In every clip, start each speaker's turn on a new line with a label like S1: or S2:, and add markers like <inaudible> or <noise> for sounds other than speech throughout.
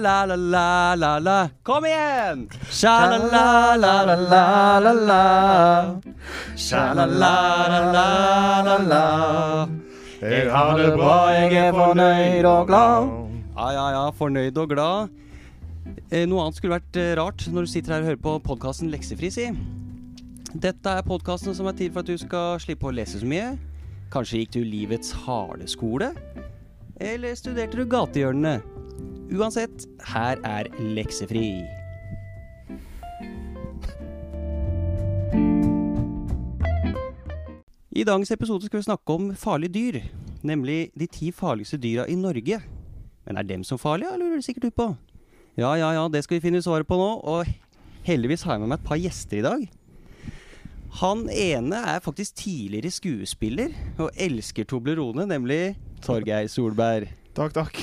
S1: Sja-la-la-la-la-la-la. Kom igjen! Sja-la-la-la-la-la-la. Sja-la-la-la-la-la-la. Jeg har det bra, jeg er fornøyd og glad. Ja, ja, ja. Fornøyd og glad. Eh, noe annet skulle vært eh, rart når du sitter her og hører på podkasten Leksefri, si. Dette er podkasten som er til for at du skal slippe å lese så mye. Kanskje gikk du livets harde skole? Eller studerte du gatehjørnene? Uansett, her er leksefri. I dagens episode skal vi snakke om farlige dyr. Nemlig de ti farligste dyra i Norge. Men er dem som farlige, lurer du sikkert ut på. Ja, ja, ja, det skal vi finne svaret på nå. Og heldigvis har jeg med meg et par gjester i dag. Han ene er faktisk tidligere skuespiller og elsker Toblerone, nemlig Torgeir Solberg.
S2: Takk, takk.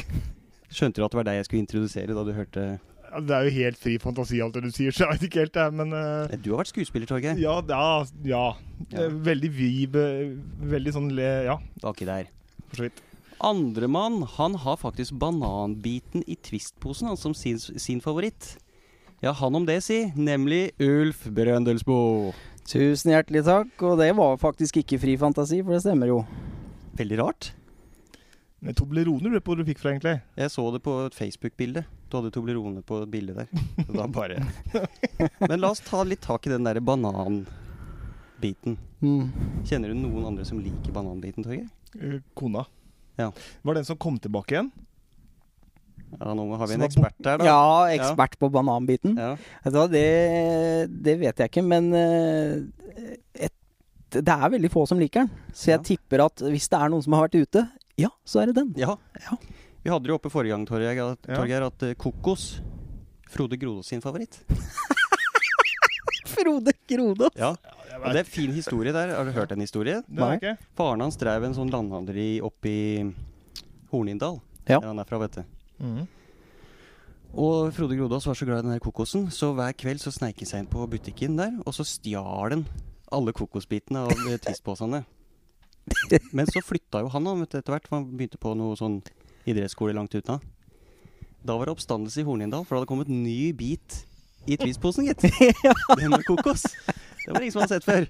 S1: Skjønte du at det var deg jeg skulle introdusere da du hørte
S2: Ja, Det er jo helt fri fantasi alt det du sier, så jeg vet ikke helt det, men eh,
S1: Du har vært skuespiller, Torgeir.
S2: ja, ja, ja. Det er Veldig viv, eh, veldig sånn le... Ja,
S1: Det var ikke der.
S2: for så vidt.
S1: Andremann, han har faktisk bananbiten i Twist-posen han som sin, sin favoritt. Ja, han om det, si. Nemlig Ulf Brøndelsbo.
S3: Tusen hjertelig takk, og det var faktisk ikke fri fantasi, for det stemmer jo.
S1: Veldig rart.
S2: Men Toblerone lurer på hvor du fikk fra, egentlig.
S1: Jeg så det på et Facebook-bilde. Du hadde Toblerone på et bilde der. Så da bare Men la oss ta litt tak i den derre bananbiten.
S3: Mm.
S1: Kjenner du noen andre som liker bananbiten, Torgeir?
S2: Eh, Kona.
S1: Ja.
S2: Var det den som kom tilbake igjen?
S1: Ja, nå har vi
S2: Som
S1: en
S2: var
S1: ekspert der, da.
S3: Ja, ekspert på bananbiten.
S1: Ja.
S3: Vet du hva, det, det vet jeg ikke, men eh, et, det er veldig få som liker den. Så
S1: Ja.
S3: jeg tipper at hvis det er noen som har vært ute, ja, så er det den.
S1: Ja.
S3: Ja.
S1: Vi hadde det jo oppe forrige gang, Torgeir, at,
S2: Ja.
S1: Torgeir, at eh, kokos Frode Grodås sin favoritt.
S3: Frode Grode.
S1: Ja, og Det er en fin historie der. Har du hørt den historien?
S2: Det er ikke.
S1: Faren hans drev en sånn landhandler i- oppe i Hornindal.
S3: Ja.
S1: Der han er fra, vet du.
S2: Mm.
S1: Og Frode Grodås var så glad i den her kokosen, så hver kveld så sneik han seg inn på butikken der, og så stjal han alle kokosbitene av eh, Twist-posene. Men så flytta jo han da, vet du, etter hvert, for han begynte på noe sånn idrettsskole langt unna. Da var det oppstandelse i Hornindal, for det hadde kommet ny bit i Twist-posen, gitt. Den med kokos. Det var det ingen som hadde sett før.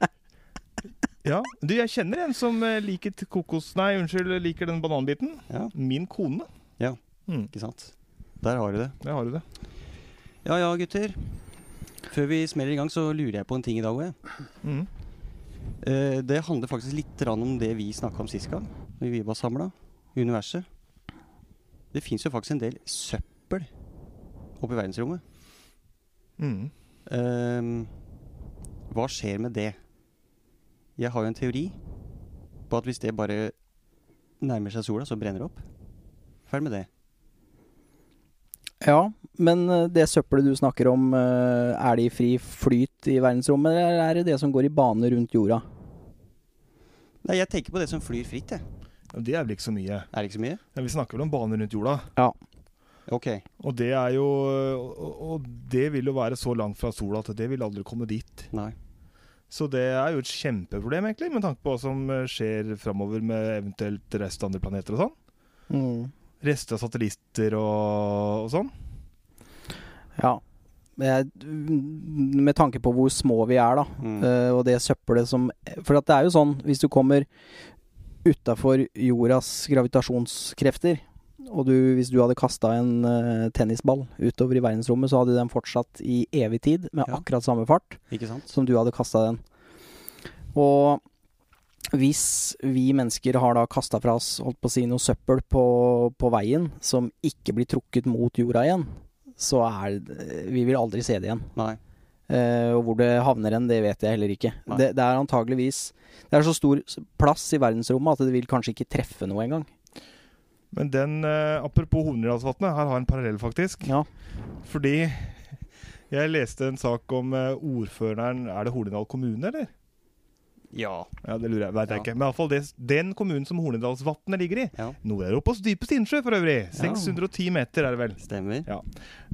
S2: Ja. Du, jeg kjenner en som eh, liker t- kokos... Nei, unnskyld, liker den bananbiten.
S1: Ja,
S2: Min kone.
S1: Ja.
S2: Mm,
S1: ikke sant. Der har du det.
S2: der har du det.
S1: Ja ja, gutter. Før vi smeller i gang, så lurer jeg på en ting i dag òg.
S2: Mm.
S1: Eh, det handler faktisk litt grann om det vi snakka om sist gang, når vi var samla. Universet. Det fins jo faktisk en del søppel oppe i verdensrommet.
S2: Mm.
S1: Ehm, hva skjer med det? Jeg har jo en teori på at hvis det bare nærmer seg sola, så brenner det opp. Ferdig med det.
S3: Ja, men eh, det søppelet du snakker om, eh, er det i fri flyt i verdensrommet, eller er det det som går i bane rundt jorda?
S1: Nei, jeg tenker på det som flyr fritt, jeg.
S2: Ja, Det er vel ikke så mye.
S1: Er det ikke så mye?
S2: Ja, vi snakker vel om baner rundt jorda.
S1: Ok.
S2: Og det er jo og- Og det vil jo være så langt fra sola at det vil aldri komme dit.
S1: Nei.
S2: Så det er jo et kjempeproblem, egentlig, med tanke på hva som eh, skjer framover med eventuelt rest av andre planeter og sånn.
S1: Mm.
S2: Rester av satellitter og, og sånn.
S3: Ja. Jeg- Med tanke på hvor små vi er, da.
S1: Mm.
S3: Eh, og det søppelet som For at det er jo sånn, hvis du kommer utafor jordas gravitasjonskrefter, og du, hvis du hadde kasta en eh, tennisball utover i verdensrommet, så hadde den fortsatt i evig tid med
S1: Ja.
S3: akkurat samme fart
S1: Ikke sant?
S3: som du hadde kasta den. Og hvis vi mennesker har da kasta fra oss holdt på å si, noe søppel på, på veien som ikke blir trukket mot jorda igjen, så er det, vi vil aldri se det igjen.
S1: Nei.
S3: Eh, og hvor det havner hen, det vet jeg heller ikke.
S1: Nei.
S3: Det, det er antageligvis Det er så stor s- plass i verdensrommet at det vil kanskje ikke treffe noe engang.
S2: Men den eh, Apropos Hornindalsvatnet, her har jeg en parallell, faktisk.
S3: Ja.
S2: Fordi jeg leste en sak om eh, ordføreren Er det Hornindal kommune, eller?
S1: Ja.
S2: Ja, Det lurer jeg, veit jeg
S1: Ja.
S2: ikke. Men iallfall den kommunen som Hornindalsvatnet ligger i.
S1: Ja.
S2: Nord-Europas dypeste innsjø, for øvrig. 610 meter, er det vel.
S1: Stemmer.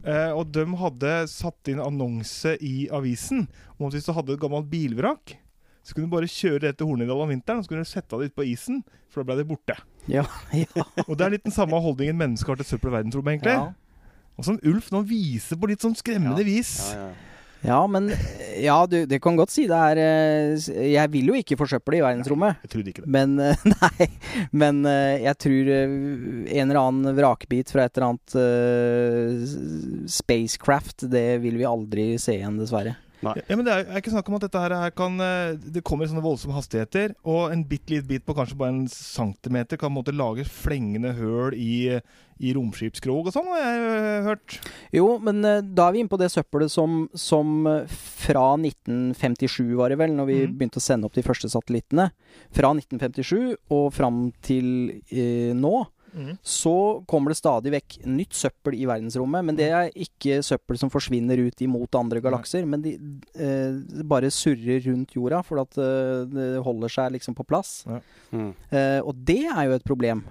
S2: Eh, og de hadde satt inn annonse i avisen om at hvis du hadde et gammelt bilvrak, så kunne du bare kjøre rett til Hornindal om vinteren og så kunne du sette det ut på isen, for da ble det borte.
S3: Ja, ja.
S2: Og det er litt den samme holdningen mennesker har til søppel i verdensrommet, egentlig.
S3: ja.
S2: Og som Ulf nå viser på litt sånn skremmende vis.
S1: Ja, ja.
S3: Ja, men eh, Ja, du, det kan godt si det er eh, s- Jeg vil jo ikke forsøple i verdensrommet.
S2: Jeg trodde ikke det.
S3: Men eh, <laughs> Nei. Men eh, jeg tror eh, en eller annen vrakbit fra et eller annet eh, s- spacecraft, det vil vi aldri se igjen, dessverre.
S2: Ja, men Det er, er ikke snakk om at dette her er- kan eh, Det kommer i sånne voldsomme hastigheter, og en bitte liten bit på kanskje bare en centimeter kan på en måte lage flengende høl i, i romskipskrog og sånn, har jeg eh, hørt.
S3: Jo, men eh, da er vi inne på det søppelet som, som eh, fra 1957 var det vel, når vi
S2: Mhm.
S3: begynte å sende opp de første satellittene. Fra 1957 og fram til eh, nå, så kommer det stadig vekk nytt søppel i verdensrommet. Men det er ikke søppel som forsvinner ut imot andre galakser, men de eh, bare surrer rundt jorda, for at eh, det holder seg liksom på plass.
S1: Mm.
S3: Eh, og det er jo et problem.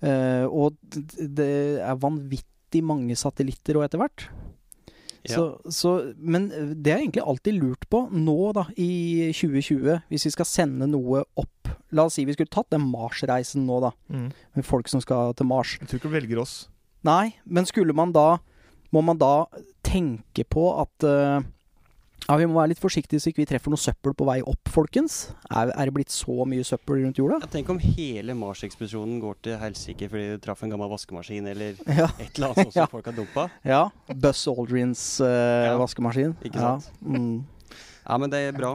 S3: Eh, og d- d- det er vanvittig mange satellitter og etter hvert.
S1: Ja.
S3: Så, så, men eh, det har jeg egentlig alltid lurt på nå, da, i 2020, hvis vi skal sende noe opp. La oss si vi skulle tatt den Mars-reisen nå, da, med folk som skal til Mars.
S2: Jeg tror ikke du velger oss.
S3: Nei, men skulle man da Må man da tenke på at eh, Ja, vi må være litt forsiktige så ikke vi treffer noe søppel på vei opp, folkens. Er, er det blitt så mye søppel rundt jorda?
S1: Ja, Tenk om hele Mars-ekspedisjonen går til helsike fordi du traff en gammel vaskemaskin eller
S3: <laughs> Ja.
S1: et eller annet sånt som
S3: Ja.
S1: folk har dumpa.
S3: ja. Buzz Aldrins eh,
S1: Ja,
S3: vaskemaskin.
S1: ikke sant?
S3: Ja. Mm.
S1: Ja, men det er bra.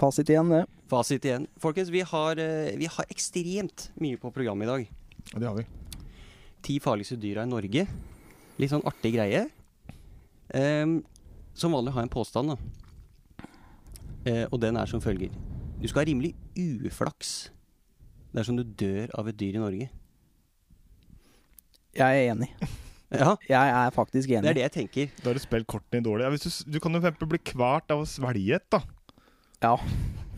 S3: Fasit igjen, det.
S1: Fasit igjen. Folkens, vi har, eh, vi har ekstremt mye på programmet i dag.
S2: det har vi.
S1: Ti farligste dyra i Norge. Litt sånn artig greie. Ehm, som vanlig har jeg en påstand, da. Eh, og den er som følger. Du skal ha rimelig uflaks dersom du dør av et dyr i Norge.
S3: Jeg er enig.
S1: Ja,
S3: Jeg er faktisk
S1: det er
S3: enig.
S1: det jeg tenker.
S2: Da har du spilt kortene dårlig. Ja, hvis du, s- du kan jo for eksempel bli kvalt av å svelge et, da.
S3: Ja.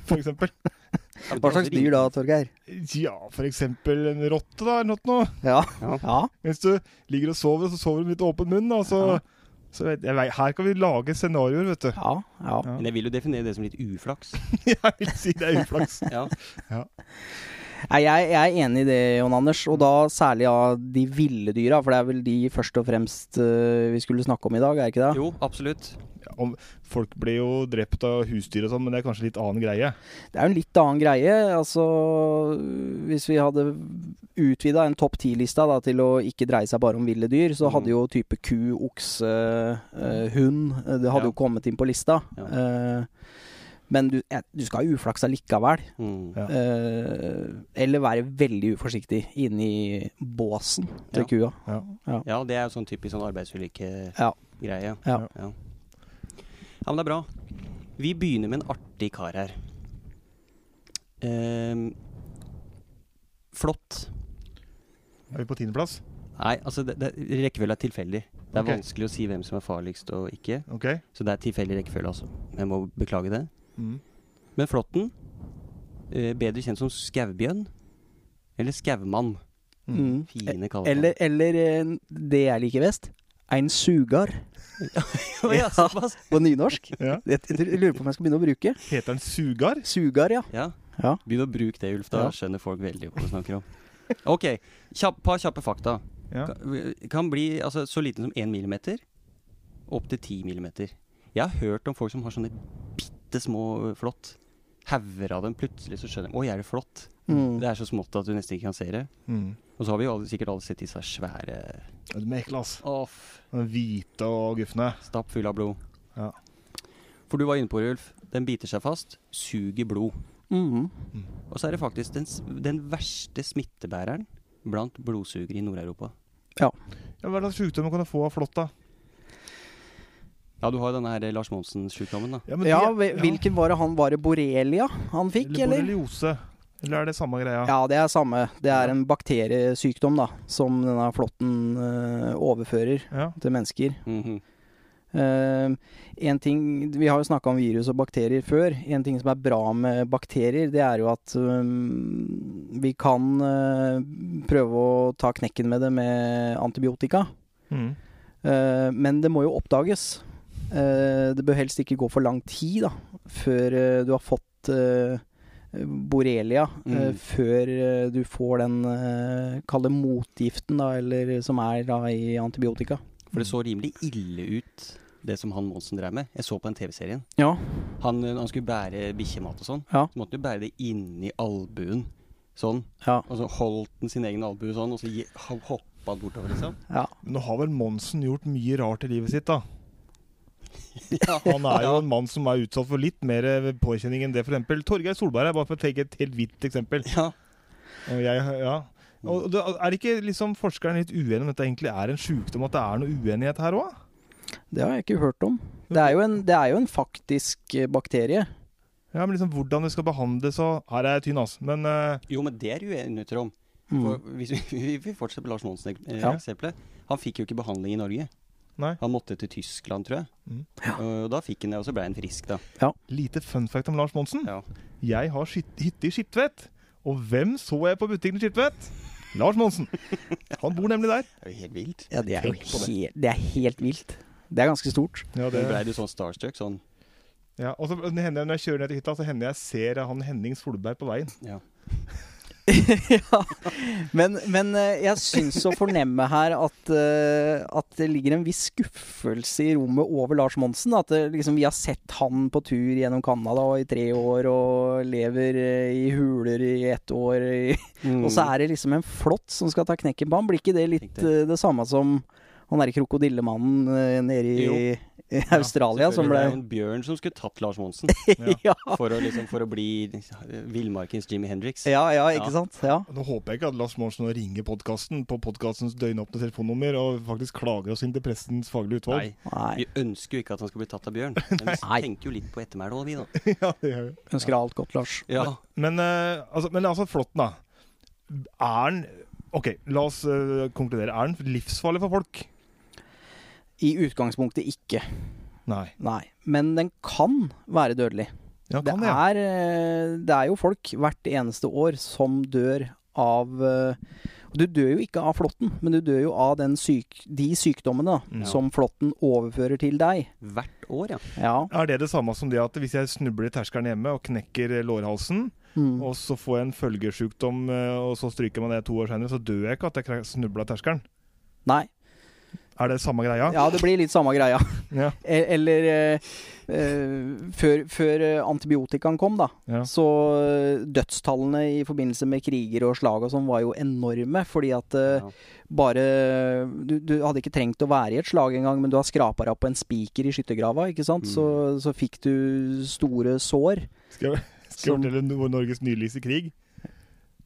S2: For eksempel.
S1: Ja, men
S3: Hva
S1: det er
S3: slags
S1: også rimelig-
S3: dyr da, Torgeir?
S2: Ja, for eksempel en rotte, da, eller noe, noe.
S3: Ja.
S1: Ja.
S3: ja.
S2: Hvis du ligger og sover, så sover du med litt åpen munn, da, så, så vet, jeg, vet- Her kan vi lage scenarioer, vet du. <laughs>
S3: Ja. ja.
S2: Ja.
S1: Men jeg vil jo definere det som litt uflaks.
S2: Jeg vil si det er uflaks.
S1: Ja.
S3: Nei, jeg, jeg er enig i det, Jon Anders, og da særlig av de ville dyra. For det er vel de først og fremst eh, vi skulle snakke om i dag, er det ikke det?
S1: Jo, absolutt.
S2: Ja, om, folk blir jo drept av husdyr og sånn, men det er kanskje litt annen greie.
S3: Det er jo en litt annen greie. Altså, hvis vi hadde utvida en topp ti-lista da, til å ikke dreie seg bare om ville dyr, så
S1: Mm.
S3: hadde jo type ku, okse, eh, hund eh, Det hadde
S1: Ja.
S3: jo kommet inn på lista.
S1: Ja.
S3: Eh, men du, eh, du skal ha uflaks allikevel.
S1: Mm.
S2: Ja.
S3: Eh, eller være veldig uforsiktig inni båsen til
S1: Ja.
S3: kua.
S2: Ja.
S1: Ja, det er jo sånn typisk sånn arbeidsulykke-greie.
S3: Ja. Ja.
S1: Ja. Ja, men det er bra. Vi begynner med en artig kar her. Ehm, flott.
S2: Er vi på tiendeplass?
S1: Nei, altså det, det, rekkefølgen er tilfeldig. Det er
S2: Ok.
S1: vanskelig å si hvem som er farligst og ikke.
S2: OK.
S1: Så det er tilfeldig rekkefølge, altså. Jeg må beklage det.
S2: Mm.
S1: Men flåtten, eh, bedre kjent som skaubjørn eller skaumann.
S2: Mm.
S3: Mm.
S1: Fine kallenavn.
S3: Eller, eller eh, det jeg liker best, ein sugar
S1: Å <laughs> ja, såpass.
S3: på nynorsk.
S2: Ja.
S3: Jeg, jeg lurer på om jeg skal begynne å bruke.
S2: Heter den sugar?
S3: Sugar, ja.
S1: Ja.
S3: Ja.
S1: Begynn å bruke det, Ulf. Da
S3: Ja.
S1: skjønner folk veldig hva du snakker om. <laughs> Ok, kjapp, par kjappe fakta.
S2: Ja.
S1: Kan, kan bli altså, så liten som 1 millimeter opp til 10 millimeter. Jeg har hørt om folk som har sånne bitte små flått. Hauger av dem. Plutselig så skjønner de Oi, er det flått?
S3: Mm.
S1: Det er så smått at du nesten ikke kan se det.
S2: Mm.
S1: Og så har vi jo alle, sikkert alle sett disse svære
S2: Ja, De er ekle, altså.
S1: Off.
S2: Den hvite og gufne.
S1: Stapp full av blod.
S2: Ja.
S1: For du var inne på det, Ulf. Den biter seg fast, suger blod.
S3: Mhm.
S1: Og så er det faktisk den, s- den verste smittebæreren blant blodsugere i Nord-Europa.
S2: Ja, hva slags sjukdommer kan du få av flått, da?
S1: Ja, du har jo denne her eh, Lars Monsen-sjukdommen, da.
S2: men
S3: Ja,
S2: de-
S3: hvil- hvilken var det han var det borrelia han fikk,
S2: eller?
S3: eller?
S2: Borreliose. Eller er det samme greia?
S3: Ja, det er samme. Det er en bakteriesykdom da, som denne flåtten eh, overfører
S2: Ja.
S3: til mennesker.
S1: Mhm.
S3: Eh, en ting, vi har jo snakka om virus og bakterier før. En ting som er bra med bakterier, det er jo at eh, vi kan eh, prøve å ta knekken med det med antibiotika.
S2: Mm.
S3: Eh, men det må jo oppdages. Eh, det bør helst ikke gå for lang tid da, før eh, du har fått eh, eh, borrelia eh,
S1: Mm.
S3: før eh, du får den eh, kall det motgiften, da, eller som er da i antibiotika.
S1: For det så rimelig ille ut, det som han Monsen drev med. Jeg så på den TV-serien.
S3: Ja.
S1: Han, eh, når han skulle bære bikkjemat og sånn,
S3: Ja.
S1: så måtte han jo bære det inni albuen. Sånn.
S3: Ja.
S1: Og så holdt han sin egen albue sånn, og så gi- ho- hoppa han bortover, liksom.
S3: ja.
S2: Men nå har vel Monsen gjort mye rart i livet sitt, da.
S1: Ja.
S2: Han er jo en mann som er utsatt for litt mer eh, påkjenning enn det, f.eks. Torgeir Solberg er bare for å tenke et helt hvitt eksempel.
S1: ja.
S2: Og jeg, ja. Og det, er ikke liksom forskeren litt uenig om dette egentlig er en sjukdom, at det er noe uenighet her òg?
S3: Det har jeg ikke hørt om. Det er jo en, det er jo en faktisk eh, bakterie.
S2: Ja, men liksom hvordan det skal behandles og Her er jeg tynn, altså. Men eh,
S1: Jo, men det er uenigheter om. For
S3: Mm.
S1: hvis vi, <laughs> vi fortsetter med Lars
S3: Ja.
S1: Monsen-eksempelet. Han fikk jo ikke behandling i Norge.
S2: Nei.
S1: Han måtte til Tyskland, tror jeg.
S2: Mm.
S3: Ja.
S1: Og da fikk han det, og så ble han frisk, da.
S2: lite fun fact om Lars Monsen.
S1: Ja.
S2: Jeg har skyt- hytte i Skiptvet. Og hvem så jeg på butikken i Skiptvet? Lars Monsen. Han bor nemlig der.
S1: Det er jo helt vilt.
S3: Ja, det er jo
S2: Tenk på det.
S3: helt, det er helt vilt. Det er ganske stort.
S2: Ja,
S1: Det ble du sånn starstruck, sånn
S2: ja, og så hender det Når jeg kjører ned til hytta, så hender jeg ser han Henning Solberg på veien.
S1: Ja.
S3: ja. Men, men eh, jeg syns å fornemme her at, eh, at det ligger en viss skuffelse i rommet over Lars Monsen. At det, liksom, vi har sett han på tur gjennom Canada og i tre år og lever eh, i huler i ett år. <laughs> I, Og så er det liksom en flått som skal ta knekken på han. Blir ikke det litt
S1: Mm. Riktig.
S3: eh, det samme som han derre krokodillemannen eh, nede i, i Australia som
S1: Det
S3: ble
S1: er jo en bjørn som skulle tatt Lars Monsen
S3: <laughs> ja.
S1: for å, liksom, for å bli eh, villmarkens Jimmy Hendrix.
S3: ja, ja,
S1: Ja.
S3: ikke sant? Ja.
S2: Nå håper jeg ikke at Lars Monsen nå ringer podkasten på podkastens døgnåpne telefonnummer og faktisk klager oss inn til prestens faglige utvalg.
S1: Nei,
S3: Nei.
S1: vi ønsker jo ikke at han skal bli tatt av bjørn. Men vi
S3: Nei.
S1: tenker jo litt på ettermælet òg, vi, da.
S2: <laughs> ja, det gjør vi.
S3: Ønsker deg alt godt, Lars.
S1: Ja.
S2: Men, eh, altså, men altså, flåtten, da. Er han OK, la oss eh, konkludere. Er den livsfarlig for folk?
S3: I utgangspunktet ikke.
S2: Nei.
S3: Nei, men den kan være dødelig.
S2: Ja,
S3: Det
S2: kan det, ja.
S3: er, eh, det er jo folk hvert eneste år som dør av eh, og Du dør jo ikke av flåtten, men du dør jo av den syk, de sykdommene da,
S2: Ja.
S3: som flåtten overfører til deg.
S1: Hvert år, ja.
S3: Ja.
S2: Er det det samme som det at hvis jeg snubler i terskelen hjemme og knekker eh, lårhalsen,
S3: Mm.
S2: og så får jeg en følgesjukdom, eh, og så stryker man det to år senere, så dør jeg ikke at jeg snubla i terskelen?
S3: Nei.
S2: Er det samme greia?
S3: Ja, det blir litt samme greia. <laughs>
S2: Ja.
S3: E- Eller eh, eh, før, før eh, antibiotikaen kom, da,
S2: Ja.
S3: så eh, dødstallene i forbindelse med kriger og slag og sånn var jo enorme, fordi at eh,
S1: ja.
S3: bare du, du hadde ikke trengt å være i et slag engang, men du har skrapa deg opp på en spiker i skyttergrava, ikke sant? Så, så fikk du store sår.
S2: Skal
S3: <laughs>
S2: jeg, skal jeg
S3: Som-
S2: fortelle no- Norges nydeligste krig?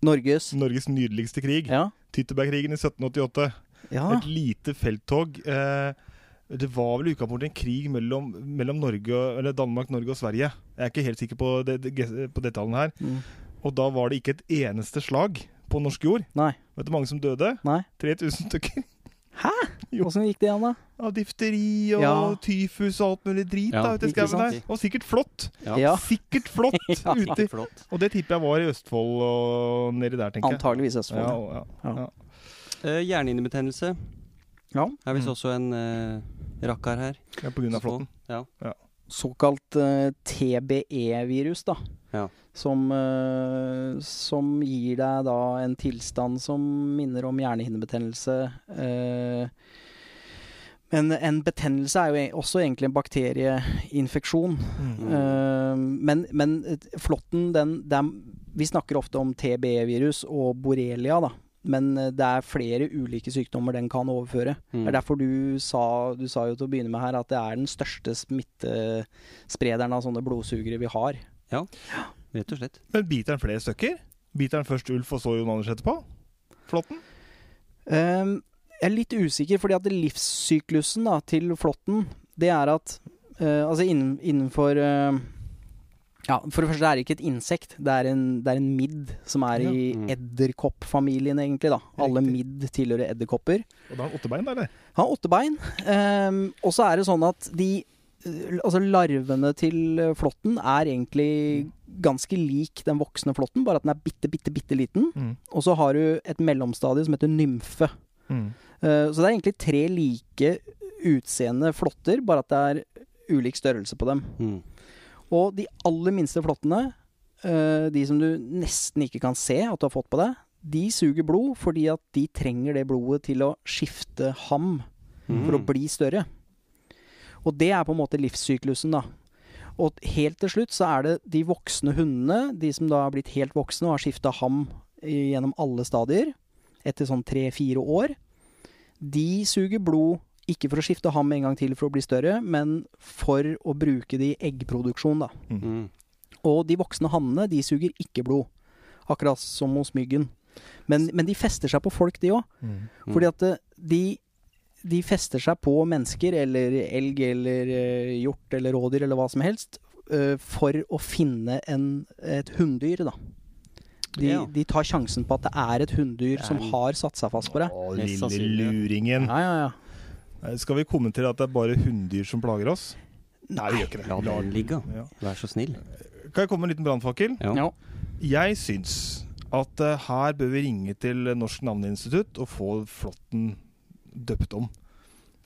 S3: Norges
S2: Norges nydeligste krig.
S3: Ja. Ah.
S2: Tyttebergkrigen i 1788.
S3: ja.
S2: Et lite felttog. Eh, det var vel i utgangspunktet en krig mellom, mellom Norge, og- eller Danmark, Norge og Sverige. Jeg er ikke helt sikker på, det, det, på detaljen her.
S3: Mm.
S2: Og da var det ikke et eneste slag på norsk jord.
S3: Nei.
S2: Vet du hvor mange som døde?
S3: Nei.
S2: 3000 stykker. Jo.
S3: Åssen gikk det igjen, da?
S2: Av difteri og
S3: Ja,
S2: tyfus og alt mulig drit
S1: Ja,
S2: da, ute i
S3: ikke
S2: skauen der.
S1: sant?
S2: Og sikkert flott.
S1: Ja.
S3: Ja,
S2: Sikkert flott ute.
S1: Flott.
S2: Og det tipper jeg var i Østfold og nedi der, tenker jeg.
S3: antageligvis
S2: Ja,
S3: Østfold.
S2: og- ja.
S1: Eh, Hjernehinnebetennelse.
S3: Ja.
S1: Her visst
S2: Mm.
S1: også en eh, rakkar her.
S2: ja, på grunn av flåtten.
S1: Ja.
S3: Såkalt eh, TBE-virus, da.
S1: Ja.
S3: Som, eh, som gir deg da en tilstand som minner om hjernehinnebetennelse. eh, men en betennelse er jo e- også egentlig en bakterieinfeksjon.
S2: Mm.
S3: Eh, men men eh, flåtten, den, den Vi snakker ofte om TBE-virus og borrelia, da. Men eh, det er flere ulike sykdommer den kan overføre.
S1: Mm.
S3: Det er derfor du sa, du sa jo til å begynne med her at det er den største smittesprederen av sånne blodsugere vi har.
S1: Rett og slett.
S2: Men biter den flere stykker? Biter den først ulv, og så Jon Anders etterpå? Flåtten?
S3: Ehm, jeg er litt usikker, fordi at livssyklusen da, til flåtten, det er at eh, Altså innen, innenfor eh, ja, For det første er det ikke et insekt, det er en, det er en midd som er
S2: Ja.
S3: i
S1: Mm.
S3: edderkoppfamilien, egentlig. da. Alle
S2: Riktig.
S3: midd tilhører edderkopper.
S2: Og da har den åtte bein, da, eller?
S3: Han har åtte bein. ehm, og så er det sånn at de eh, Altså larvene til eh, flåtten er egentlig ganske lik den voksne flåtten, bare at den er bitte, bitte, bitte liten.
S2: Mm,
S3: Og så har du et mellomstadie som heter nymfe.
S2: mm,
S3: Eh, Så det er egentlig tre like utseende flåtter, bare at det er ulik størrelse på dem.
S1: Mm.
S3: Og de aller minste flåttene eh, de som du nesten ikke kan se at du har fått på deg, de suger blod fordi at de trenger det blodet til å skifte ham for å bli større. Og det er på en måte livssyklusen, da. Og helt til slutt så er det de voksne hundene, de som da er blitt helt voksne og har skifta ham i- gjennom alle stadier, etter sånn tre-fire år, de suger blod ikke for å skifte ham en gang til for å bli større, men for å bruke det i eggproduksjon, da.
S1: Mm.
S3: Og de voksne hannene, de suger ikke blod. Akkurat som hos myggen. Men, men de fester seg på folk, de òg.
S2: mm.
S3: Fordi at eh, de, de fester seg på mennesker, eller elg, eller eh, hjort, eller rådyr, eller hva som helst, eh, for å finne en, et hunndyr, da. De,
S1: Ja.
S3: de tar sjansen på at det er et hunndyr som
S1: Ja.
S3: har satt seg fast på deg.
S2: Å,
S1: Mest
S2: lille
S1: sannsynlig.
S2: luringen.
S3: Ja, ja, ja.
S2: Nei, Skal vi kommentere at det er bare hunndyr som plager oss? Nei, vi gjør ikke det.
S1: La den ligge,
S2: Ja.
S1: vær så snill.
S2: Kan jeg komme med en liten brannfakkel?
S1: Ja.
S3: Ja.
S2: Jeg syns at eh, her bør vi ringe til Norsk Navneinstitutt og få Flåtten døpt om.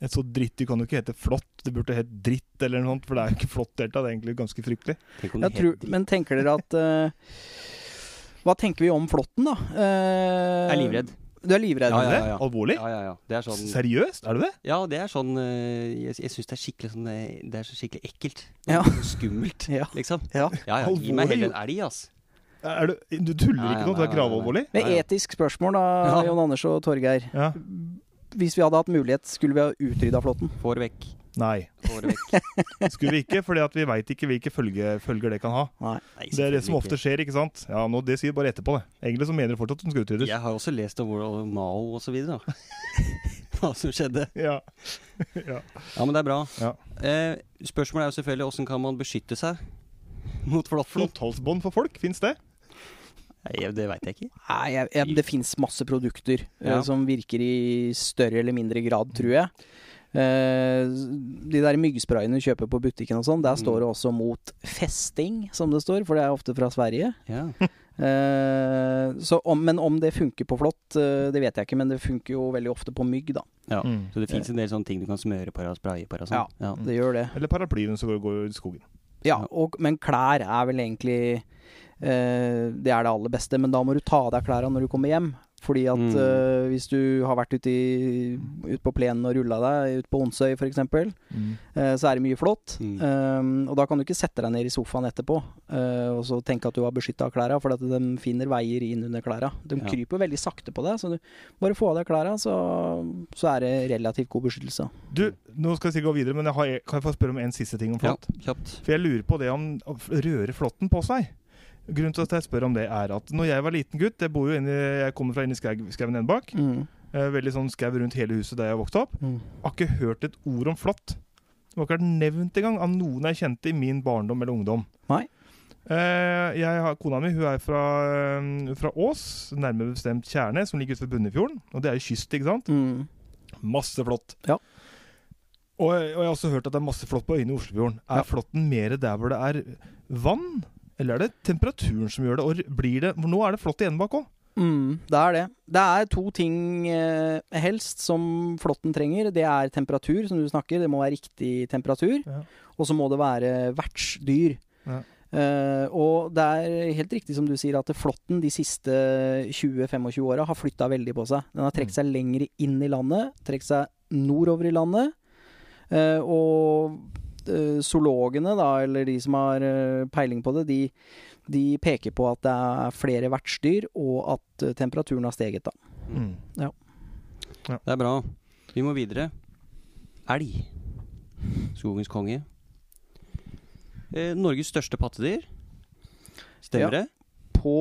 S2: Et så drittdyr kan jo ikke hete flått, det burde hett dritt eller noe sånt, for det er jo ikke flått i det hele tatt. Det er egentlig ganske fryktelig.
S1: Tenk om
S3: Jeg
S1: det
S3: tror,
S1: heter-
S3: men tenker dere at eh, Hva tenker vi om flåtten, da? Eh,
S1: Jeg er livredd.
S3: Du er livredd?
S1: Ja, ja,
S2: Er det Alvorlig?
S1: Ja, ja, ja. Det er sånn
S2: Seriøst, er du det?
S1: Ja, det er sånn eh, Jeg, jeg syns det er skikkelig sånn eh, Det er så skikkelig ekkelt.
S3: Ja.
S1: Og Skummelt,
S3: Ja.
S1: liksom.
S3: Ja.
S1: Ja, ja. Gi meg
S2: Alvorlig.
S1: heller en elg, ass.
S2: Er du, du tuller
S1: Nei, nei,
S2: ikke nå, det er
S1: nei, nei.
S2: gravalvorlig?
S3: Med
S1: Ja, ja.
S3: etisk spørsmål, da,
S1: Ja.
S3: Jon Anders og Torgeir.
S2: Ja.
S3: Hvis vi hadde hatt mulighet, skulle vi ha utrydda flåtten?
S1: Får det vekk.
S2: Nei.
S1: Får det vekk.
S2: Skulle vi ikke, fordi at vi veit ikke hvilke følge, følger det kan ha.
S1: Nei,
S2: <laughs> Det er det
S1: selvfølgelig
S2: som ofte
S1: ikke.
S2: skjer, ikke sant? Ja, nå, Det sier bare etterpå, det. Egentlig så mener de fortsatt at den skal utryddes.
S1: Jeg har også lest om hvordan Mao og så videre, da. <laughs> Hva som skjedde.
S2: Ja. <laughs>
S1: Ja, men det er bra.
S2: Ja.
S1: Eh, spørsmålet er jo selvfølgelig åssen kan man beskytte seg mot
S2: <laughs>
S1: flåtten?
S2: Flåtthalsbånd for folk, fins det?
S1: Nei, Det veit jeg ikke.
S3: Nei, jeg, jeg, det fins masse produkter eh,
S1: Ja.
S3: som virker i større eller mindre grad, tror jeg. Eh, de der myggsprayene du kjøper på butikken og sånn,
S1: Mm.
S3: der står det også mot festing, som det står, for det er ofte fra Sverige.
S1: Ja.
S3: Eh, så om, men om det funker på flått, eh, det vet jeg ikke, men det funker jo veldig ofte på mygg, da.
S1: Ja. Så det fins en del sånne ting du kan smøre på deg og spraye på deg og sånn. Ja.
S3: Det gjør det.
S2: Eller paraplyen som går, går i skogen.
S3: Ja, og, men klær er vel egentlig eh, Det er det aller beste, men da må du ta av deg klærne når du kommer hjem. Fordi at
S1: Mm.
S3: eh, hvis du har vært ute, i, ute på plenen og rulla deg, ute på Onsøy f.eks., uh, så er det mye flott.
S1: Mm.
S3: Eh, og da kan du ikke sette deg ned i sofaen etterpå eh, og så tenke at du har beskytta klærne, for at de finner veier inn under klærne. De
S1: Ja.
S3: kryper veldig sakte på deg, så du bare få av deg klærne, så, så er det relativt god beskyttelse.
S2: Du, nå skal jeg si gå videre, men jeg har, kan jeg få spørre om en siste ting om
S1: Ja,
S2: flått?
S1: kjapt.
S2: For jeg lurer på det om om rører flåtten på seg. Grunnen til at jeg spør om det, er at når jeg var liten gutt Jeg, bor jo inne, i- jeg kommer fra inni skauen nede bak.
S3: Mm.
S2: Eh, Veldig sånn skau rundt hele huset der jeg vokste opp.
S3: Mm.
S2: Har ikke hørt et ord om flått. Det var ikke vært nevnt engang av noen jeg kjente i min barndom eller ungdom.
S3: Nei.
S2: Eh, jeg har, kona mi hun er fra, eh, fra Ås, nærmere bestemt Tjerne, som ligger ute ved Bunnefjorden. Og det er jo kyst, ikke sant?
S3: Mm.
S2: Masse flått.
S3: Ja.
S2: Og, og jeg har også hørt at det er masse flått på øyene i Oslofjorden. Er
S3: Ja.
S2: flåtten mer der hvor det er vann? Eller er det temperaturen som gjør det? Og blir det for Nå er det flått igjen bak òg.
S3: Mm, det er det. Det er to ting eh, helst som flåtten trenger. Det er temperatur, som du snakker. Det må være riktig temperatur.
S2: Ja.
S3: Og så må det være vertsdyr.
S2: Ja.
S3: Eh, og det er helt riktig som du sier, at flåtten de siste 20-25 åra har flytta veldig på seg. Den har
S2: Mm.
S3: trukket seg lenger inn i landet, trukket seg nordover i landet. Eh, og eh, zoologene, da, eller de som har eh, peiling på det, de de peker på at det er flere vertsdyr, og at eh, temperaturen har steget, da.
S2: Mm.
S1: Det er bra. Vi må videre. Elg. Skogens konge. Eh, Norges største pattedyr. Stemmer det?
S3: På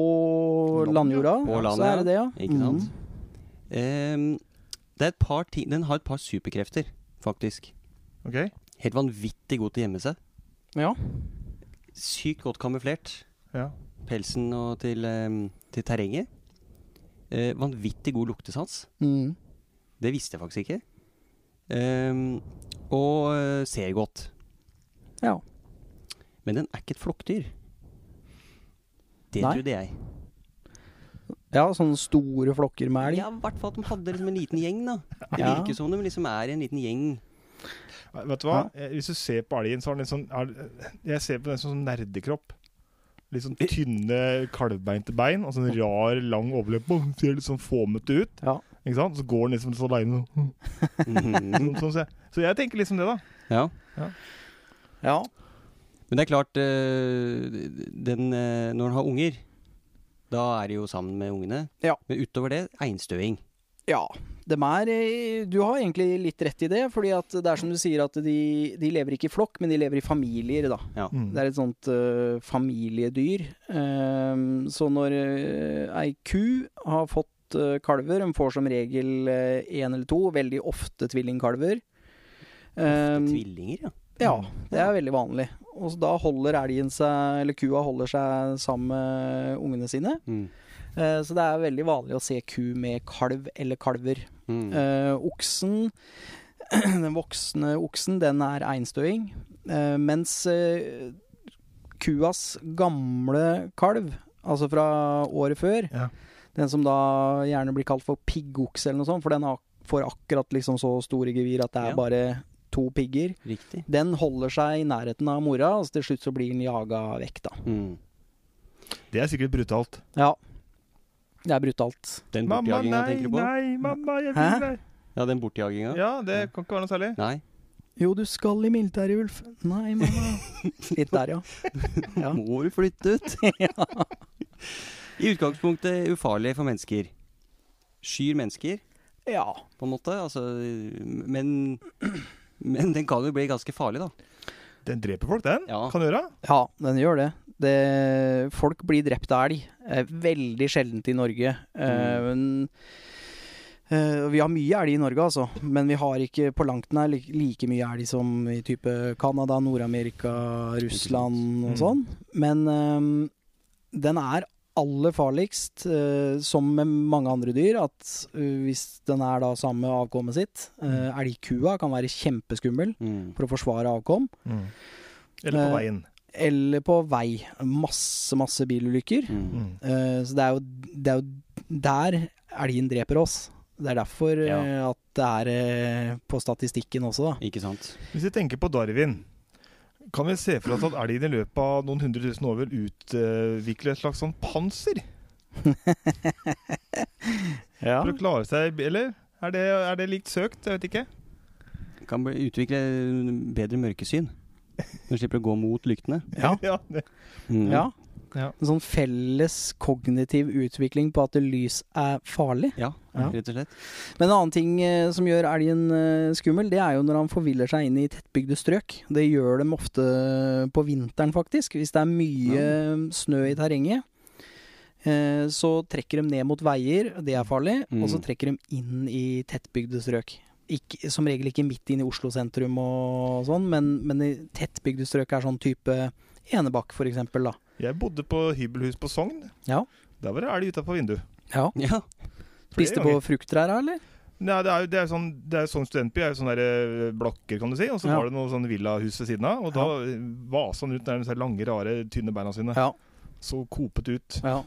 S3: landjorda,
S1: På landet,
S3: så er det det, ja.
S1: Ikke sant? Ehm, det er et par ting Den har et par superkrefter, faktisk.
S2: Ok?
S1: Helt vanvittig god til å gjemme seg.
S3: Mm. Ja.
S1: Sykt godt kamuflert.
S2: Ja.
S1: Pelsen og til, ehm, til terrenget. Eh, vanvittig god luktesans.
S3: Mm.
S1: Det visste jeg faktisk ikke. Ehm, og eh, ser godt.
S3: ja.
S1: Men den er ikke et flokkdyr. Det
S3: Nei.
S1: trodde jeg.
S3: Ja, sånne store flokker med elg.
S1: Ja, I hvert fall at de hadde liksom en liten gjeng, da. Det
S3: Ja.
S1: virker som de liksom er en liten gjeng.
S2: eh, Vet du hva? Eh, Hvis du ser på elgen, så har den en sånn er, Jeg ser på den som en sånn nerdekropp. Litt sånn tynne, kalvbeinte bein og sånn rar, lang overløp. Boom, Ser litt sånn fåmete ut.
S3: Ja.
S2: Ikke sant? Så går han liksom litt sånn aleine. Sånn, sånn, ser jeg. så jeg tenker liksom det, da.
S1: Mhm. Ja.
S3: Ja.
S1: Men det er klart, eh, den, eh, når en har unger, da er de jo sammen med ungene.
S3: Ja.
S1: Men utover det, einstøing.
S3: Ja, dem er eh, Du har egentlig litt rett i det, fordi at det er som du sier at de, de lever ikke i flokk, men de lever i familier, da.
S2: Mm.
S3: Det er et sånt eh, familiedyr. Ehm, så når eh, ei ku har fått eh, kalver, hun får som regel én eller to, veldig ofte tvillingkalver. Ehm,
S1: Tvillinger, ja.
S3: ja, det er veldig vanlig. Og så da holder elgen seg, eller kua holder seg sammen med ungene sine.
S1: Mm.
S3: Eh, så det er veldig vanlig å se ku med kalv eller kalver.
S1: Mm.
S3: Eh, oksen, <clears throat> den voksne oksen, den er einstøing. Eh, mens eh, kuas gamle kalv, altså fra året før,
S2: Ja.
S3: den som da gjerne blir kalt for piggokse eller noe sånt, for den ak- får akkurat liksom så store gevir at det er
S1: Ja.
S3: bare to pigger,
S1: Riktig.
S3: den holder seg i nærheten av mora, og så til slutt så blir den jaga vekk, da.
S1: Mm.
S2: Det er sikkert brutalt.
S3: Ja. Det er brutalt.
S1: Den
S2: Mamma,
S1: bortjaginga
S2: nei,
S1: tenker du på?
S2: nei, mamma, jeg
S3: Hæ?
S2: vil deg.
S1: Ja, den bortjaginga?
S2: Ja, det kan ikke være noe særlig.
S1: Nei.
S3: Jo, du skal i militæret, Ulf. Nei, mamma. <laughs> Litt der, ja. Ja.
S1: Må du flytte <laughs> ut? I utgangspunktet ufarlig for mennesker. Skyr mennesker,
S3: Ja.
S1: på en måte. Altså, men, men den kan jo bli ganske farlig, da.
S2: Den dreper folk, den.
S1: Ja.
S2: Kan gjøre.
S3: Ja, den gjør det. det folk blir drept av elg. Eh, Veldig sjeldent i Norge. Eh, men, eh, vi har mye elg i Norge, altså. Men vi har ikke på langt nær li- like mye elg som i type Canada, Nord-Amerika, Russland og
S2: Mm.
S3: sånn. Men ehm, den er aller farligst, eh, som med mange andre dyr, at eh, hvis den er da samme avkommet sitt eh, Elgkua kan være kjempeskummel
S1: Mm.
S3: for å forsvare avkom.
S2: Mm. Eller på
S3: Eh,
S2: veien.
S3: Eller på vei. Masse, masse bilulykker.
S1: Mm.
S2: Mm.
S3: Eh, så det er, jo, det er jo der elgen dreper oss. Det er derfor
S1: Ja.
S3: eh, at det er eh, på statistikken også, da.
S1: Ikke sant.
S2: Hvis vi tenker på Darwin, kan vi se for oss at elgen i løpet av noen hundre tusen år vil utvikle et slags sånn
S3: <laughs>
S2: panser for å klare seg, eller? Er det, er det likt søkt? Jeg vet ikke.
S1: Kan bli, utvikle bedre mørkesyn. Du slipper å gå mot lyktene.
S3: Ja.
S2: <laughs> Ja, det-
S1: Mm.
S3: Ja.
S2: Ja.
S3: En sånn felles kognitiv utvikling på at lys er farlig.
S1: Ja,
S3: Ja.
S1: rett og slett.
S3: Men en annen ting eh, som gjør elgen eh, skummel, det er jo når han forviller seg inn i tettbygde strøk. Det gjør dem ofte på vinteren, faktisk. Hvis det er mye eh, snø i terrenget, eh, så trekker de ned mot veier, det er farlig.
S1: Mm.
S3: Og så trekker de inn i tettbygde strøk. Ikke, som regel ikke midt inn i Oslo sentrum og sånn, men, men i tettbygde strøk er sånn type Enebakk, for eksempel, da.
S2: Jeg bodde på hybelhus på Sogn.
S3: Ja.
S2: Der var det elg utafor vinduet.
S1: Ja.
S3: Spiste på
S2: ganger.
S3: frukttrær, da, eller?
S2: Nei, det er jo det er jo sånn, det er jo sånn studentby, er jo sånne der, eh, blokker, kan du si. Og så
S3: Ja.
S2: var det noe sånn villahus ved siden av. Og da vasa han rundt der med disse lange, rare, tynne beina sine.
S3: Ja.
S2: Så kopet ut.
S3: ja.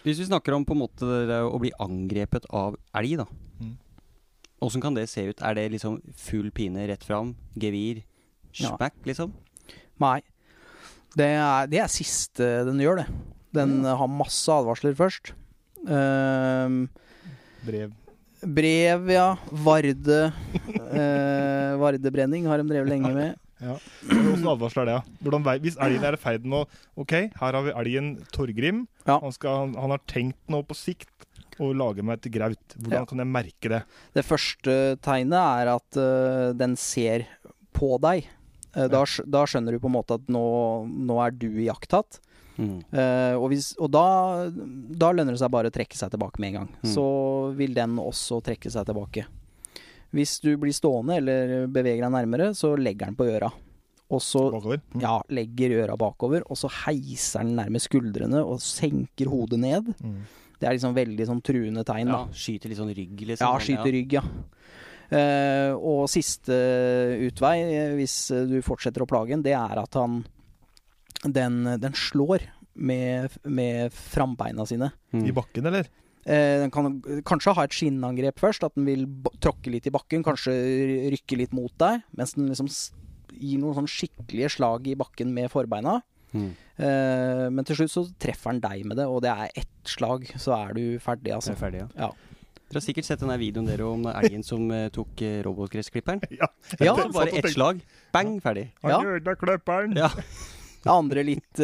S1: Hvis vi snakker om på en måte det der å bli angrepet av elg, da.
S2: Mm.
S1: Åssen kan det se ut? Er det liksom full pine rett fram? Gevir?
S3: Ja.
S1: Smack, liksom?
S3: Nei. Det er, det er siste den gjør, det. Den eh, har masse advarsler først. Ehm,
S2: Brev.
S3: brev, ja. Varde. eh, vardebrenning har de drevet lenge med.
S2: Hvordan advarsler det? da? Hvordan, vei- hvis elgen er i ferd med å Ok, her har vi elgen Torgrim.
S3: Ja.
S2: Han, skal, han, han har tenkt nå på sikt å lage meg et graut. Hvordan
S3: Ja.
S2: kan jeg merke det?
S3: Det første tegnet er at eh, den ser på deg. Eh, da, skj- da skjønner du på en måte at nå, nå er du iakttatt.
S1: Mm.
S3: Eh, og hvis, og da, da lønner det seg bare å trekke seg tilbake med en gang.
S1: Mm.
S3: Så vil den også trekke seg tilbake. Hvis du blir stående eller beveger deg nærmere, så legger den på øra. Og så
S2: Bakover. Mm.
S3: ja, legger øra bakover, og så heiser den nærmest skuldrene og senker hodet ned.
S2: Mm.
S3: Det er liksom veldig sånn truende tegn, da.
S1: Ja, skyter litt sånn rygg, liksom.
S3: Ja, skyter rygg, ja. Eh, og siste utvei, eh, hvis eh, du fortsetter å plage den, det er at han Den, den slår med, med frambeina sine.
S1: Mm.
S2: I bakken, eller? <laughs>
S3: Eh, den kan kanskje ha et skinnangrep først, at den vil b- tråkke litt i bakken, kanskje rykke litt mot deg, mens den liksom s- gir noen sånn skikkelige slag i bakken med forbeina.
S1: Mm.
S3: Eh, men til slutt så treffer han deg med det, og det er ett slag, så er du ferdig,
S1: Så
S3: altså.
S1: er vi ferdige,
S3: Ja.
S1: Dere har sikkert sett den der videoen dere om elgen som eh, tok eh, robotgressklipperen.
S2: Ja,
S3: Ja,
S2: jeg
S1: Bare
S2: satt og
S1: ett
S2: tenkte,
S1: slag. Bang, ferdig.
S2: Han ødela kløpperen!
S1: Ja.
S3: Det andre litt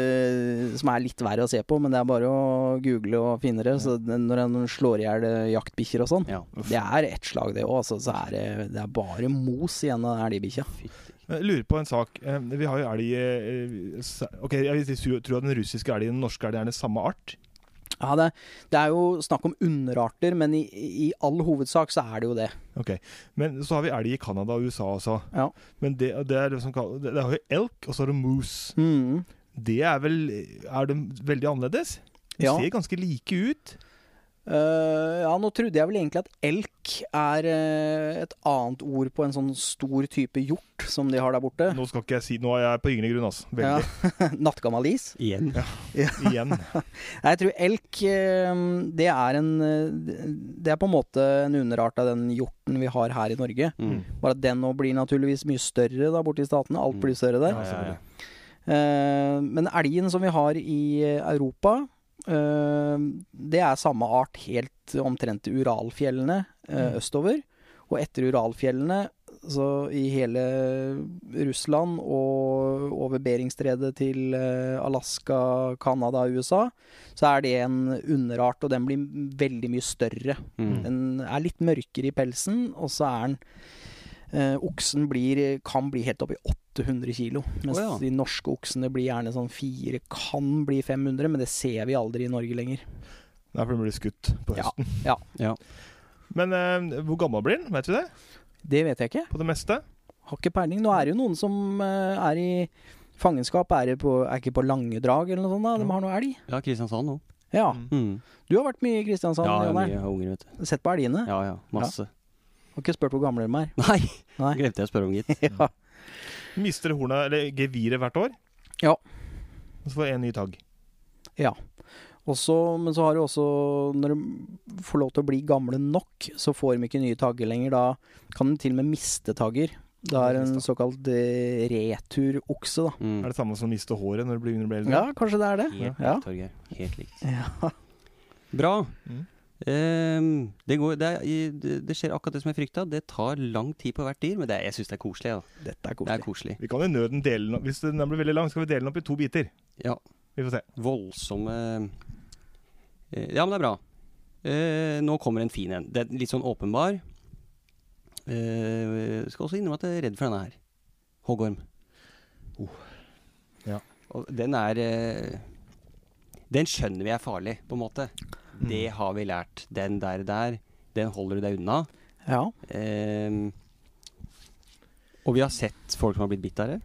S3: eh, som er litt verre å se på, men det er bare å google og finne det. Så den- når han slår i hjel eh, jaktbikkjer og sånn.
S1: ja.
S3: Det er ett slag, det òg. Altså, så er det, det er bare mos igjen av elgbikkja.
S2: Jeg lurer på en sak. Eh, Vi har jo elg eh, s- Ok, jeg vil si- tror at den russiske elgen og den norske elgen er den samme art.
S3: Ja, det, det er jo snakk om underarter, men i, i all hovedsak så er det jo det.
S2: Ok, Men så har vi elg i Canada og USA også.
S3: Ja.
S2: Men det, det er det som kalles Det det er jo elk, og så er det moose.
S3: Mm.
S2: Det er vel Er de veldig annerledes? De
S3: Ja.
S2: ser ganske like ut.
S3: Eh, ja, nå trodde jeg vel egentlig at elk er eh, et annet ord på en sånn stor type hjort som de har der borte.
S2: Nå skal ikke jeg si Nå er jeg på gyngende grunn, altså. Veldig.
S3: Ja. <laughs> Nattgammal is.
S1: Igjen.
S2: <laughs> Igjen.
S3: Nei, Jeg tror elk eh, det er en eh, Det er på en måte en underart av den hjorten vi har her i Norge.
S1: Mm.
S3: Bare at den nå blir naturligvis mye større da borte i statene. Alt
S1: Mm.
S3: blir større der.
S1: Ja,
S2: altså,
S1: ja, ja.
S3: Eh, Men elgen som vi har i eh, Europa, eh, det er samme art helt omtrent til Uralfjellene eh,
S2: Mm.
S3: østover. Og etter Uralfjellene, så i hele Russland og over Beringstredet til eh, Alaska, Canada, USA, så er det en underart, og den blir veldig mye større.
S1: Mm.
S3: Den er litt mørkere i pelsen, og så er den eh, Oksen blir, kan bli helt opp i 800 kilo. Mens
S1: Å ja.
S3: de norske oksene blir gjerne sånn fire, kan bli 500, men det ser vi aldri i Norge lenger.
S2: Nei, for den blir skutt på
S3: Ja,
S2: høsten.
S3: ja.
S1: Ja.
S2: Men eh, hvor gammel blir den? Vet vi det?
S3: Det vet jeg ikke.
S2: På det meste?
S3: Har ikke peiling. Nå er det jo noen som eh, er i fangenskap, er, det på, er ikke på lange drag eller noe sånt. da De har noe elg.
S1: Ja, Kristiansand nå.
S3: Ja.
S2: Mm.
S1: Mm.
S3: Du har vært mye i
S1: Ja,
S3: Kristiansand,
S1: jeg har
S3: Jon
S1: mye
S3: her.
S1: jeg har unger, vet du.
S3: Sett på elgene.
S1: Ja, ja. Masse.
S3: Har ikke spurt hvor gamle de er.
S1: <laughs> Nei,
S3: Nei.
S1: glemte jeg å spørre om, <laughs> gitt.
S3: Ja.
S2: Mister hornet, eller geviret, hvert år?
S3: Ja.
S2: Og så får jeg en ny tagg.
S3: Også, men så har du også Når de får lov til å bli gamle nok, så får de ikke nye tagger lenger. Da kan de til og med miste tagger. Det er en såkalt eh, returokse, da.
S1: Mm.
S2: Er det samme som å miste håret når du blir under
S3: Ja, kanskje det er det.
S1: Helt
S3: Ja.
S1: likt, Torgeir. Helt likt.
S3: Ja.
S1: Bra.
S2: Mm.
S1: Ehm, det, går, det, er, i- det det skjer akkurat det som jeg frykta. Det tar lang tid på hvert dyr, men det er, jeg syns det er koselig. Ja.
S3: Dette er
S1: Det er
S3: koselig.
S1: koselig.
S2: Vi kan i nøden dele den opp. Hvis den blir veldig lang, skal vi dele den opp i to biter.
S1: Ja.
S2: Vi får se.
S1: Voldsomme eh, Ja, men det er bra. Eh, nå kommer en fin en. Det er litt sånn åpenbar. Eh, skal også innrømme at jeg er redd for denne her. Hoggorm.
S2: Oh. Ja.
S1: Og den er eh, Den skjønner vi er farlig, på en måte.
S2: Mm.
S1: Det har vi lært. Den der, der, den holder du deg unna.
S3: Ja.
S1: Ehm, og vi har sett folk som har blitt bitt av det.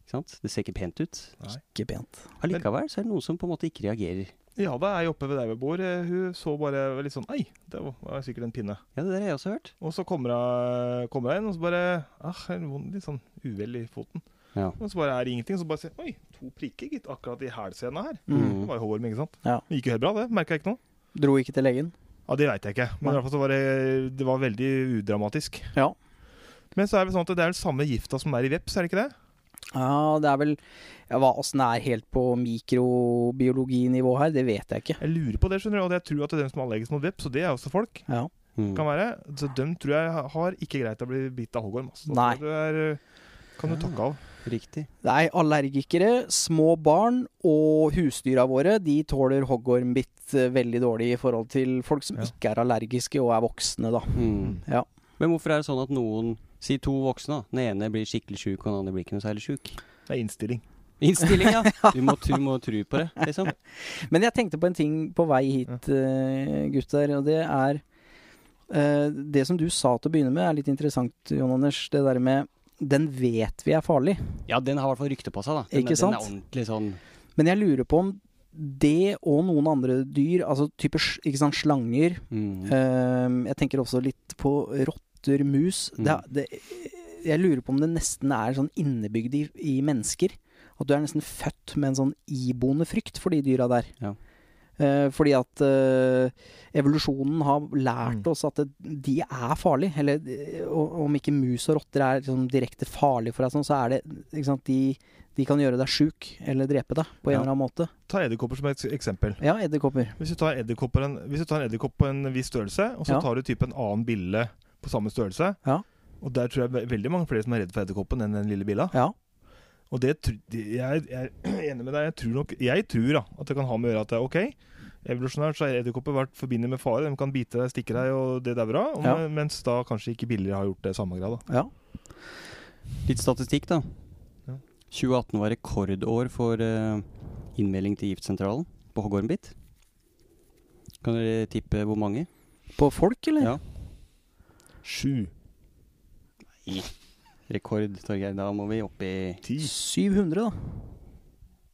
S1: Ikke sant? Det ser ikke pent ut.
S3: Ikke pent.
S1: Allikevel så er det noen som på en måte ikke reagerer.
S2: Ja, da er jeg oppe ved der vi bor. Eh, Hun så bare litt sånn Ei, det var sikkert en pinne.
S1: Ja, det der har jeg også hørt.
S2: Og så kommer hun kommer hun inn, og så bare ah, en vond- Litt sånn uvel i foten.
S1: Ja.
S2: Og så bare er det ingenting. Så bare ser Oi, to prikker, gitt. Akkurat i hælsena her.
S1: Mm.
S2: Det var jo hår, ikke sant.
S3: Ja.
S2: Det gikk jo helt bra, det. Merka jeg ikke noe.
S3: Dro ikke til legen.
S2: Ja, Det veit jeg ikke. Men i hvert fall så var det, det var veldig udramatisk.
S3: Ja.
S2: Men så er det sånn at det er den samme gifta som er i veps, er det ikke det?
S3: Ja, det er vel ja, Hva åssen det er helt på mikrobiologinivå her, det vet jeg ikke.
S2: Jeg lurer på det, skjønner du. Og jeg tror at det er dem som er allergiske mot veps, og det er også folk.
S3: Ja.
S1: Mm.
S2: kan være. Så dem tror jeg har ikke greit å bli bitt av hoggorm. Altså. Da
S3: Nei.
S2: tror jeg Du er, kan du takke av.
S1: Riktig.
S3: Det er allergikere, små barn og husdyra våre. De tåler hoggormbitt eh, veldig dårlig i forhold til folk som
S2: Ja.
S3: ikke er allergiske og er voksne, da.
S1: Mm.
S3: Ja.
S1: Men hvorfor er det sånn at noen Si to voksne, da. Den ene blir skikkelig sjuk, og den andre blir ikke noe særlig sjuk.
S2: Det er innstilling.
S1: Innstilling, <laughs> ja. Du må, du må tru på det, liksom.
S3: Men jeg tenkte på en ting på vei hit, eh, gutter, og det er eh, Det som du sa til å begynne med, er litt interessant, Jon Anders. Det der med Den vet vi er farlig.
S1: Ja, den har i hvert fall rykte på seg, da. Den,
S3: Ikke sant?
S1: den er ordentlig sånn
S3: Men jeg lurer på om det og noen andre dyr, altså type sj- ikke sant, slanger,
S1: mm.
S3: Ehm, jeg tenker også litt på rotter, mus. Det, er- det, jeg lurer på om det nesten er sånn innebygd i, i mennesker. At du er nesten født med en sånn iboende frykt for de dyra der.
S1: Ja.
S3: Eh, fordi at eh, evolusjonen har lært
S2: Mm.
S3: oss at det, de er farlige. Eller eh, og- om ikke mus og rotter er liksom, direkte farlige for deg, sånn, så er det ikke sant, de, de kan gjøre deg sjuk eller drepe deg på en
S2: Ja.
S3: eller annen måte.
S2: Ta edderkopper som et eksempel.
S3: Ja, edderkopper.
S2: Hvis du tar edderkopper en- hvis du tar en edderkopp på en viss størrelse, og så
S3: Ja.
S2: tar du type en annen bille på samme størrelse
S3: Ja.
S2: Og der tror jeg ve- veldig mange flere som er redd for edderkoppen enn den lille billa.
S3: Ja.
S2: Og det tr- det- jeg, jeg <clears throat> er enig med deg. Jeg tror, nok, jeg tror da, at det kan ha med å gjøre at det er OK. Evolusjonært så har edderkopper vært forbundet med fare. De kan bite deg, stikke deg, og det dauer av.
S3: Ja.
S2: Og- Mens da kanskje ikke biller har gjort det i samme grad. Da.
S3: ja.
S1: Litt statistikk, da.
S2: Ja.
S1: 2018 var rekordår for eh, innmelding til giftsentralen på Hoggormbit. Kan dere tippe hvor mange?
S3: På folk, eller?
S1: Ja.
S2: Sju,
S1: Rekord, Torgeir. Da må vi opp i
S2: ti
S3: 700, da.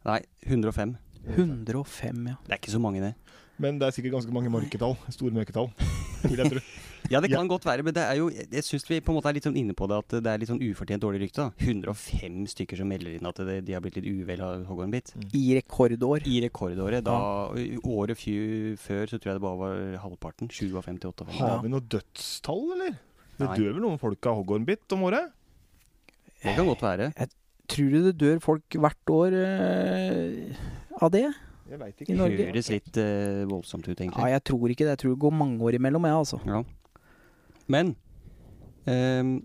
S1: Nei, 105.
S3: 105, ja.
S1: Det er ikke så mange, det.
S2: Men det er sikkert ganske mange mørketall. Store <laughs> mørketall. Vil jeg tro.
S1: Ja, det
S2: Ja.
S1: kan godt være, men det er jo Jeg syns vi på en måte er litt sånn inne på det at det er litt sånn ufortjent dårlig rykte. da 105 stykker som melder inn at det, de har blitt litt uvel av hoggormbit.
S3: I rekordår.
S1: I rekordåret. Da, Året fju- før så tror jeg det bare var halvparten. 20 av 58.
S3: Ha.
S2: Har vi noe dødstall, eller? Det
S1: Nei.
S2: dør vel noen folk av hoggormbitt om året?
S1: Det kan godt være.
S3: Tror du det dør folk hvert år eh, av det?
S2: Jeg veit
S3: I Norge?
S1: Høres litt eh, voldsomt ut,
S3: Ja,
S1: egentlig.
S3: jeg tror ikke det. Jeg tror det går mange år imellom, jeg, altså.
S1: Ja. Men ehm,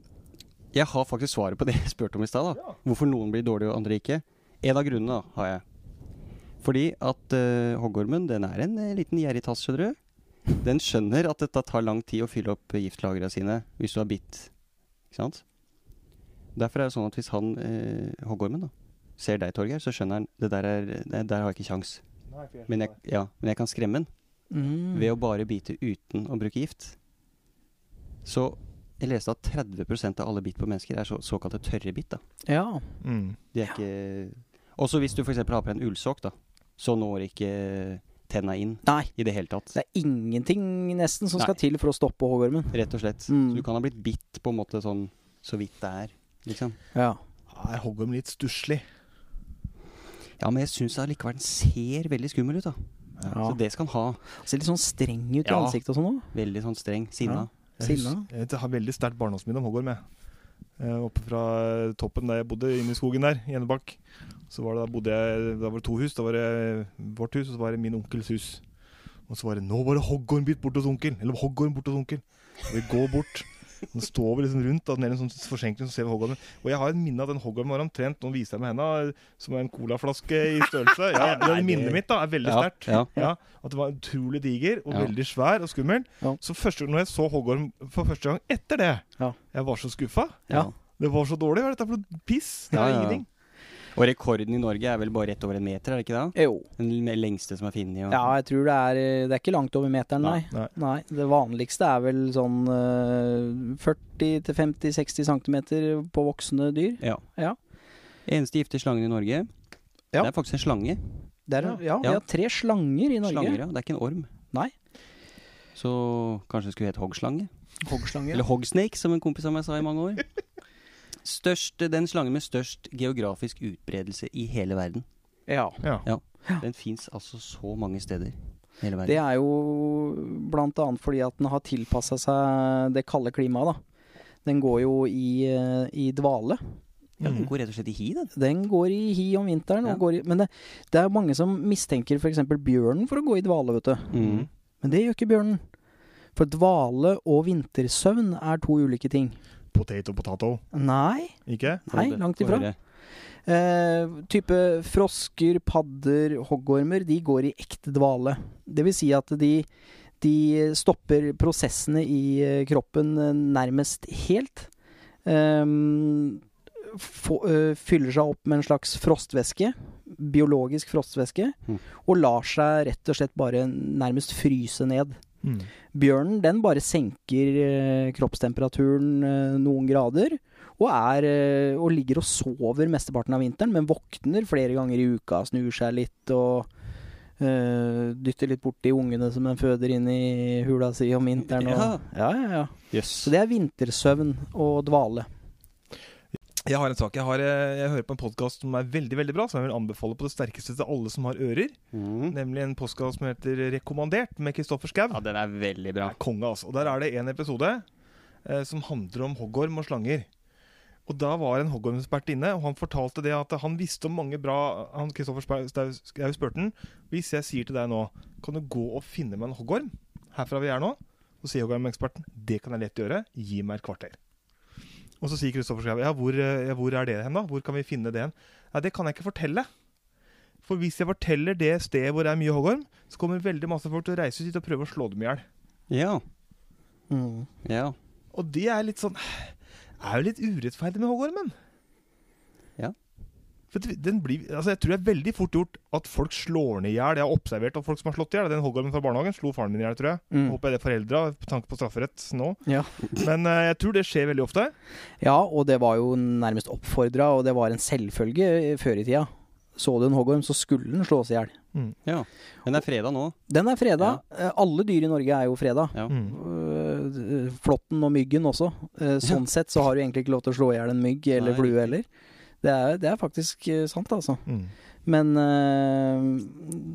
S1: jeg har faktisk svaret på det jeg spurte om i stad. da. Hvorfor noen blir dårlige og andre ikke. En av grunnene da, har jeg. Fordi at eh, hoggormen den er en eh, liten gjerrig tass, skjønner du. Den skjønner at dette tar lang tid å fylle opp eh, giftlagrene sine hvis du har bitt. Ikke sant? Derfor er det sånn at hvis han, eh, hoggormen, da, ser deg, Torgeir, så skjønner han det der, er, det der har jeg ikke kjangs. Men, jeg- ja, men jeg kan skremme den
S3: Mm.
S1: ved å bare bite uten å bruke gift. Så jeg leste at 30 av alle bitt på mennesker er så, såkalte tørre bitt. da.
S3: Ja.
S2: Mm.
S1: De er ikke Også hvis du f.eks. har på deg en ullsokk, da, så når ikke tenna inn
S3: Nei.
S1: i det hele tatt.
S3: Det er ingenting nesten som
S1: Nei.
S3: skal til for å stoppe hoggormen.
S1: Rett og slett.
S3: Mm.
S1: Så du kan ha blitt bitt på en måte sånn så vidt det er. Liksom.
S3: Ja.
S2: Er hoggorm litt stusslig?
S1: Ja, men jeg syns allikevel den ser veldig skummel ut, da.
S3: ja.
S1: Så det skal den ha.
S3: Ser litt sånn streng ut i
S1: Ja.
S3: ansiktet og sånn òg.
S1: Veldig sånn streng. Sinna.
S3: Ja. Sinna.
S2: Jeg, hus- jeg har veldig sterkt barndomsminne om hoggorm. jeg. Eh, oppe fra eh, toppen der jeg bodde, inne i skogen der, i Enebakk. Så var det, da bodde jeg, da var det to hus. Da var det vårt hus, og så var det min onkels hus. Og så var det 'Nå var det hoggormbitt borte hos onkel'. Eller 'hoggorm borte hos onkel'. Og vi går bort. Nå står vi liksom rundt da, nede i en sånn forsenkning, så ser vi hoggormen. Og jeg har et minne av den hoggormen var omtrent Nå viser jeg med henda, som er en colaflaske i størrelse. Ja, det
S1: <laughs> Nei, det-
S2: Minnet mitt da, er veldig
S1: Ja,
S2: sterkt.
S1: ja.
S2: Ja, at det var utrolig diger og
S1: Ja.
S2: veldig svær og skummel.
S3: Ja.
S2: Så første gang når jeg så hoggorm for første gang etter det,
S3: Ja.
S2: jeg var så skuffa.
S3: Ja.
S2: Det var så dårlig. Hva er dette for noe piss? Det
S1: Ja,
S2: er
S1: ja.
S2: ingenting.
S1: Og rekorden i Norge er vel bare rett over en meter, er det ikke det?
S3: Jo.
S1: Den lengste som er funnet. og-
S3: Ja, jeg tror det er eh, Det er ikke langt over meteren, nei.
S2: Nei.
S3: Nei, Det vanligste er vel sånn eh, 40-50-60 cm på voksne dyr.
S1: Ja.
S3: Ja.
S1: Eneste gifte slangen i Norge.
S3: Ja.
S1: Det er faktisk en slange.
S3: Det er, ja, vi
S1: Ja.
S3: har tre slanger i Norge.
S1: Slanger, ja. Det er ikke en orm.
S3: Nei.
S1: Så kanskje det skulle hete hoggslange.
S3: Hoggslanger.
S1: Eller hogsnake, som en kompis av meg sa i mange år. Størst, den slangen med størst geografisk utbredelse i hele verden.
S3: Ja.
S2: Ja.
S1: Den fins altså så mange steder. i Hele
S3: Det
S1: verden.
S3: er jo bl.a. fordi at den har tilpassa seg det kalde klimaet, da. Den går jo i, eh, i dvale.
S1: Ja, den
S2: Mm.
S1: går rett og slett i hi, den.
S3: Den går i hi om vinteren.
S1: Ja.
S3: Og går i, men det, det er mange som mistenker f.eks. bjørnen for å gå i dvale, vet du.
S1: Mm.
S3: Men det gjør ikke bjørnen. For dvale og vintersøvn er to ulike ting.
S2: Potato, potato.
S3: Nei,
S2: Ikke?
S3: nei,
S1: Få det-
S3: langt
S1: få
S3: ifra.
S1: høre.
S3: Eh, type frosker, padder, hoggormer, de går i ekte dvale. Det vil si at de, de stopper prosessene i eh, kroppen eh, nærmest helt. Ehm, få- eh, fyller seg opp med en slags frostvæske, biologisk frostvæske,
S1: Mm.
S3: og lar seg rett og slett bare nærmest fryse ned.
S2: Mm.
S3: Bjørnen den bare senker eh, kroppstemperaturen eh, noen grader, og, er, eh, og ligger og sover mesteparten av vinteren, men våkner flere ganger i uka, snur seg litt og eh, dytter litt borti ungene som den føder inn i hula si om vinteren. Og, ja, ja, ja.
S1: Jøss.
S3: Så det er vintersøvn og dvale.
S2: Jeg har en sak. Jeg, har, eh, jeg hører på en podkast som er veldig veldig bra, som jeg vil anbefale på det sterkeste til alle som har ører.
S1: Mm.
S2: Nemlig en podkast som heter Rekommandert, med Kristoffer Schau.
S1: Ja, den er veldig bra.
S2: er konge, altså. Og der er det en episode eh, som handler om hoggorm og slanger. Og da var en hoggormekspert inne, og han fortalte det at han visste om mange bra Han Kristoffer Spau- Stau- Schau spurte han hvis jeg sier til deg nå Kan du gå og finne meg en hoggorm herfra vi er nå? Så sier hoggormeksperten det kan jeg lett gjøre, gi meg et kvarter. Og så sier Kristoffer Schau ja, hvor, eh, ja, hvor er det hen, da? Hvor kan vi finne det hen? Ja, det kan jeg ikke fortelle. For hvis jeg forteller det stedet hvor det er mye hoggorm, så kommer veldig masse folk til å reise ut dit og prøve å slå dem i hjel.
S1: Ja.
S3: Mm.
S1: Ja.
S2: Og det er litt sånn Er jo litt urettferdig med hoggormen.
S1: Ja.
S2: For det- den blir, altså jeg tror det er veldig fort gjort at folk slår den i hjel. Jeg har observert at folk som har slått i hjel. Den hoggormen fra barnehagen slo faren min i hjel, tror jeg.
S3: Mm.
S2: Håper jeg det er foreldra, med tanke på strafferett nå.
S3: Ja.
S2: Men eh, jeg tror det skjer veldig ofte.
S3: Ja, og det var jo nærmest oppfordra, og det var en selvfølge eh, før i tida. Så du en hoggorm, så skulle den slås i hjel.
S1: Den er fredag nå.
S3: Den er freda. Eh, Alle dyr i Norge er jo freda.
S1: Ja.
S2: Mm.
S3: Eh, Flåtten og myggen også. Eh, Sånn sett så har du egentlig ikke lov til å slå i hjel en mygg eller
S1: Nei,
S3: flue
S1: riktig.
S3: heller. Det er, det er faktisk eh, sant, altså.
S2: Mm.
S3: Men eh,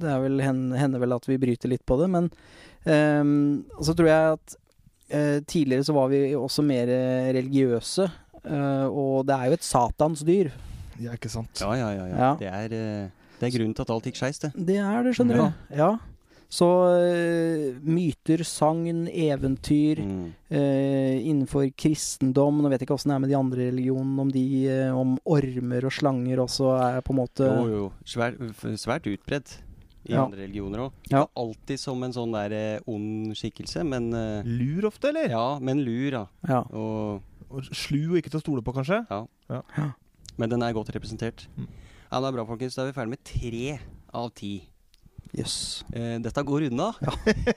S3: det er vel hen- hender vel at vi bryter litt på det. Men eh, så tror jeg at eh, tidligere så var vi også mer eh, religiøse. eh, og det er jo et satans dyr.
S2: Ja, ikke sant.
S1: Ja, ja, ja. ja.
S3: Ja.
S1: Det, er, eh, det er grunnen til at alt gikk skeis, det.
S3: Det er det, skjønner
S1: Ja.
S3: du. Ja. Så eh, myter, sagn, eventyr
S1: Mm.
S3: eh, innenfor kristendom Nå vet jeg ikke åssen det er med de andre religionene, om de eh, om ormer og slanger også er på en måte
S1: Jo, jo. Svært, f- svært utbredt i
S3: Ja.
S1: andre religioner òg.
S3: Ja.
S1: Alltid som en sånn der eh, ond skikkelse, men eh,
S2: Lur ofte, eller?
S1: <laughs> Ja, men lur, da.
S3: Ja.
S1: Og,
S2: Og Slu og ikke til å stole på, kanskje?
S1: men den er godt representert.
S2: Mm.
S1: Ja, det er bra, folkens. Da er vi ferdig med tre av ti.
S3: Jøss.
S1: Eh, dette går unna. <laughs>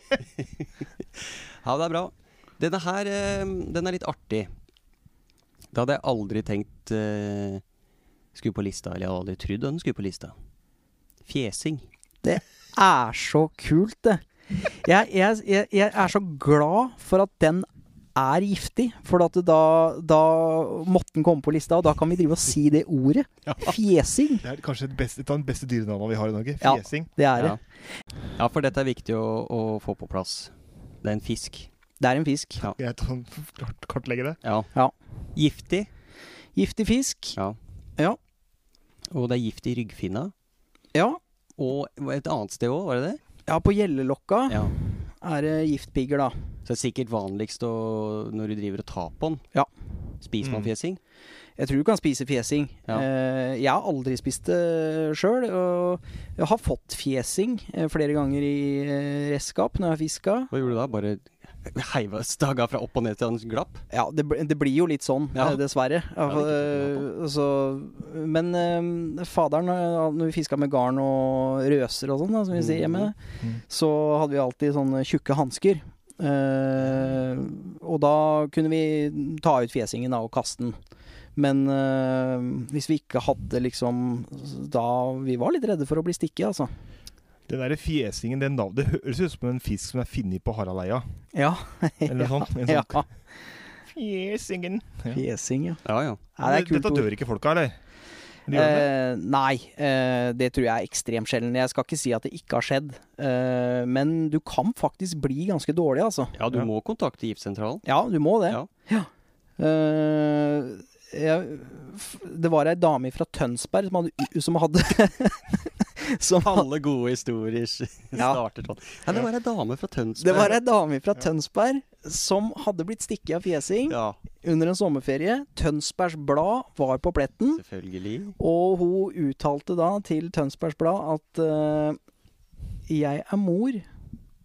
S1: Ja. det er bra. Denne her, eh, den er litt artig. Det hadde jeg aldri tenkt eh, skulle på lista, eller jeg hadde aldri trodd den skulle på lista. Fjesing.
S3: Er så kult, det. Jeg, jeg, jeg, jeg er så glad for at den er giftig, for at da, da måtte den komme på lista, og da kan vi drive og si det
S1: <laughs>
S3: ordet. Fjesing.
S2: Det er kanskje et beste, et av de beste dyrenavna vi har i Norge.
S3: Ja.
S2: Fjesing.
S3: Det er det.
S1: Ja. ja, for dette er viktig å, å få på plass. Det er en fisk.
S3: Det er en fisk.
S1: Ja.
S2: Jeg kan <laughs> kart- kartlegge det.
S1: Ja.
S3: Ja.
S1: Giftig.
S3: Giftig fisk.
S1: Ja.
S3: Ja.
S1: Og det er gift i ryggfinna.
S3: Ja.
S1: Og et annet sted òg, var det det?
S3: Ja, på gjellelokka
S1: Ja.
S3: er det giftpigger, da.
S1: Så det er sikkert vanligst å, når du driver og tar på den.
S3: Ja.
S1: Spiser man
S2: Mm.
S1: fjesing?
S3: Jeg tror du kan spise fjesing.
S1: Ja.
S3: Eh, jeg har aldri spist det sjøl. Og jeg har fått fjesing eh, flere ganger i eh, redskap når jeg har fiska.
S1: Hva gjorde du da? Bare heiva staga fra opp og ned til den glapp?
S3: Ja, det, bl- det blir jo litt sånn,
S1: Ja.
S3: eh, dessverre.
S1: Ja, det er ikke
S3: Eh, så, men eh, faderen, eh, når vi fiska med garn og røser og sånn, da, som vi sier
S1: Mm,
S3: hjemme,
S2: Mhm.
S3: så hadde vi alltid sånne tjukke hansker. Eh, og da kunne vi ta ut fjesingen da, og kaste den. Men eh, hvis vi ikke hadde liksom Da Vi var litt redde for å bli stikket, altså.
S2: Den der fjesingen, den nav- det høres ut som en fisk som er funnet på Haraleia.
S3: Ja. <laughs>
S2: Eller noe sånt. En sånn
S3: ja.
S2: Fjesingen. Ja.
S3: Fjesing, ja.
S1: Ja, ja.
S3: Nei, det er kult
S2: Dette
S3: ord.
S2: dør ikke folka, eller? De gjør det.
S3: Eh, nei, eh, det tror jeg er ekstremt sjelden. Jeg skal ikke si at det ikke har skjedd, eh, men du kan faktisk bli ganske dårlig, altså.
S1: Ja, du
S2: Ja.
S1: må kontakte giftsentralen.
S3: Ja, du må det.
S1: Ja.
S3: Eh, jeg, f- det var ei dame fra Tønsberg som hadde, som hadde <laughs> som,
S1: Alle gode historier starter sånn. <laughs> Ja, det var ei dame fra Tønsberg.
S3: Det var ei dame fra Tønsberg som hadde blitt stukket av fjesing
S1: Ja,
S3: under en sommerferie. Tønsbergs Blad var på pletten.
S1: selvfølgelig.
S3: Og hun uttalte da til Tønsbergs Blad at eh, jeg er mor,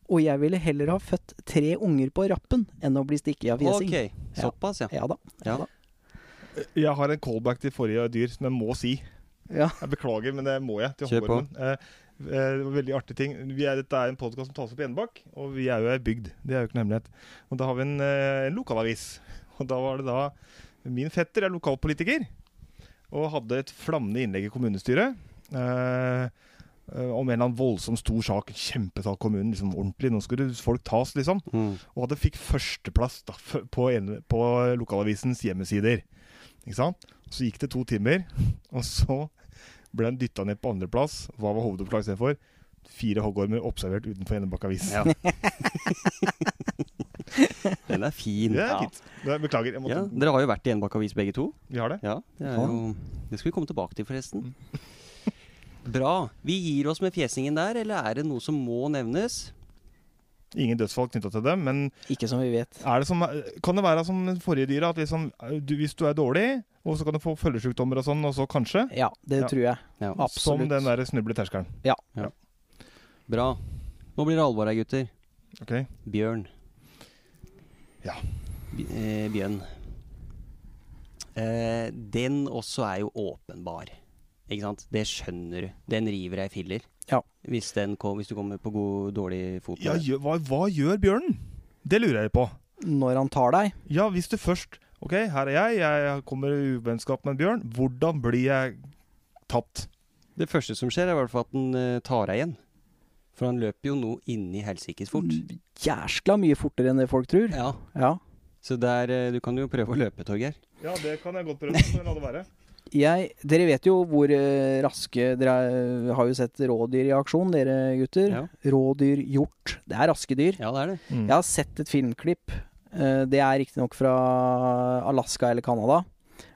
S3: og jeg ville heller ha født tre unger på rappen enn å bli stikket av fjesing.
S1: Ok, såpass, ja.
S3: Ja da.
S1: Ja.
S2: Jeg har en callback til forrige dyr som jeg må si.
S3: Ja.
S2: Jeg beklager, men det må jeg. til
S1: Kjør på.
S2: hoggormen. Eh, eh, det var veldig artig ting. Vi er, dette er en podkast som tas opp i Enebakk, og vi er jo ei bygd. Det er jo ikke noe hemmelighet. Og da har vi en, eh, en lokalavis. Og da var det da Min fetter er lokalpolitiker, og hadde et flammende innlegg i kommunestyret. eh, eh, om en eller annen voldsom stor sak. Kjempesak kommunen. liksom Ordentlig. Nå skulle folk tas, liksom.
S1: Mm.
S2: Og at det fikk førsteplass da, f- på, en, på lokalavisens hjemmesider. Ikke sant? Så gikk det to timer, og så ble den dytta ned på andreplass. Hva var hovedoppslag istedenfor? Fire hoggormer observert utenfor Enebakk avis. <laughs>
S1: Ja. Den er fin.
S2: Det er fint. Det er- Beklager. Jeg måtte,
S1: Ja, dere har jo vært i Enebakk avis begge to.
S2: Vi har det.
S1: Ja, det, er
S3: Ja.
S1: jo, det skal vi komme tilbake til, forresten. <laughs>
S2: Mm.
S1: Bra. Vi gir oss med fjesingen der, eller er det noe som må nevnes?
S2: Ingen dødsfall knytta til dem, men
S3: Ikke som vi vet.
S2: er det som, kan det være som med forrige dyra, at liksom, du, hvis du er dårlig, og så kan du få følgesjukdommer og sånn, og så kanskje?
S3: Ja, det
S2: Ja.
S3: tror jeg.
S1: Ja.
S2: Som
S3: Absolutt.
S2: den der snuble terskelen.
S1: Bra. Nå blir det alvor her, gutter.
S2: Ok?
S1: Bjørn.
S2: Ja.
S1: B eh, Bjørn. Eh, den også er jo åpenbar. Ikke sant? Det skjønner du. Den river deg i filler.
S3: Ja.
S1: Hvis, den kom, hvis du kommer på god, dårlig fot. med
S2: Ja,
S1: det.
S2: gjø- hva, hva gjør bjørnen? Det lurer jeg på.
S3: Når han tar deg
S2: Ja, hvis du først Ok, her er jeg, jeg kommer i uvennskap med en bjørn. Hvordan blir jeg tatt?
S1: det første som skjer, er i hvert fall at den eh, tar deg igjen. For han løper jo nå inni helsikes fort.
S3: jæskla mye fortere enn det folk tror.
S1: Ja.
S3: Ja.
S1: Så der, eh, du kan jo prøve å løpe, Torgeir.
S2: Ja, det kan jeg godt prøve. Men la det være.
S3: Jeg, dere vet jo hvor eh, raske Dere er- har jo sett rådyr i aksjon, dere gutter.
S1: Ja.
S3: Rådyr, hjort. Det er raske dyr.
S1: ja, det er det.
S2: <laughs> Mm.
S3: Jeg har sett et filmklipp, eh, det er riktignok fra Alaska eller Canada,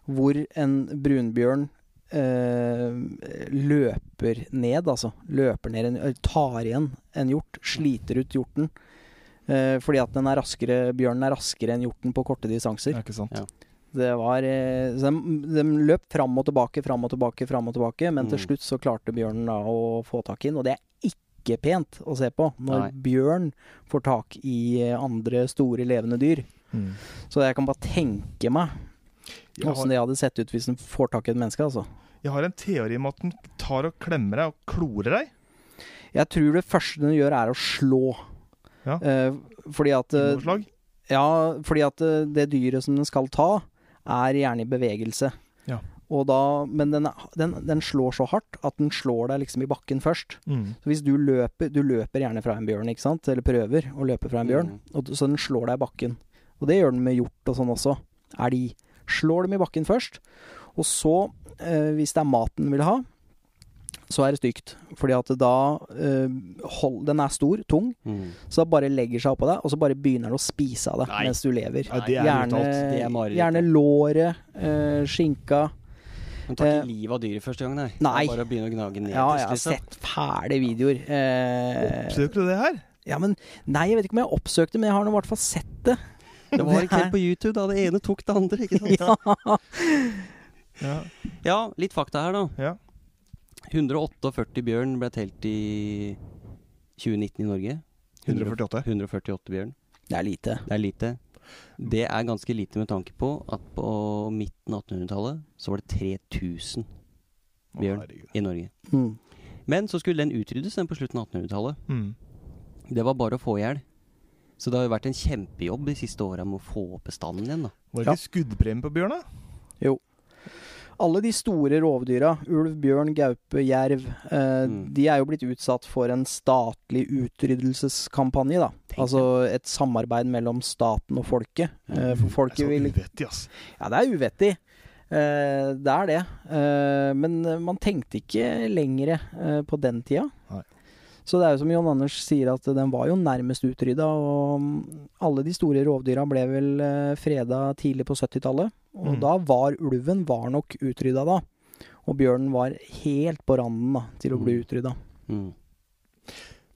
S3: hvor en brunbjørn eh, løper ned, altså. Løper ned en, eller tar igjen en hjort. Sliter ut hjorten. eh, fordi at den er raskere, bjørnen er raskere enn hjorten på korte distanser.
S2: Ja, ikke sant.
S1: Ja.
S3: Det var, eh, så de, de løp fram og tilbake, fram og tilbake, fram og tilbake. Men til
S1: Mm.
S3: slutt så klarte bjørnen da å få tak i den, og det er ikke pent å se på
S1: Nei.
S3: når bjørn får tak i eh, andre store levende dyr.
S2: Mm.
S3: Så jeg kan bare tenke meg
S2: Jeg, har,
S3: åssen det hadde sett ut hvis den får tak i et menneske, altså.
S2: jeg har en teori om at den tar og klemmer deg og klorer deg.
S3: Jeg tror det første den gjør, er å slå.
S2: Ja.
S3: Eh, fordi at eh,
S2: Innslag.
S3: Ja, fordi at eh, det dyret som den skal ta, er gjerne i bevegelse.
S2: Ja.
S3: Og da, men den, er- den, den slår så hardt at den slår deg liksom i bakken først.
S2: Mm.
S3: Så hvis du løper Du løper gjerne fra en bjørn, ikke sant? Eller prøver å løpe fra en bjørn.
S1: Mm.
S3: Og, d- så den slår deg i bakken. Og det gjør den med hjort og sånn også. Elg. Slår dem i bakken først. Og så, eh, hvis det er maten den vil ha, så er det stygt. Fordi at da eh, hold, Den er stor, tung,
S1: Mm.
S3: så da bare legger seg oppå deg, og så bare begynner den å spise av deg
S1: Nei.
S3: mens du lever.
S2: Ja, det er
S3: Gjerne,
S2: brutalt.
S1: Det er mareritt.
S3: gjerne låret, eh, skinka
S1: Han tar ikke
S3: Eh,
S1: livet av dyret første gang, nei. Det
S3: nei.
S1: er Bare å begynne å gnage ned.
S3: Ja, jeg har
S1: plutselig, så-
S3: sett fæle videoer. Eh,
S2: Oppsøker du det her?
S3: ja, men Nei, jeg vet ikke om jeg oppsøkte, men jeg har nå i hvert fall sett det.
S1: Det var en
S3: her-
S1: kveld på YouTube da det ene tok det andre, ikke sant?
S3: <laughs> Ja.
S2: Ja.
S1: Ja, litt fakta her, da.
S2: Ja.
S1: 148 bjørn ble telt i 2019 i Norge.
S2: 148.
S1: 148 bjørn.
S3: Det er lite.
S1: Det er lite. Det er ganske lite med tanke på at på midten av 1800-tallet så var det 3000
S2: Å,
S1: Bjørn.
S2: herregud.
S1: i Norge.
S3: Mm.
S1: Men så skulle den utryddes den på slutten av 1800-tallet.
S2: Mm.
S1: Det var bare å få i hjel. Så det har jo vært en kjempejobb de siste åra med å få opp bestanden igjen, da.
S2: Var
S3: Ja.
S2: det ikke skuddpremie på bjørn, da?
S3: Alle de store rovdyra, ulv, bjørn, gaupe, jerv, eh,
S1: Mm.
S3: de er jo blitt utsatt for en statlig utryddelseskampanje, da.
S1: Tenk
S3: Altså et samarbeid mellom staten og folket. Eh,
S1: Mm.
S3: for
S2: Det
S3: folket
S2: er så
S3: vil
S2: uvettig, ass.
S3: Ja, det er uvettig. Eh, det er det. Eh, men man tenkte ikke lenger eh, på den tida.
S2: Nei.
S3: Så det er jo som John Anders sier, at den var jo nærmest utrydda. Og mm, alle de store rovdyra ble vel eh, freda tidlig på 70-tallet. Og
S2: Mm.
S3: da var ulven var nok utrydda da. Og bjørnen var helt på randen da, til å bli
S1: Mm.
S3: utrydda.
S1: Mm.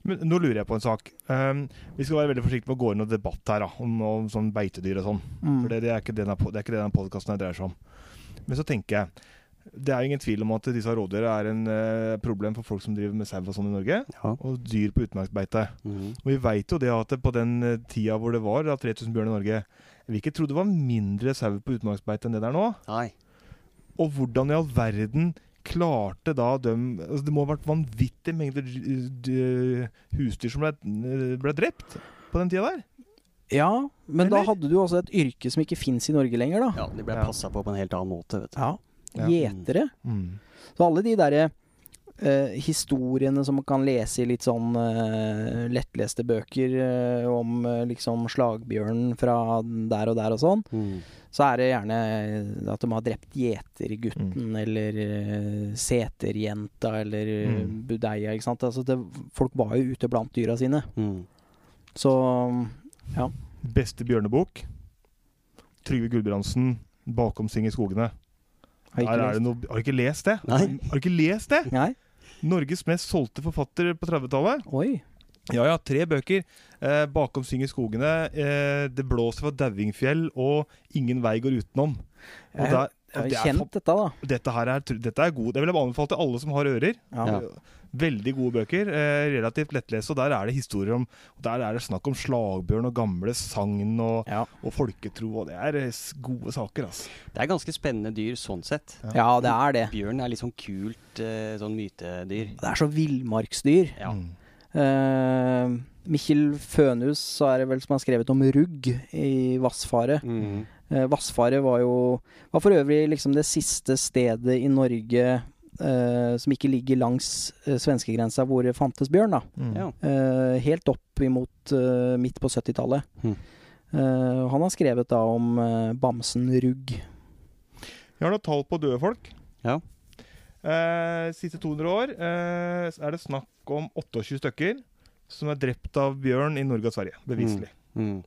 S2: Men nå lurer jeg på en sak. Um, vi skal være veldig forsiktige med å gå inn i noe debatt her da, om, om sånn beitedyr og sånn.
S3: Mm.
S2: For det, det er ikke det denne, po- det er ikke det denne podkasten dreier seg om. Men så tenker jeg Det er jo ingen tvil om at disse rådyra er en eh, problem for folk som driver med sau og sånn i Norge.
S1: Ja.
S2: Og dyr på utmarksbeite.
S1: Mhm.
S2: Og vi veit jo det at det på den eh, tida hvor det var da, 3000 bjørn i Norge Jeg vil ikke tro det var mindre sau på utmarksbeite enn det der nå.
S1: Nei.
S2: Og hvordan i all verden klarte da dem altså Det må ha vært vanvittige mengder d- d- husdyr som ble, eh, ble drept på den tida der.
S3: Ja, men da
S2: Eller?
S3: hadde du også et yrke som ikke fins i Norge lenger, da.
S1: Ja, de ble
S2: Ja.
S1: passa på på en helt annen måte, vet du.
S3: Ja.
S2: Ja.
S3: Gjetere.
S2: Mm.
S3: Så alle de derre eh, historiene som man kan lese i litt sånn eh, lettleste bøker eh, om eh, liksom slagbjørnen fra der og der og sånn,
S1: Mm.
S3: så er det gjerne eh, at de har drept gjetergutten eller eh, seterjenta eller eh,
S2: Mm.
S3: budeia, ikke sant. Altså det, folk var jo ute blant dyra sine.
S1: Mm.
S3: Så um,
S2: Beste bjørnebok. Trygve Gulbrandsen, 'Bakomsing i skogene'.
S3: har ikke
S2: Her er det
S3: lest.
S2: noe, har du ikke lest det?
S1: Nei.
S2: Har du ikke lest det?
S3: Nei?
S2: Norges mest solgte forfatter på 30-tallet.
S3: Oi.
S2: Ja, ja, tre bøker. Eh, 'Bakom synger skogene', eh, 'Det blåser fra Dauingfjell' og 'Ingen vei går utenom'. Og
S3: Jeg
S2: der, og
S3: har
S2: det er
S3: kjent dette, da.
S2: fa- dette her er, tr- dette er god. Det vil jeg anbefale til alle som har ører.
S3: Ja.
S1: Ja.
S2: Veldig gode bøker. Eh, relativt lettlese. Og der er det historier om og Der er det snakk om slagbjørn og gamle sagn og,
S3: Ja.
S2: og folketro. Og det er eh, s- gode saker, altså.
S1: Det er ganske spennende dyr sånn sett.
S3: ja, det er det.
S1: Bjørn er litt sånn kult eh, sånn mytedyr.
S3: Det er så villmarksdyr.
S1: Ja.
S2: Mm.
S3: Eh, Mikkel Fønhus så er det vel som har skrevet om rugg i Vassfaret.
S1: Mm.
S3: Eh, Vassfaret var jo Var for øvrig liksom det siste stedet i Norge eh, som ikke ligger langs eh, svenskegrensa hvor det fantes bjørn, da.
S2: Mm.
S1: Ja.
S3: Eh, helt opp imot eh, midt på 70-tallet.
S1: Mm.
S3: Eh, han har skrevet da om eh, bamsen Rugg.
S2: Jeg har noen tall på døde folk.
S1: Ja.
S2: Eh, siste 200 år eh, så er det snakk om 28 stykker som er drept av bjørn i Norge og Sverige. Beviselig.
S1: Mm.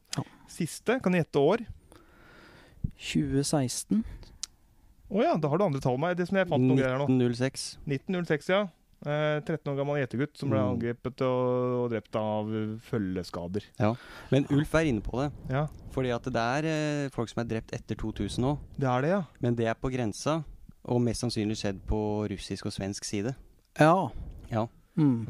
S2: Siste, kan du gjette år?
S3: 2016.
S2: Å ja, da har du andre tall enn meg. Det som jeg fant noen greier her nå.
S1: 1906.
S2: 1906, ja. Eh, 13 år gammel gjetergutt som ble
S1: Mm.
S2: angrepet og, og drept av eh, følgeskader.
S1: Men Ulf er inne på det.
S2: Ja,
S1: Fordi at det er eh, folk som er drept etter 2000 nå.
S2: det er det, ja.
S1: Men det er på grensa, og mest sannsynlig skjedd på russisk og svensk side.
S3: Ja.
S1: Ja.
S3: Mm.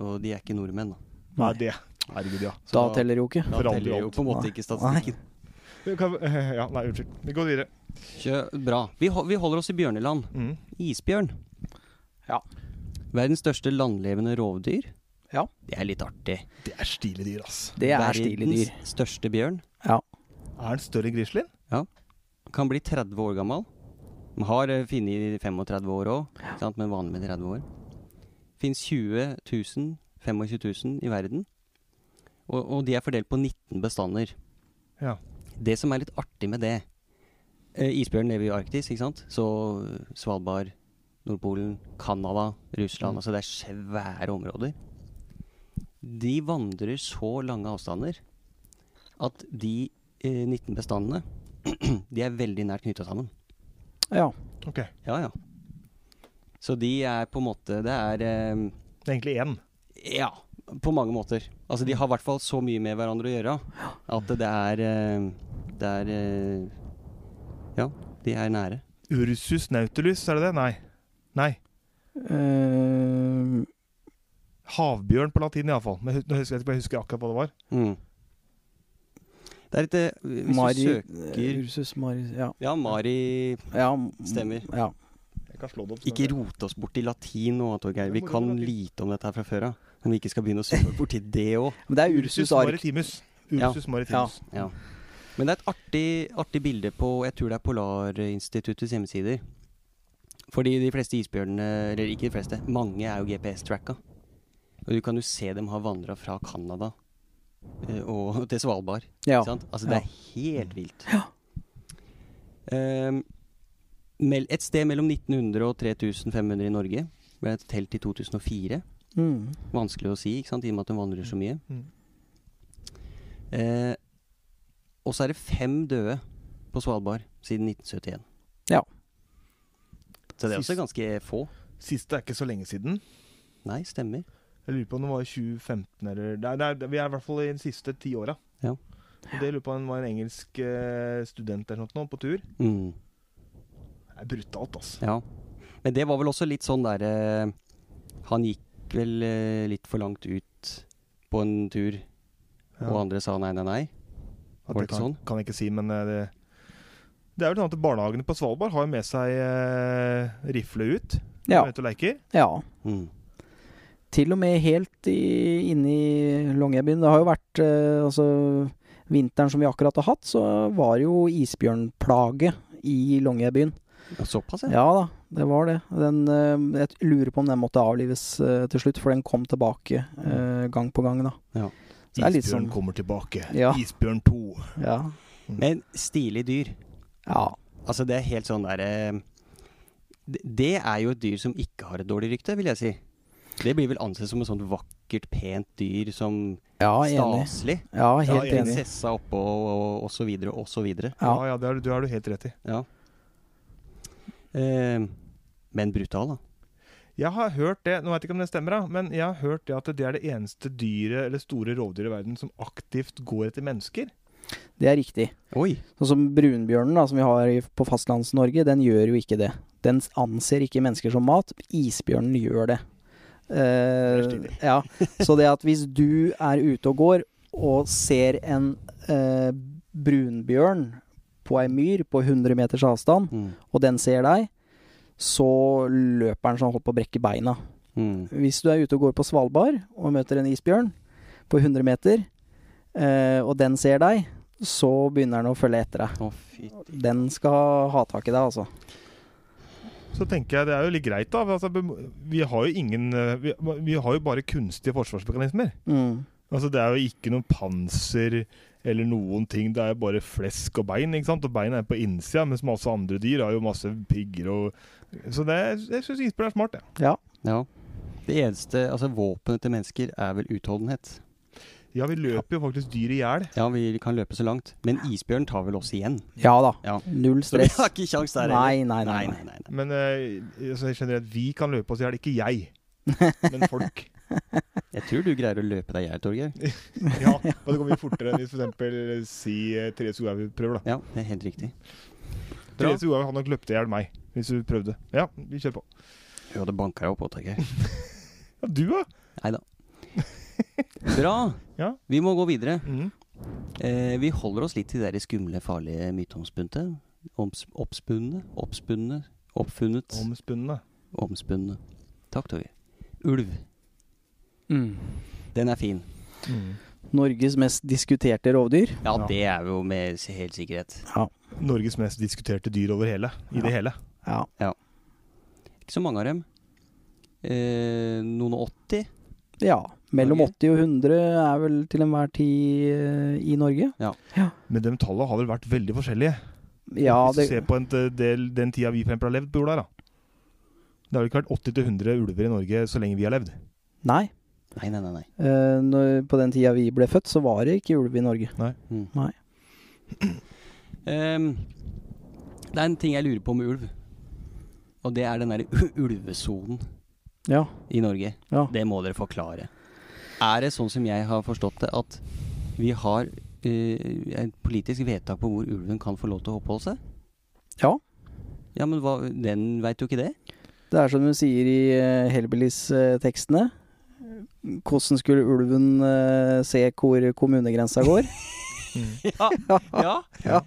S1: Og de er ikke nordmenn, da.
S2: Nei, det Herregud, ja.
S3: Da teller det jo ikke.
S1: da
S2: forandrer
S1: teller jo
S2: alt.
S1: på en måte
S3: Nei.
S1: ikke statistikken.
S2: Kan, eh, ja. Nei, unnskyld. Vi <laughs> går videre.
S1: Kjø, bra. Vi, ho- vi holder oss i bjørneland.
S2: Mm.
S1: Isbjørn.
S3: Ja.
S1: Verdens største landlevende rovdyr.
S3: Ja.
S1: Det er litt artig.
S2: Det er stilige dyr, ass.
S3: Det er stilig dyr.
S1: Verdens største bjørn.
S2: Er den større enn grislin?
S1: Kan bli 30 år gammel. De har eh, funnet 35 år òg, men vanlig med 30 år. Fins 20 000, 25 000 i verden. Og, og de er fordelt på 19 bestander.
S2: Ja.
S1: Det som er litt artig med det eh, Isbjørn lever i Arktis, ikke sant? Så eh, Svalbard, Nordpolen, Canada, Russland Altså det er svære områder. De vandrer så lange avstander at de eh, 19 bestandene de er veldig nært knytta sammen.
S3: Ja.
S2: Ok.
S1: Ja, ja. Så de er på en måte Det er eh,
S2: Det er egentlig én.
S1: Ja, på mange måter. Altså, de har i hvert fall så mye med hverandre å gjøre at det er eh, Det er eh, Ja, de er nære.
S2: Ursus nautilus, er det det? Nei. Nei.
S3: Eh,
S2: Havbjørn på latin iallfall. Men hu- nå husker jeg, ikke- jeg husker akkurat hva det var.
S1: Mm. Det er et eh, Hvis
S3: Mari,
S1: du søker
S3: Eh, Ursus Mari Ja.
S1: Ja, Mari
S3: ja m-
S1: Stemmer.
S3: Ja.
S2: Jeg kan slå det opp.
S1: Ikke rote oss bort i latin nå, Torgeir. Vi kan lite om dette her fra før av. Men vi ikke skal begynne å søke borti det òg.
S3: Men det er Ursus ark.
S2: maritimus. Ursus maritimus.
S1: Ja. Mm. Men det er et artig, artig bilde på Jeg tror det er Polarinstituttets hjemmesider. Fordi de fleste isbjørnene Eller ikke de fleste, mange er jo GPS-tracka. Og du kan jo se dem har vandra fra Canada eh, og <laughs> til Svalbard.
S3: Ja.
S1: Ikke sant? Altså, det er helt vilt. Ehm, mel- et sted mellom 1900 og 3500 i Norge ble et telt i 2004.
S3: Mm.
S1: Vanskelig å si, ikke sant, i og med at de vandrer så mye.
S2: Mm.
S1: Eh, og så er det fem døde på Svalbard siden 1971.
S3: Ja.
S1: Så det er også
S2: Sist-
S1: ganske få.
S2: Siste er ikke så lenge siden.
S1: Nei, stemmer.
S2: Jeg lurer på om det var i 2015 eller Nei, det er- det- Vi er i hvert fall i de siste ti åra.
S1: Ja.
S2: Og det lurer på om det var en engelsk eh, student eller noe sånt nå, på tur.
S1: Mm,
S2: Det er brutalt, altså.
S1: ja. Men det var vel også litt sånn derre eh, Han gikk vel eh, litt for langt ut på en tur, og
S2: Ja.
S1: andre sa nei, nei, nei.
S2: At
S1: var det
S2: kan,
S1: ikke sånn?
S2: kan jeg ikke si, men eh, det det er jo sånn at Barnehagene på Svalbard har jo med seg eh, rifle ut.
S3: Ja.
S2: Ute og leker.
S3: ja.
S1: Mm.
S3: Til og med helt i, inne i Longyearbyen. Det har jo vært eh, Altså, vinteren som vi akkurat har hatt, så var det jo isbjørnplage i Longyearbyen.
S1: Ja, Såpass, ja.
S3: Ja da. det var det. Den, eh, jeg lurer på om den måtte avlives eh, til slutt, for den kom tilbake eh, gang på gang, da.
S1: Ja.
S3: Så det er litt
S2: Isbjørn
S3: sånn-
S2: kommer tilbake.
S3: Ja.
S2: Isbjørn 2.
S3: Ja.
S1: Men stilig dyr.
S3: ja.
S1: Altså, det er helt sånn derre det, det er jo et dyr som ikke har et dårlig rykte, vil jeg si. Det blir vel ansett som et sånt vakkert, pent dyr som
S3: Ja, enig.
S1: staselig.
S3: Ja, helt
S2: Ja,
S3: enig.
S1: Prinsessa oppå og, og, og så videre og så videre.
S2: Ja,
S3: Ja.
S2: ja, det har du- det har du helt rett i.
S1: Ja. Eh, men brutal, da.
S2: Jeg har hørt det, nå vet jeg ikke om det stemmer, da, men jeg har hørt det at det er det eneste dyret, eller store rovdyret i verden som aktivt går etter mennesker.
S3: Det er riktig.
S1: Oi!
S3: Sånn som brunbjørnen da, som vi har i- på fastlands-Norge, den gjør jo ikke det. Den anser ikke mennesker som mat. Isbjørnen gjør det. Eh,
S2: Det er stilig.
S3: ja. Så det at hvis du er ute og går og ser en eh, brunbjørn på ei myr på 100 meters avstand,
S1: Mm.
S3: og den ser deg, så løper den sånn holdt på å brekke beina.
S1: Mm.
S3: Hvis du er ute og går på Svalbard og møter en isbjørn på 100 meter, eh, og den ser deg, så begynner den å følge etter deg.
S1: Å, fy
S3: Den skal ha tak i deg, altså.
S2: Så tenker jeg det er jo litt greit, da. Altså, vi har jo ingen eh, Vi, vi har jo bare kunstige forsvarsmekanismer.
S3: Mm.
S2: Altså, det er jo ikke noe panser eller noen ting. Det er jo bare flesk og bein, ikke sant. Og bein er på innsida, mens masse andre dyr har jo masse pigger og Så det, er- jeg syns isbjørn er smart, jeg.
S1: Ja. Det eneste altså våpenet til mennesker er vel utholdenhet.
S2: Ja, vi løper jo faktisk dyr i hjel.
S1: Ja, vi kan løpe så langt, men isbjørn tar vel oss igjen.
S3: Ja da.
S1: Ja.
S3: Null
S1: Så vi
S3: stress.
S1: har ikke kjangs der
S3: Nei, nei,
S1: heller.
S3: nei. nei.
S1: nei, nei, nei.
S2: Men eh, altså, generelt, vi kan løpe oss i hjel. Ikke jeg, <laughs> men folk.
S1: Jeg tror du greier å løpe deg i hjel, Torgeir.
S3: <laughs>
S2: Ja, og det går mye fortere enn hvis for eksempel si eh, Therese Johaug prøver, da.
S1: Ja, det er helt riktig. Bra.
S2: Therese Johaug hadde nok løpt i hjel meg, hvis hun prøvde. Ja, vi kjører på.
S1: Du hadde banka deg opp òg, Torgeir.
S2: Ja, du, da?
S1: Nei da. <laughs> Bra.
S2: Ja.
S1: Vi må gå videre.
S2: Mm.
S1: Eh, vi holder oss litt til de der skumle, farlige myteomspunte. Oms- Oppspunne, oppspunne, oppfunnet,
S2: Omspunne.
S1: omspunne. Takk, Torgeir. Ulv.
S3: Mm.
S1: Den er fin.
S2: Mhm.
S3: Norges mest diskuterte rovdyr.
S1: Ja,
S2: Ja.
S1: det er jo med s- helt sikkerhet.
S3: Ja.
S2: Norges mest diskuterte dyr over hele. I
S3: Ja.
S2: det hele.
S3: ja.
S1: Ikke så mange av dem. Eh, noen og 80?
S3: Ja. Mellom
S1: Norge?
S3: 80 og 100 er vel til enhver tid eh, i Norge.
S2: Men de tallene har vel vært veldig forskjellige.
S3: Ja,
S2: hvis
S3: det,
S2: du ser på en eh, del, den tida vi for eksempel har levd på jorda, da. Det har vel ikke vært 80-100 ulver i Norge så lenge vi har levd.
S3: nei.
S1: Nei, nei, nei. nei.
S3: Eh, når, på den tida vi ble født, så var det ikke ulv i Norge.
S1: Mm.
S3: Nei.
S1: <clears throat> Ehm, det er en ting jeg lurer på med ulv. Og det er den derre u- ulvesonen
S3: Ja.
S1: i Norge.
S3: Ja.
S1: Det må dere forklare. Er det sånn som jeg har forstått det, at vi har eh, et politisk vedtak på hvor ulven kan få lov til å oppholde seg?
S3: Ja.
S1: Ja, men hva, den veit jo ikke det.
S3: Det er som hun sier i uh, Hellbillies-tekstene. Hvordan skulle ulven eh, se hvor kommunegrensa går?
S1: <laughs> Ja. ja.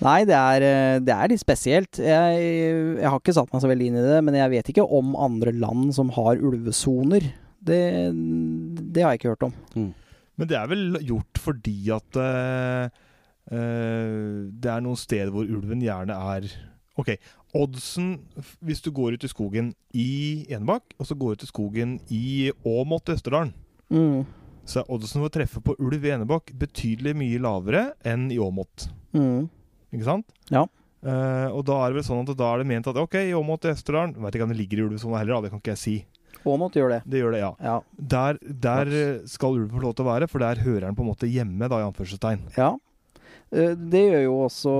S3: Nei, det er, eh, det er litt spesielt. Jeg, jeg har ikke satt meg så veldig inn i det, men jeg vet ikke om andre land som har ulvesoner. Det, det har jeg ikke hørt om.
S1: Mm.
S2: Men det er vel gjort fordi at eh, eh, det er noen steder hvor ulven gjerne er Ok, oddsen f- hvis du går ut i skogen i Enebakk, og så går ut i skogen i Åmot i Østerdalen,
S3: Mm.
S2: så er oddsen for å treffe på ulv i Enebakk betydelig mye lavere enn i Åmot.
S3: Mm.
S2: Ikke sant?
S3: Ja.
S2: Eh, og da er det vel sånn at da er det ment at ok, i Åmot i Østerdalen Veit ikke om det ligger i ulvesona heller, da, det kan ikke jeg si.
S3: Åmot gjør det.
S2: Det gjør det, ja.
S3: Ja.
S2: Der, der eh, skal ulven få lov til å være, for der hører den på en måte hjemme, da, i anførselstegn.
S3: ja. Eh, Det gjør jo også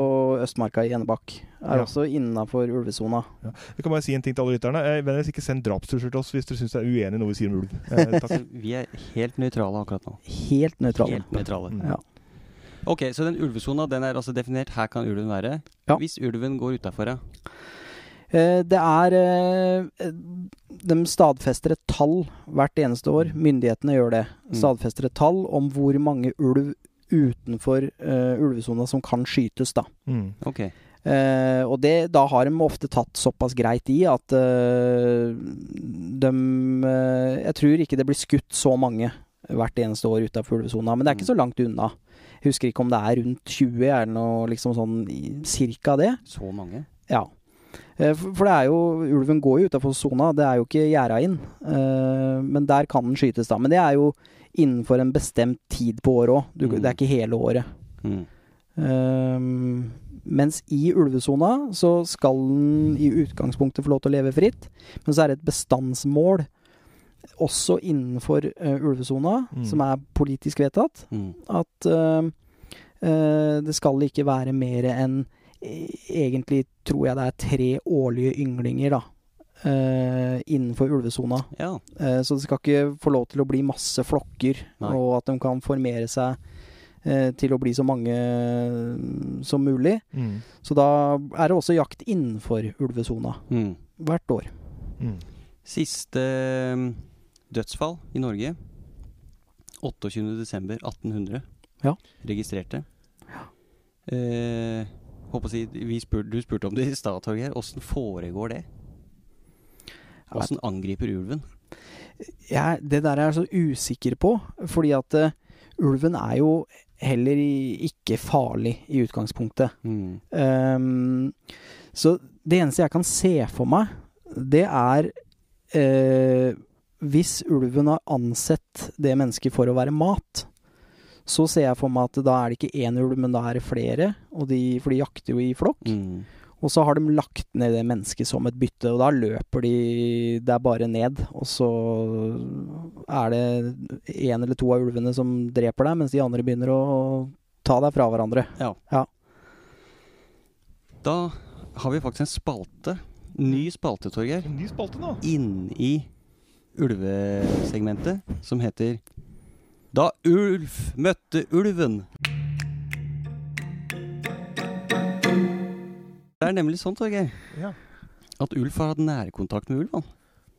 S3: Østmarka i Enebakk. Er
S2: Ja.
S3: også innafor ulvesona.
S2: Jeg kan bare si en ting til alle lytterne. Eh, Vennligst ikke send drapstrusler til oss hvis dere syns det er uenig i noe vi sier om ulv.
S3: <laughs>
S2: Eh, takk.
S1: Så vi er helt nøytrale akkurat nå.
S3: Helt nøytral.
S1: Helt nøytrale.
S2: Mm.
S3: Ja.
S1: Ok, så den ulvesona den er altså definert. Her kan ulven være.
S3: Ja.
S1: Hvis ulven går utafor, ja.
S3: Eh, Det er eh, De stadfester et tall hvert eneste år. Myndighetene gjør det.
S1: Mm.
S3: Stadfester et tall om hvor mange ulv utenfor eh, ulvesona som kan skytes, da.
S2: Mm.
S1: Ok.
S3: Eh, og det, da har de ofte tatt såpass greit i at eh, de eh, Jeg tror ikke det blir skutt så mange hvert eneste år utafor ulvesona, men det er ikke
S1: Mm.
S3: så langt unna. Jeg husker ikke om det er rundt 20, er det noe liksom sånn i- cirka det?
S1: Så mange?
S3: Ja. Eh, For for det er jo Ulven går jo utafor sona, det er jo ikke gjerda inn. Eh, Men der kan den skytes, da. Men det er jo innenfor en bestemt tid på året òg.
S1: Mm.
S3: Det er ikke hele året.
S1: Mm.
S3: Ehm, mens i ulvesona så skal den i utgangspunktet få lov til å leve fritt, men så er det et bestandsmål også innenfor eh, ulvesona,
S2: Mm.
S3: som er politisk vedtatt,
S1: Mm.
S3: at ehm, eh, det skal ikke være mer enn eh, Egentlig tror jeg det er tre årlige ynglinger, da. eh, innenfor ulvesona.
S1: Ja.
S3: Eh, Så det skal ikke få lov til å bli masse flokker,
S1: Nei.
S3: og at de kan formere seg eh, til å bli så mange eh, som mulig.
S2: Mm.
S3: Så da er det også jakt innenfor ulvesona
S1: Mm.
S3: hvert år.
S2: Mm.
S1: Siste eh, dødsfall i Norge. 28.12.1800.
S3: Ja.
S1: Registrerte. Eh, håper å si, vi spur, du spurte om det i stad, Torgeir. Åssen foregår det?
S3: Jeg
S1: Åssen angriper ulven?
S3: Jeg, det der er jeg så usikker på, fordi at eh, ulven er jo heller i- ikke farlig i utgangspunktet. Ehm, så det eneste jeg kan se for meg, det er eh, Hvis ulven har ansett det mennesket for å være mat, så ser jeg for meg at da er det ikke én ulv, men da er det flere. Og de, for de jakter jo i flokk.
S1: Mm.
S3: Og så har de lagt ned det mennesket som et bytte, og da løper de der bare ned. Og så er det én eller to av ulvene som dreper deg, mens de andre begynner å ta deg fra hverandre.
S1: Da har vi faktisk en spalte. Ny spalte, Torgeir.
S2: En ny spalte nå.
S1: Inni ulvesegmentet, som heter Da ulv møtte ulven. Det er nemlig sånn, Torgeir,
S2: Ja.
S1: at ulv har hatt nærkontakt med ulv.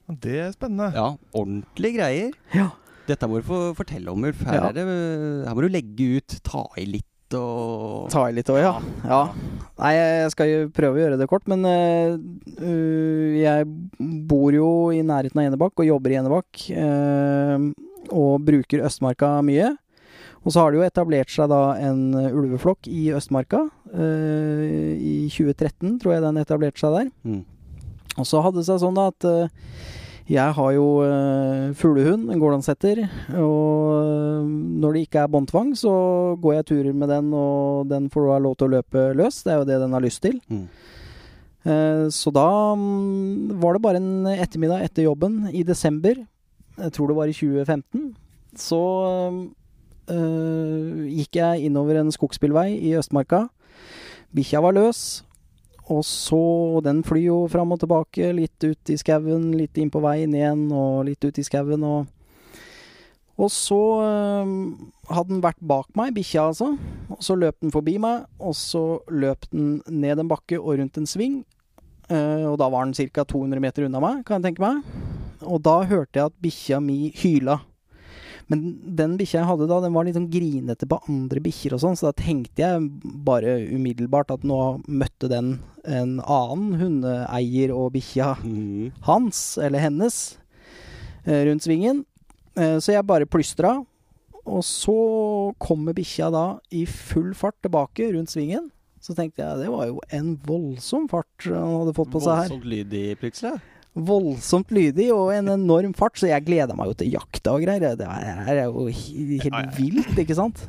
S1: han.
S2: Det er spennende.
S1: Ja, ordentlige greier.
S3: Ja.
S1: Dette må du få fortelle om, Ulf. Her,
S3: Ja.
S1: er det, eh, her må du legge ut, ta i litt og
S3: Ta i litt òg, ja. ja. Nei, jeg skal jo prøve å gjøre det kort, men eh, øh, jeg bor jo i nærheten av Enebakk og jobber i Enebakk. eh, og bruker Østmarka mye. Og så har det jo etablert seg da en ulveflokk i Østmarka. eh, I 2013 tror jeg den etablerte seg der.
S1: Mm.
S3: Og så hadde det seg sånn da at eh, jeg har jo eh, fuglehund, en gårdlandssetter, og eh, når det ikke er båndtvang, så går jeg turer med den, og den får da lov til å løpe løs. Det er jo det den har lyst til.
S1: Mm.
S3: Eh, Så da mm, var det bare en ettermiddag etter jobben i desember, jeg tror det var i 2015, så mm, eh, gikk jeg innover en skogsbilvei i Østmarka. Bikkja var løs, og så Den flyr jo fram og tilbake, litt ut i skauen, litt inn på veien igjen, og litt ut i skauen, og Og så eh, hadde den vært bak meg, bikkja altså, og så løp den forbi meg, og så løp den ned en bakke og rundt en sving, eh, og da var den ca. 200 meter unna meg, kan jeg tenke meg. Og da hørte jeg at bikkja mi hyla. Men den bikkja jeg hadde da, den var litt sånn grinete på andre bikkjer og sånn, så da tenkte jeg bare umiddelbart at nå møtte den en annen hundeeier og bikkja
S1: Mm.
S3: hans, eller hennes, eh, rundt svingen. Eh, Så jeg bare plystra. Og så kommer bikkja da i full fart tilbake rundt svingen. Så tenkte jeg det var jo en voldsom fart han hadde fått på seg her.
S1: Voldsomt lydig, plutselig.
S3: Voldsomt lydig og en enorm fart, så jeg gleda meg jo til jakta og greier. Det her er jo he- helt vilt, ikke sant?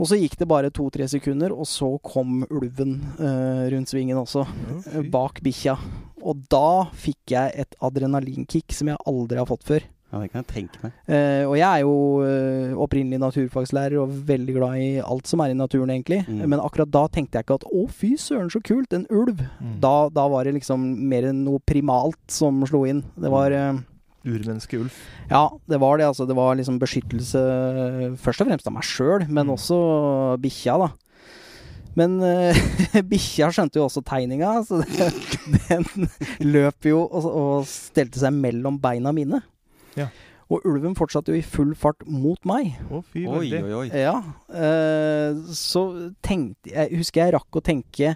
S3: Og så gikk det bare to-tre sekunder, og så kom ulven eh, rundt svingen også
S2: Ja,
S3: eh, bak bikkja. Og da fikk jeg et adrenalinkick som jeg aldri har fått før.
S1: Ja, det kan jeg tenke meg.
S3: Eh, og jeg er jo eh, opprinnelig naturfagslærer og veldig glad i alt som er i naturen, egentlig.
S1: Mm.
S3: Men akkurat da tenkte jeg ikke at å, fy søren, så kult, en ulv.
S2: Mm.
S3: Da, da var det liksom mer enn noe primalt som slo inn. Det var eh,
S2: Urmenneske Ulf.
S3: Ja, det var det, altså. Det var liksom beskyttelse eh, først og fremst av meg sjøl, men
S2: Mm.
S3: også bikkja, da. Men eh, <laughs> bikkja skjønte jo også tegninga, så <laughs> det, den løp jo og, og stelte seg mellom beina mine.
S2: Ja.
S3: Og ulven fortsatte jo i full fart mot meg.
S2: Å, fy
S1: Oi,
S2: veldig.
S1: oi, oi.
S3: Ja, eh, så tenkte jeg Husker jeg rakk å tenke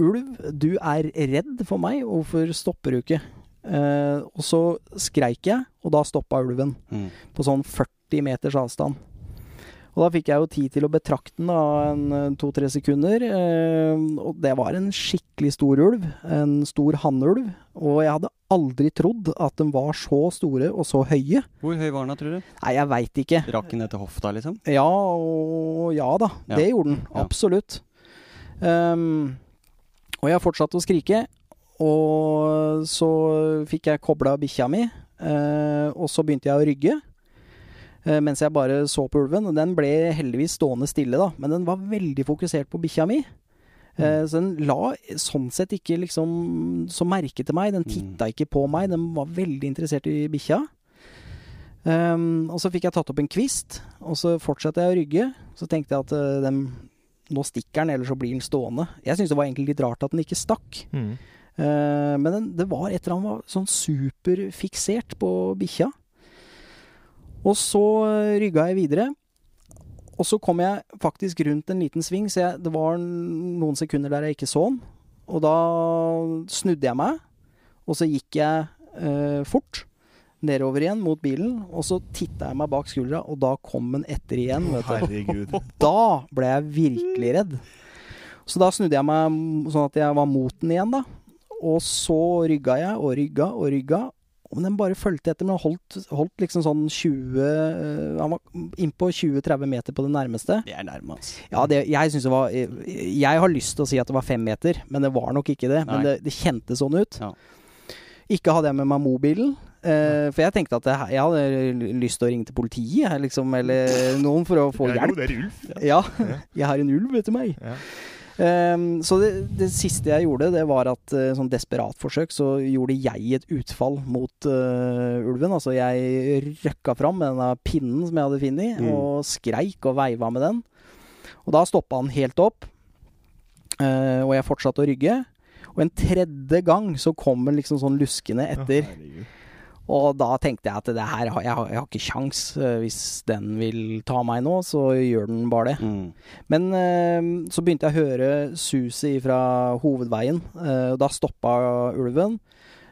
S3: Ulv, du er redd for meg, hvorfor stopper du ikke? Eh, og så skreik jeg, og da stoppa ulven
S1: Mm.
S3: på sånn 40 meters avstand. Og Og da fikk jeg jo tid til å betrakte den da, en to-tre sekunder. Eh, og det var en skikkelig stor ulv. En stor hannulv. Og jeg hadde aldri trodd at de var så store og så høye.
S1: Hvor høy var den da, tror du?
S3: Nei, jeg veit ikke.
S1: Rakk den ned til hofta, liksom?
S3: Ja og ja da.
S1: Ja.
S3: Det gjorde den.
S1: Ja.
S3: Absolutt. Ehm, og jeg fortsatte å skrike. Og så fikk jeg kobla bikkja mi, eh, og så begynte jeg å rygge. eh, mens jeg bare så på ulven. Og Den ble heldigvis stående stille, da, men den var veldig fokusert på bikkja mi. Eh, Så den la sånn sett ikke liksom så merke til meg. Den
S1: Mm.
S3: titta ikke på meg, den var veldig interessert i bikkja. Ehm, og så fikk jeg tatt opp en kvist, og så fortsatte jeg å rygge. Så tenkte jeg at eh, den, nå stikker den, eller så blir den stående. Jeg syntes det var egentlig litt rart at den ikke stakk.
S2: Mm.
S3: Eh, men den, det var et eller annet var sånn superfiksert på bikkja. Og så eh, rygga jeg videre. Og så kom jeg faktisk rundt en liten sving, så jeg, det var n- noen sekunder der jeg ikke så den. Og da snudde jeg meg, og så gikk jeg eh, fort nedover igjen mot bilen. Og så titta jeg meg bak skuldra, og da kom den etter igjen. Vet du.
S2: Herregud.
S3: Da ble jeg virkelig redd. Så da snudde jeg meg mm, sånn at jeg var mot den igjen, da. Og så rygga jeg og rygga og rygga. Men den bare fulgte etter, men den holdt, holdt liksom sånn 20 eh, Han var innpå 20-30 meter på det nærmeste.
S1: Det er nærme, altså.
S3: Ja, det, jeg syns det var Jeg har lyst til å si at det var fem meter, men det var nok ikke det.
S1: Nei.
S3: Men det, det kjentes sånn ut.
S1: Ja.
S3: Ikke hadde jeg med meg mobilen. eh, for jeg tenkte at jeg, jeg hadde lyst til å ringe til politiet, jeg, liksom, eller noen, for å få
S2: Ja,
S3: hjelp.
S2: Jo, det er Ulf.
S3: Ja, jeg har en ulv etter meg.
S2: Ja.
S3: Ehm, så det, det siste jeg gjorde, det var at uh, sånn desperat forsøk, så gjorde jeg et utfall mot eh, ulven. Altså jeg røkka fram med denne pinnen som jeg hadde funnet,
S1: Mm.
S3: og skreik og veiva med den. Og da stoppa han helt opp, eh, og jeg fortsatte å rygge. Og en tredje gang så kom han liksom sånn luskende etter.
S2: herregud.
S3: Og da tenkte jeg at det her, har- jeg har, jeg har ikke kjangs. eh, Hvis den vil ta meg nå, så gjør den bare det.
S1: Mm.
S3: Men eh, så begynte jeg å høre suset fra hovedveien, eh, og da stoppa ulven.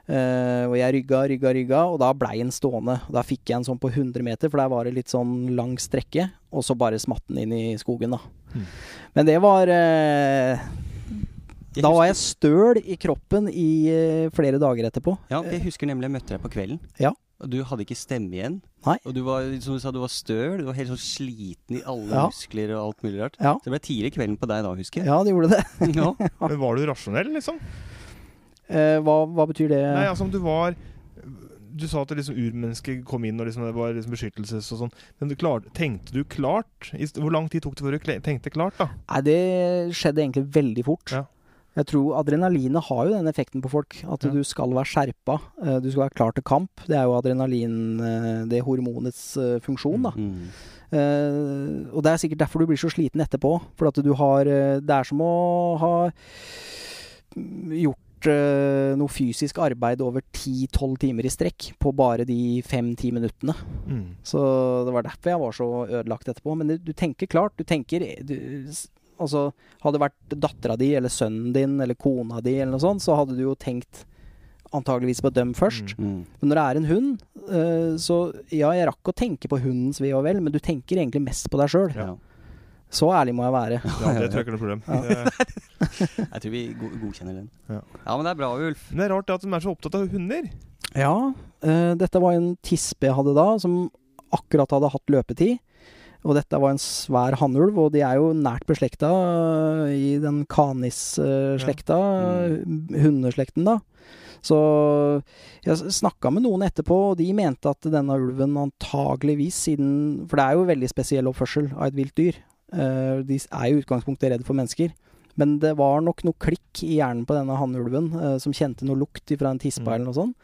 S3: Eh, og jeg rygga, rygga, rygga, og da blei den stående. Da fikk jeg en sånn på 100 meter, for der var det litt sånn lang strekke. Og så bare smatt den inn i skogen, da.
S2: Hmm.
S3: Men det var eh, Da var jeg støl i kroppen i eh, flere dager etterpå.
S1: Ja, for jeg husker nemlig jeg møtte deg på kvelden.
S3: Ja.
S1: Og du hadde ikke stemme igjen.
S3: Nei.
S1: Og du var, som du sa, du var støl. Du var helt sånn sliten i alle
S3: Ja.
S1: muskler og alt mulig rart.
S3: Ja.
S1: Så det ble tidlig kvelden på deg da, husker jeg.
S3: Ja, det gjorde det.
S1: <laughs> Ja.
S2: Men var du rasjonell, liksom?
S3: Eh, hva, hva betyr det?
S2: Nei, altså om du var Du sa at det liksom urmennesket kom inn og liksom det var liksom beskyttelses og sånn. Men du klarte, tenkte du klart? I st- Hvor lang tid tok det før du kle- tenkte klart, da?
S3: Nei, det skjedde egentlig veldig fort.
S2: Ja.
S3: Jeg tror Adrenalinet har jo den effekten på folk, at
S2: Ja.
S3: du skal være skjerpa. eh, Du skal være klar til kamp. Det er jo adrenalin, eh, det hormonets eh, funksjon,
S2: Mhm.
S3: da.
S1: Mm.
S3: Eh, og det er sikkert derfor du blir så sliten etterpå. For at du har eh, Det er som å ha mm, gjort eh, noe fysisk arbeid over 10-12 timer i strekk på bare de 5-10 minuttene.
S2: Mm.
S3: Så det var derfor jeg var så ødelagt etterpå. Men du, du tenker klart. Du tenker du, s- Altså, hadde det vært dattera di eller sønnen din eller kona di eller noe sånt, så hadde du jo tenkt antageligvis på dem først.
S1: Mm.
S3: Men når det er en hund, eh, så ja, jeg rakk å tenke på hundens ve og vel, men du tenker egentlig mest på deg sjøl.
S1: Ja.
S3: Så ærlig må jeg være.
S2: Ja, det tror jeg ikke er noe problem. Eh,
S3: Ja.
S2: Det-
S1: Jeg tror vi go godkjenner den.
S2: Ja.
S1: men det er bra, Ulf.
S2: Men det er rart det at de er så opptatt av hunder.
S3: Ja, eh, dette var en tispe jeg hadde da, som akkurat hadde hatt løpetid. Og dette var en svær hannulv, og de er jo nært beslekta eh, i den kanis-slekta, hundeslekten, da. Så jeg snakka med noen etterpå, og de mente at denne ulven antageligvis siden For det er jo veldig spesiell oppførsel av et vilt dyr. Eh, De er jo i utgangspunktet redd for mennesker. Men det var nok noe klikk i hjernen på denne hannulven, eh, som kjente noe lukt fra en tispe
S2: Mm.
S3: eller noe sånt.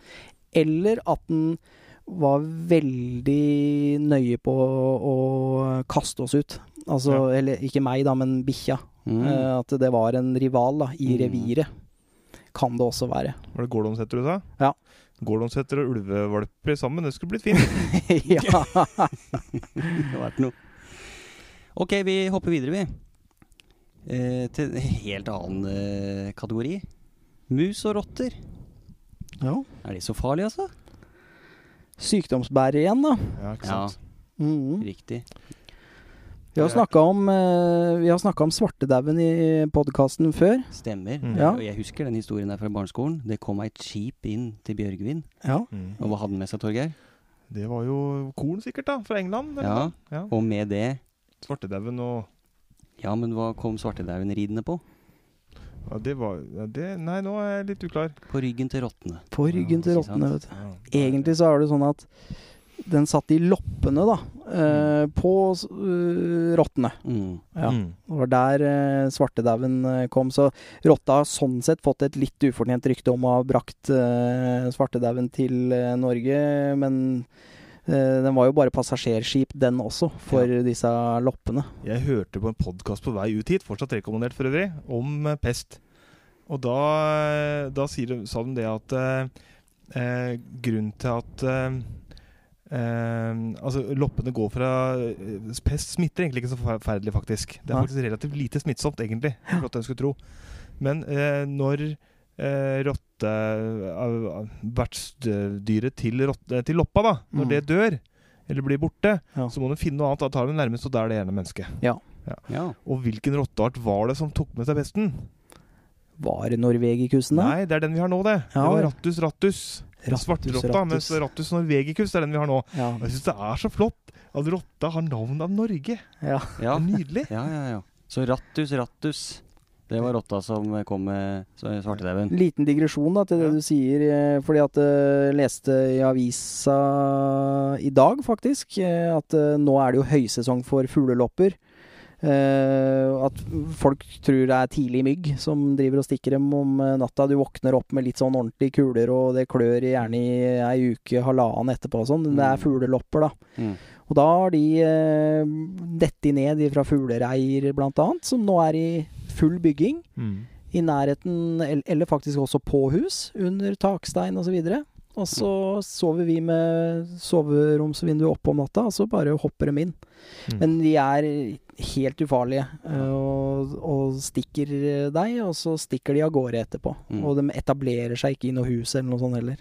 S3: Eller at den var veldig nøye på å kaste oss ut. Altså,
S2: Ja.
S3: eller ikke meg, da, men bikkja.
S1: Mm.
S3: Eh, At det var en rival da, i
S1: Mm.
S3: reviret. Kan det også være.
S2: Var det gordonshetter du sa?
S3: Ja.
S2: Gordonshetter og ulvevalper sammen, det skulle blitt
S3: <laughs>
S2: fint.
S3: ja.
S1: Det har vært noe. Ok, vi hopper videre, vi. Eh, til en helt annen eh, kategori. Mus og rotter. Er de så farlige, altså?
S3: Sykdomsbærer igjen, da.
S2: Ja, ikke
S1: Ja.
S2: sant?
S3: Mhm.
S1: Riktig.
S3: Vi har snakka om, eh, vi har snakket om svartedauden i podkasten før.
S1: Stemmer.
S2: Mm.
S3: Ja.
S1: Og Jeg husker den historien der fra barneskolen. Det kom ei jeep inn til Bjørgvin.
S3: Ja.
S2: Mm.
S1: Og hva hadde han med seg, Torgeir?
S2: Det var jo korn, sikkert, da, fra England. eller
S1: Ja.
S2: noe. ja.
S1: Og med det
S2: Svartedauden og
S1: Ja, men hva kom svartedauden ridende på?
S2: ja, Det var ja, det, Nei, nå er jeg litt uklar.
S1: På ryggen til rottene.
S3: På ryggen til
S1: Ja, ikke sant.
S3: rottene, vet du.
S2: Ja.
S3: Egentlig så er det sånn at den satt i loppene, da. eh, på s- eh, rottene.
S1: Mm.
S3: Ja.
S2: Mm.
S3: Det var der eh, svartedauden eh, kom. Så rotta har sånn sett fått et litt ufortjent rykte om å ha brakt eh, svartedauden til eh, Norge, men eh, den var jo bare passasjerskip, den også, for disse loppene.
S2: Jeg hørte på en podkast på vei ut hit, fortsatt rekommandert for øvrig, om eh, pest. Og da, eh, da sier de, sa de det at eh, eh, grunnen til at eh, eh, altså Loppene går fra eh, Pest smitter egentlig ikke så forferdelig, faktisk. Det er
S3: Nei.
S2: faktisk relativt lite smittsomt, egentlig. for at en skulle tro. Men eh, når eh, rotte... Uh, Vertsdyret til, rotte- til loppa, da, når
S3: Mm.
S2: det dør, eller blir borte,
S3: Ja.
S2: så må de finne noe annet. Da tar de nærmest, og da er det gjerne mennesket.
S1: Ja.
S2: Og hvilken rotteart var det som tok med seg pesten?
S3: Var det norvegikusen, da?
S2: Nei, det er den vi har nå, det.
S3: Ja,
S2: det var
S3: vel.
S2: Rattus rattus.
S3: Rattus
S2: Svarterotta,
S3: rattus.
S2: mens Rattus norvegicus er den vi har nå.
S3: Ja.
S2: Og Jeg syns det er så flott at rotta har navn av Norge.
S3: ja.
S1: ja.
S2: Det er
S3: <laughs>
S2: nydelig.
S1: Ja, ja, ja. Så Rattus, Rattus. Det var rotta som kom med s- svartedauden.
S3: Liten digresjon da til
S2: Ja.
S3: det du sier, eh, fordi at jeg leste i avisa i dag faktisk eh, at eh, nå er det jo høysesong for fuglelopper. Eh, at folk tror det er tidlig mygg som driver og stikker dem om eh, natta. Du våkner opp med litt sånn ordentlige kuler, og det klør gjerne i ei uke, halvannen etterpå og sånn. Men Det
S1: Mm.
S3: er fuglelopper, da.
S1: Mm.
S3: Og da har de eh, dettet ned fra fuglereir, blant annet, som nå er i full bygging i nærheten, el- eller faktisk også på hus, under takstein osv. Og så sover vi med soveromsvinduet oppe om natta, og så bare hopper dem inn.
S2: Mm.
S3: Men de er helt ufarlige, eh, og, og stikker deg, og så stikker de av gårde etterpå.
S1: Mm.
S3: Og de etablerer seg ikke i noe hus eller noe sånt heller.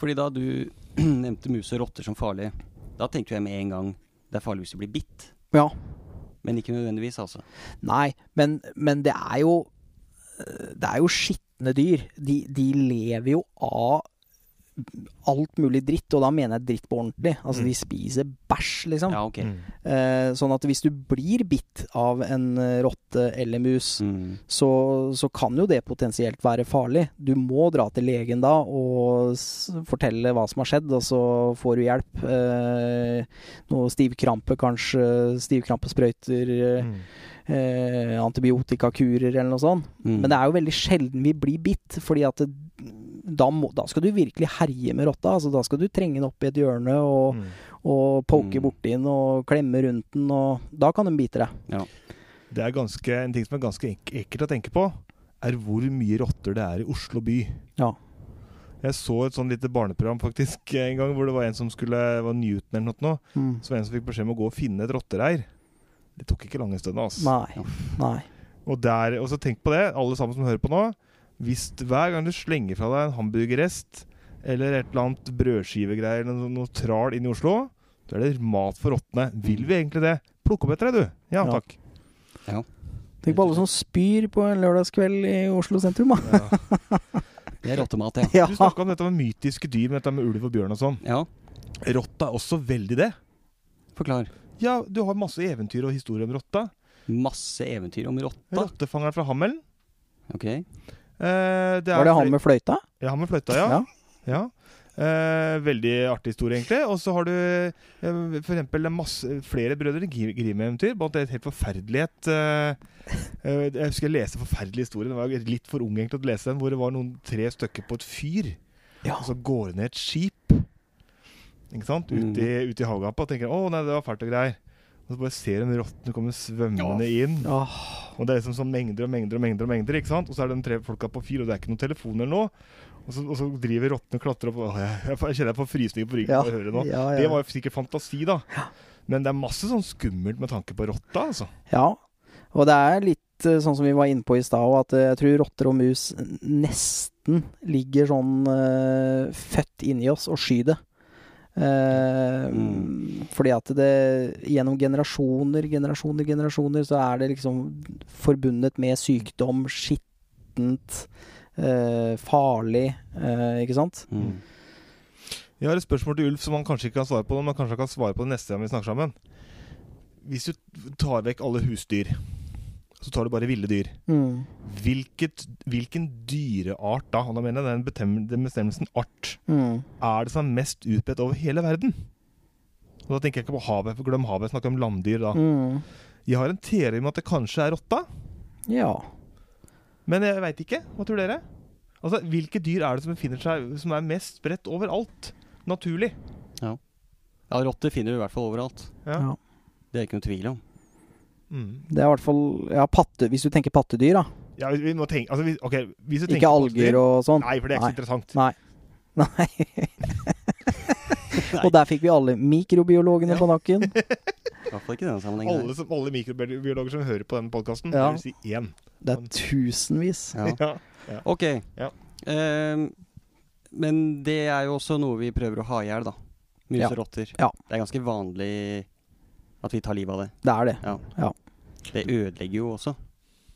S1: Fordi da du <clears throat> nevnte mus og rotter som farlige, da tenkte jeg med en gang det er farlig hvis du blir bitt.
S3: Ja,
S1: Men ikke nødvendigvis, altså.
S3: Nei, men, men det er jo Det er jo skitne dyr. De, de lever jo av alt mulig dritt, og da mener jeg dritt på ordentlig. Altså,
S2: Mm.
S3: de spiser bæsj, liksom.
S1: Ja, ok.
S2: Mm.
S3: Eh, sånn at hvis du blir bitt av en eh, rotte eller mus,
S1: Mm.
S3: så, så kan jo det potensielt være farlig. Du må dra til legen da og s fortelle hva som har skjedd, og så får du hjelp. Eh, noe stivkrampe, kanskje. Stivkrampesprøyter. Eh,
S2: Mm.
S3: eh, antibiotikakurer eller noe sånt.
S1: Mm.
S3: Men det er jo veldig sjelden vi blir bitt, fordi at det, da, må, da skal du virkelig herje med rotta. Altså, da skal du trenge den opp i et hjørne og,
S2: Mm.
S3: og poke
S1: Mm.
S3: borti den og klemme rundt den, og da kan den bite deg.
S2: Det er ganske, en ting som er ganske ek ekkelt å tenke på, er hvor mye rotter det er i Oslo by.
S3: Ja.
S2: Jeg så et sånn lite barneprogram faktisk <laughs> en gang, hvor det var en som skulle det var Newton eller noe. nå,
S3: Mm.
S2: Så var det en som fikk beskjed om å gå og finne et rottereir. Det tok ikke lange stund, altså.
S3: Nei. Nei.
S2: Og, der, og så tenk på det, alle sammen som hører på nå. Hvis hver gang du slenger fra deg en hamburgerrest eller et eller annet brødskivegreier eller noe, noe tral inn i Oslo, så er det mat for rottene. Vil vi egentlig det? Plukk opp etter deg, du. Ja,
S3: Ja.
S2: takk.
S3: Tenk på alle som spyr på en lørdagskveld i Oslo sentrum, da.
S1: Det er rottemat, ja.
S3: Ja.
S2: Du snakka om dette med mytiske dyr, med dette med ulv og bjørn og sånn.
S1: Ja,
S2: Rotta er også veldig det.
S1: forklar.
S2: Ja, du har masse eventyr og historier om rotta.
S1: Masse eventyr om rotta.
S2: Rottefangeren fra Hammelen.
S1: Ok. Mm.
S2: Eh, det er
S3: Var det han
S2: fl-
S3: med fløyta?
S2: Ja, han med fløyta, ja. Ja. Eh, veldig artig historie, egentlig. Og så har du eh, for eksempel masse, flere Brødrene Gri- Grim-eventyr. Blant annet et helt forferdelighet eh, eh, Jeg husker jeg leste en forferdelig historie. Jeg var jo litt for ung egentlig til å lese den, hvor det var noen tre stykker på et fyr.
S3: Ja.
S2: Og så går det ned et skip Ikke sant?
S1: Mm.
S2: ute i, ut i havgapet og tenker 'Å nei, det var fælt og greier'. Og så bare ser de rottene komme svømmende inn.
S3: Åh,
S2: Og det er liksom sånn mengder og mengder og mengder, og mengder, ikke sant? Og så er det de tre folka på fyr, og det er ikke noen telefoner nå. Og så, og så driver rottene og klatrer opp. og Åh, jeg, jeg får- jeg kjenner jeg får frysninger på ryggen
S3: Ja.
S2: av å høre det nå.
S3: Ja,
S2: Det
S3: ja.
S2: var jo sikkert fantasi, da. Men det er masse sånn skummelt med tanke på rotta, altså.
S3: ja. Og det er litt eh, sånn som vi var inne på i stad, og at eh, jeg tror rotter og mus nesten ligger sånn eh, født inni oss og sky det. Eh,
S1: Mm.
S3: Fordi at det gjennom generasjoner, generasjoner, generasjoner så er det liksom forbundet med sykdom, skittent, eh, farlig, eh, ikke sant?
S1: Mm.
S2: Jeg har et spørsmål til Ulf som han kanskje ikke kan svare på, men kanskje han kan svare på det neste gang vi snakker sammen. Hvis du tar vekk alle husdyr, så tar du bare ville dyr.
S3: Mm.
S2: Hvilket, hvilken dyreart da, og da mener jeg den, betem- den bestemmelsen art,
S3: Mm.
S2: er det som er mest utbredt over hele verden? Og da tenker jeg ikke på havet, for glem havet, jeg snakker om landdyr da.
S3: Mm.
S2: Jeg har en teori om at det kanskje er rotta,
S3: Ja.
S2: men jeg veit ikke. Hva tror dere? Altså, Hvilke dyr er det som befinner seg som er mest spredt overalt? Naturlig.
S1: Ja, rotter finner du i hvert fall overalt.
S2: Ja.
S3: Ja.
S1: Det er ikke noe tvil om.
S2: Mm.
S3: Det er i hvert fall ja, patte, Hvis du tenker pattedyr, da.
S2: ja vi, vi må tenke, altså, vi, ok, hvis du tenker
S3: Ikke alger og sånn.
S2: Nei, for det er ikke så interessant.
S3: Nei. <laughs> Og der fikk vi alle mikrobiologene på nakken.
S1: I hvert fall ikke i denne sammenhengen. her.
S2: Alle, som, alle mikrobiologer som hører på denne podkasten,
S3: Ja.
S2: vil si én.
S3: Det
S1: <laughs>
S3: er tusenvis.
S1: Ja.
S2: <laughs> Ja.
S1: Ok.
S2: Ja.
S1: Ehm, men det er jo også noe vi prøver å ha i hjel, da. Mus
S3: Ja.
S1: og rotter.
S3: Ja.
S1: Det er ganske vanlig at vi tar livet av det.
S3: Det er det.
S1: Det
S3: Mm.
S1: ødelegger jo
S3: <laughs>
S1: også.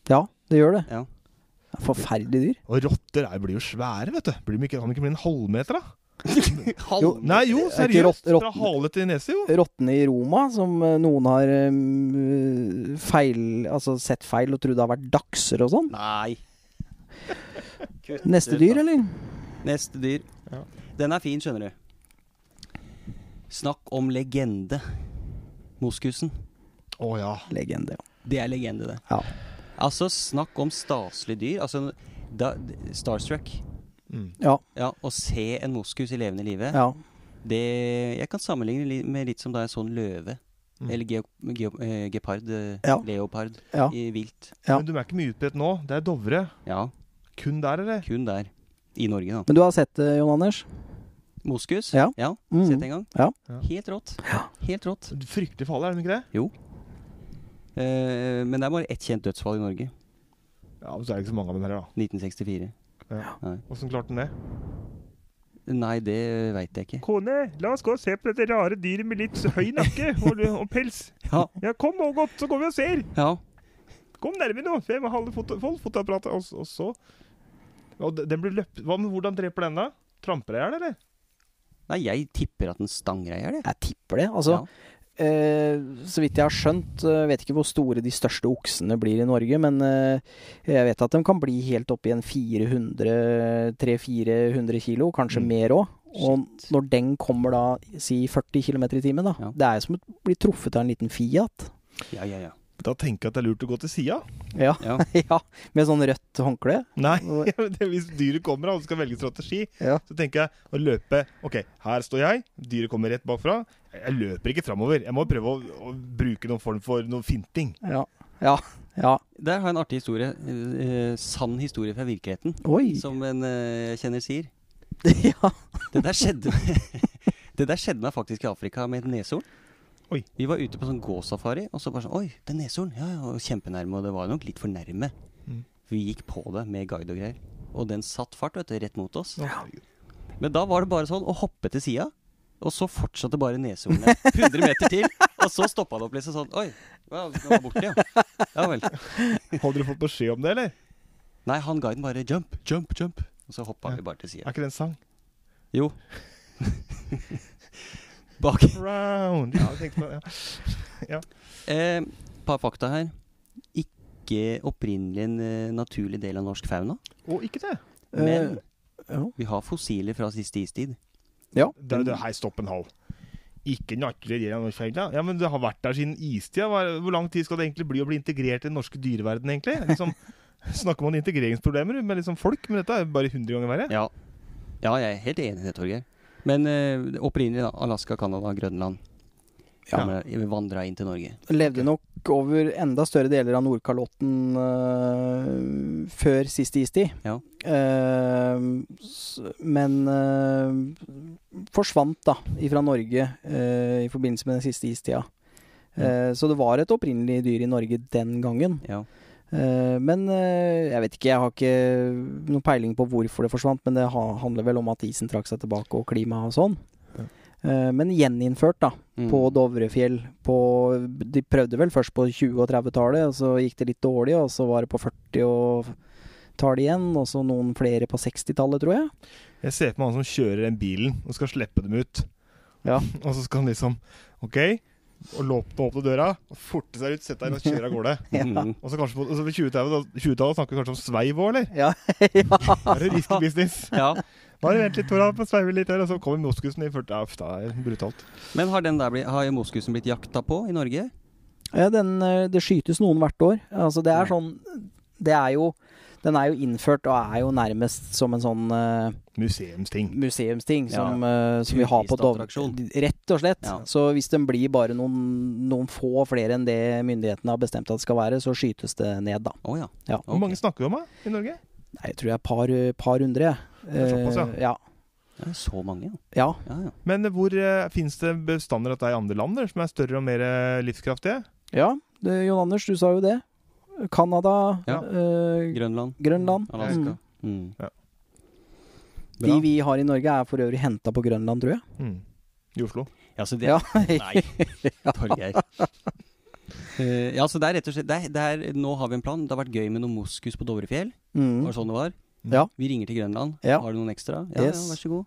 S3: Ja, det gjør det.
S1: Ja.
S3: Det er Forferdelig dyr.
S2: Og rotter er, blir jo svære, vet du. Blir de ikke, kan de ikke bli en halvmeter, da?
S1: Halv-
S2: Nei jo,
S3: Det er ikke
S2: seriøst.
S3: rott-
S2: Fra
S3: rotten.
S2: hale til nese, jo.
S3: Rottene i Roma, som eh, noen har eh, feil, altså sett feil og trodde har vært dachser og sånn.
S1: Nei. Kutt
S3: Neste
S1: ut, da.
S3: dyr, eller?
S1: Neste dyr.
S2: Ja.
S1: Den er fin, skjønner du. Snakk om legende. Moskusen.
S2: Å ja.
S3: Legende. ja.
S1: Det er legende, det.
S3: Ja.
S1: Altså, snakk om staselig dyr. Altså, da, Starstruck.
S2: Mm.
S1: Ja, Å se en moskus i levende live,
S3: Ja.
S1: det Jeg kan sammenligne li- med litt som da jeg så en sånn løve.
S2: Mm.
S1: Eller geo, geo, eh, gepard. eh,
S3: Ja.
S1: Leopard.
S3: Ja.
S1: I vilt.
S3: Ja.
S2: Men de er ikke mye utbredt nå. Det er Dovre.
S1: Ja,
S2: Kun der, eller?
S1: kun der. I Norge, da.
S3: Men du har sett det, Jon Anders?
S1: Moskus.
S3: Ja.
S1: ja
S3: Mm.
S1: Sett en gang.
S3: Ja.
S2: Ja.
S1: Helt rått. Helt rått.
S2: Fryktelig farlig, er de ikke det?
S1: Eh, men det er bare ett kjent dødsfall i Norge.
S2: Ja, men Så er det ikke så mange av dem her, da.
S1: 1964.
S2: Åssen klarte han det?
S1: Nei, det veit jeg ikke.
S2: Kone, la oss gå og se på dette rare dyret med litt høy <laughs> nakke og, pels.
S1: Ja,
S2: Ja, kom og godt, så går vi og ser.
S1: ja.
S2: Kom nærmere nå. Hvem har foto, fotoapparatet? Og, s- og så og d- den blir løpt, hva, men Hvordan dreper den da? Tramper jeg den, eller?
S1: Nei, jeg tipper at den stanger deg i hjel, jeg.
S3: Jeg tipper det. Altså,
S1: Ja.
S3: eh, så vidt jeg har skjønt, eh, vet ikke hvor store de største oksene blir i Norge, men eh, jeg vet at de kan bli helt opp i en 400 300-400 kilo, kanskje
S2: Mm.
S3: mer òg. Og når den kommer da, si 40 km i timen, da.
S1: Ja.
S3: Det er jo som å bli truffet av en liten Fiat.
S1: Ja, ja, ja.
S2: Da tenker jeg at det er lurt å gå til sida.
S3: Ja,
S1: Ja.
S3: <laughs> ja med sånn rødt håndkle.
S2: Nei,
S3: Og-
S2: ja, men det, hvis dyret kommer og du skal velge strategi,
S3: Ja.
S2: så tenker jeg å løpe Ok, her står jeg, dyret kommer rett bakfra. Jeg løper ikke framover. Jeg må prøve å, å bruke noen form for noe finting.
S3: Ja. Ja. ja.
S1: Der har jeg en artig historie. eh, eh, sann historie fra virkeligheten,
S3: Oi.
S1: som en eh, jeg kjenner sier.
S3: <laughs> ja.
S1: Det der skjedde <laughs> Det der skjedde meg faktisk i Afrika med et neshorn.
S2: Oi.
S1: Vi var ute på sånn gåsafari, og så bare sånn Oi, det er neshorn! Ja, ja, og kjempenærme, og det var nok litt for nærme.
S2: Mm.
S1: Vi gikk på det med guide og greier. Og den satt fart, vet du, rett mot oss.
S2: Å, herregud.
S1: Men da var det bare sånn å hoppe til sida, og så fortsatte bare neshornet 100 meter til. Og så stoppa det opp liksom sånn. Oi, wow, den var borte, ja. Ja vel.
S2: Har dere fått beskjed om det, eller?
S1: Nei, han guiden bare 'jump, jump, jump'. Og så hoppa vi bare til
S2: Er
S1: sida.
S2: ikke det en sang?
S1: Jo. <laughs> Bak.
S2: Round. Ja, jeg tenkte på det. Ja.
S1: Eh, par fakta her. Ikke opprinnelig en eh, naturlig del av norsk fauna.
S2: Og ikke det.
S1: Men
S3: Eh, ja.
S1: vi har fossiler fra siste istid.
S2: det, er- det hei, stopp en hal. Ikke naturlig del av norsk feil, da. Ja, men det har vært der siden istida. Hva- Hvor lang tid skal det egentlig bli å bli integrert i den norske dyreverdenen, egentlig? Liksom, <laughs> snakker man integreringsproblemer med liksom folk, men dette er bare 100 ganger verre.
S1: Ja. ja, jeg er helt enig i det, Torgeir. Men eh, opprinnelig da, Alaska, Canada, Grønland.
S3: Ja.
S1: Ja. Vandra inn til Norge.
S3: Levde nok over enda større deler av Nordkalotten øh, før siste istid.
S1: Ja.
S3: Ehm, s- men øh, forsvant da ifra Norge øh, i forbindelse med den siste istida. Eh, så det var et opprinnelig dyr i Norge den gangen.
S1: Ja.
S3: Eh, men eh, jeg vet ikke, jeg har ikke noe peiling på hvorfor det forsvant, men det ha, handler vel om at isen trakk seg tilbake og klima og sånn. Eh, Men gjeninnført, da.
S1: Mm.
S3: på
S1: <laughs>
S3: Dovrefjell. På, de prøvde vel først på 20- og 30-tallet, og så gikk det litt dårlig, og så var det på 40- og tallet igjen, og så noen flere på 60-tallet, tror jeg.
S2: Jeg ser på meg han som kjører den bilen og skal slippe dem ut.
S3: Ja.
S2: <laughs> og så skal han liksom OK, og låpne åpne døra, og forte seg ut, sette deg inn og kjøre av gårde.
S1: Mm.
S2: Og så kanskje på, og så på 20-tallet 20 snakker vi kanskje om sveiv
S1: <laughs>
S2: òg, eller?
S3: Ja. ja.
S2: Da Er det risky business?
S1: Ja.
S2: Bare vent litt, Tora, på sveive litt der, og så kommer moskusen i 40 Ja, uff, det er brutalt.
S1: Men har, den der blitt, har moskusen blitt jakta på i Norge?
S3: Ja, Den, eh, det skytes noen hvert år. Altså, det er sånn Det er jo den er jo innført og er jo nærmest som en sånn eh,
S2: Museumsting.
S3: museumsting
S1: Ja.
S3: som, eh, som vi har på Dovre.
S1: Turistattraksjon.
S3: Rett og slett.
S1: Ja.
S3: Så hvis den blir bare noen, noen få flere enn det myndighetene har bestemt at det skal være, så skytes det ned, da.
S1: Å ja.
S3: Ja.
S1: Ok.
S2: Hvor mange snakker vi om da, i Norge?
S3: Nei, jeg tror det er et par, par hundre. jeg.
S2: Det er såpass, ja.
S3: Eh, ja.
S1: Det er så mange, ja.
S3: Ja,
S1: ja, ja.
S2: Men hvor uh, fins det bestander at det er i andre land der, som er større og mer eh, livskraftige?
S3: ja det, Jon Anders, du sa jo det. Canada,
S1: Ja.
S3: eh,
S1: Grønland,
S3: Grønland.
S1: Alaska.
S3: Mm.
S1: Mm.
S2: Ja.
S3: De
S1: Bra.
S3: vi har i Norge er for øvrig henta på Grønland, tror jeg.
S2: Mm. I Oslo.
S1: Ja, så det,
S3: Ja. <laughs>
S1: Nei, Torgeir. Eh, ja, så det er rett og slett det er, det er, Nå har vi en plan. Det har vært gøy med noe moskus på Dovrefjell.
S3: Mm.
S1: Var det sånn det var?
S3: Ja.
S1: Vi ringer til Grønland.
S3: Ja.
S1: Har du noen ekstra? Ja,
S3: Yes.
S1: ja, vær så god.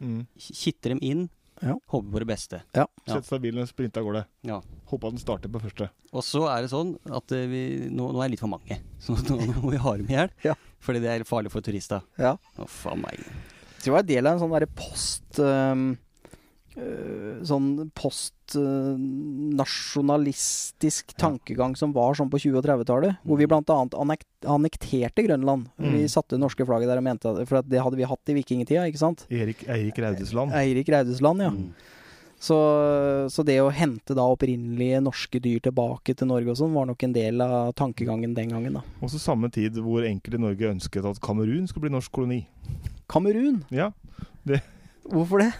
S2: Mm.
S1: K- Kitte dem inn.
S3: Ja.
S1: Håper på det beste. Ja.
S2: Sette seg i bilen og sprinte av gårde.
S1: Ja.
S2: Håper at den starter på første.
S1: Og så er det sånn at eh, vi, nå, nå er det litt for mange. <laughs> Så nå, nå må vi ha dem i hjel.
S3: Ja.
S1: Fordi det er farlig for turister.
S3: Ja.
S1: Å, faen meg.
S3: Jeg tror det var en del av en sånn derre post ehm, øh, Sånn postnasjonalistisk tankegang som var sånn på 20- og 30-tallet. Hvor vi
S1: Mm.
S3: bl.a. Annek annekterte Grønland. Vi
S2: Mm.
S3: satte norske flagget der og mente at For at det hadde vi hatt i vikingtida, ikke sant?
S2: Erik, Eirik Raudesland.
S3: Eirik Raudesland, ja.
S1: Mm. <laughs>
S3: Så, så det å hente da opprinnelige norske dyr tilbake til Norge og sånn, var nok en del av tankegangen den gangen, da.
S2: Også samme tid hvor enkelte i Norge ønsket at Kamerun skulle bli norsk koloni.
S3: Kamerun,
S2: Ja,
S3: hvorfor det?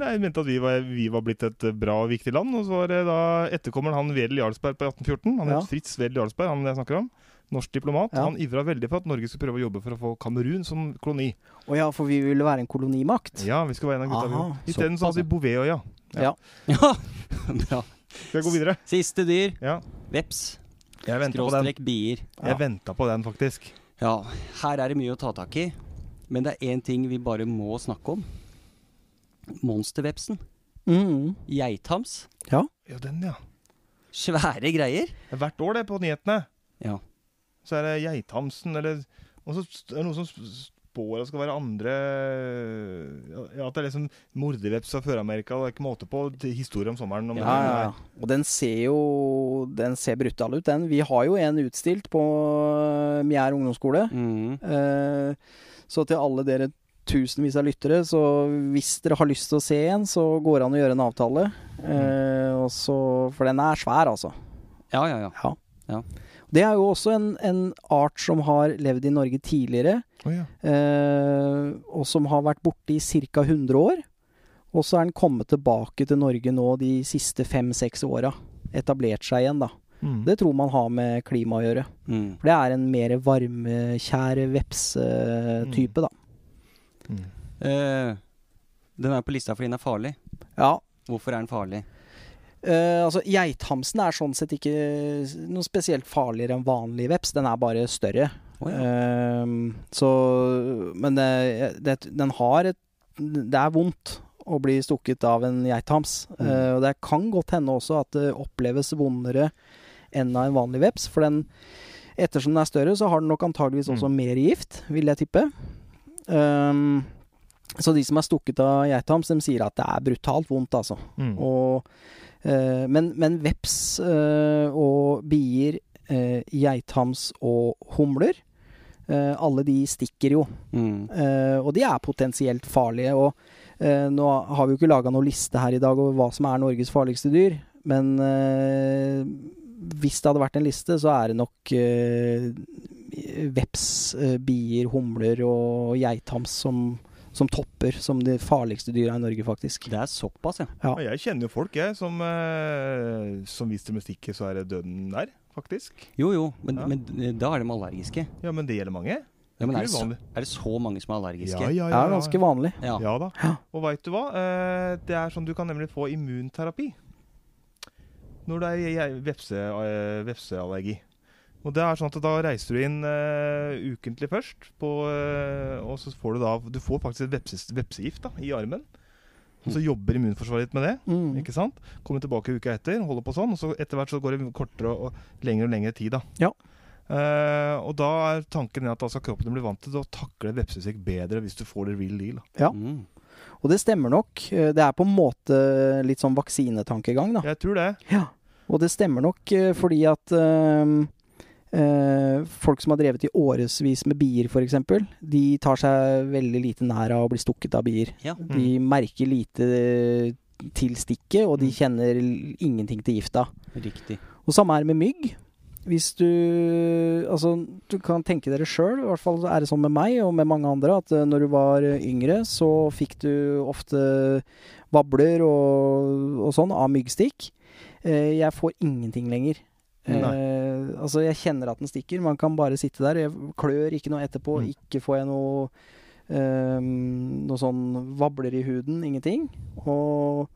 S2: Nei, jeg mente at vi var, vi var blitt et bra og viktig land. Og så var det da etterkommeren han Wedel Jarlsberg på 1814. Han
S3: Ja.
S2: het Fritz Wedel Jarlsberg, han jeg snakker om. Norsk diplomat.
S3: Ja.
S2: Han ivra veldig for at Norge skulle prøve å jobbe for å få Kamerun som koloni.
S3: Å ja, for vi ville være en kolonimakt.
S2: Ja, vi skal være en av gutta. vi
S3: Aha,
S2: også. Isteden så
S1: såpass,
S2: hadde vi Bouvetøya.
S1: Ja! Bra.
S2: Skal jeg gå videre?
S1: Siste dyr.
S2: Ja.
S1: Veps.
S2: Jeg venta på den.
S1: Skråstrek bier.
S3: Ja.
S2: Jeg ventet på den, faktisk.
S1: Ja, her er det mye å ta tak i. Men det er én ting vi bare må snakke om. Monstervepsen.
S3: Mm.
S1: Geithams.
S2: Ja, den, ja.
S1: Svære greier.
S2: Hvert år, det, på nyhetene.
S1: Ja.
S2: Så er det Geithamsen, eller Og så er det noen som spår at det skal være andre Ja, at det er liksom morderveps av Før-Amerika. Det er ikke måte på til historie om sommeren. Om
S3: Ja,
S2: den
S3: ja, ja.
S2: er.
S3: Og den ser jo Den ser brutal ut, den. Vi har jo en utstilt på øh, Mjær ungdomsskole.
S1: Mm.
S3: Eh, Så til alle dere tusenvis av lyttere, så hvis dere har lyst til å se en, så går det an å gjøre en avtale. Eh, Og så, for den er svær, altså.
S1: ja, ja, ja.
S3: Ja.
S1: Ja.
S3: Det er jo også en, en art som har levd i Norge tidligere,
S2: Å, ja.
S3: eh, og som har vært borte i ca. 100 år. Og så er den kommet tilbake til Norge nå de siste fem-seks åra. Etablert seg igjen, da.
S2: Mm.
S3: Det tror man har med klima å gjøre.
S1: Mm.
S3: For det er en mer varmekjær vepsetype, da.
S2: Mm.
S1: Eh, den er på lista fordi den er farlig.
S3: Ja.
S1: Hvorfor er den farlig?
S3: Eh, altså, Geithamsen er sånn sett ikke noe spesielt farligere enn vanlig veps. Den er bare større.
S1: Å ja.
S3: Ehm, så Men eh, det, det, den har et Det er vondt å bli stukket av en geithams.
S1: Mm.
S3: Eh, og det kan godt hende også at det oppleves vondere enn av en vanlig veps. For den, ettersom den er større, så har den nok antageligvis også
S1: Mm.
S3: mer gift, vil jeg tippe. Ehm, så de som er stukket av geithams, de sier at det er brutalt vondt, altså.
S2: Mm.
S3: Og, eh, men, men veps eh, og bier, eh, geithams og humler, eh, alle de stikker jo.
S1: Mm.
S3: Eh, og de er potensielt farlige. Og eh, nå har vi jo ikke laga noen liste her i dag over hva som er Norges farligste dyr, men eh, hvis det hadde vært en liste, så er det nok eh, veps, eh, bier, humler og geithams som, som topper som de farligste dyra i Norge, faktisk.
S1: Det er såpass, ja.
S2: Ja, Jeg kjenner jo folk, jeg, som, eh, som hvis de stikker, så er det døden der, faktisk.
S1: Jo, jo, men,
S2: Ja.
S1: men da er de allergiske.
S2: Ja, men det gjelder mange.
S1: Ja, men
S2: Ikke
S1: er det, så,
S2: uvanlig.
S1: er det så mange som er allergiske?
S2: Ja, ja,
S3: Det
S2: ja,
S3: er
S2: ja.
S3: ganske vanlig.
S1: Ja.
S2: Ja da.
S3: Ja.
S2: Og veit du hva? Eh, Det er sånn du kan nemlig få immunterapi når det er je- vepse, eh, vepseallergi. Og det er sånn at Da reiser du inn eh, ukentlig først, på, eh, og så får du da Du får faktisk et vepses, vepsegift da, i armen. Og så jobber immunforsvaret ditt med det.
S3: Mm.
S2: Ikke sant? Kommer tilbake uka etter, holder på sånn, og så etter hvert så går det kortere og, og lengre og lengre tid, da.
S3: Ja.
S2: Eh, og da er tanken at da skal kroppen din bli vant til å takle vepsesyk bedre hvis du får det real deal. Da.
S3: Ja.
S1: Mm.
S3: Og det stemmer nok. Eh, Det er på en måte litt sånn vaksinetankegang, da.
S2: Jeg tror det.
S3: Ja, og det stemmer nok eh, fordi at ehm, eh, folk som har drevet i årevis med bier f.eks., de tar seg veldig lite nær av å bli stukket av bier.
S1: Ja.
S3: De merker lite eh, til stikket, og de
S2: Mm.
S3: kjenner l- ingenting til gifta.
S1: Riktig.
S3: Og samme er det med mygg. Hvis du Altså, du kan tenke dere sjøl, i hvert fall er det sånn med meg og med mange andre, at eh, når du var eh, yngre, så fikk du ofte vabler og, og sånn av myggstikk. Eh, Jeg får ingenting lenger. Eh, altså, jeg kjenner at den stikker. Man kan bare sitte der. Jeg klør ikke noe etterpå.
S2: Mm.
S3: Ikke får jeg noe eh, Noe sånn vabler i huden. Ingenting. Og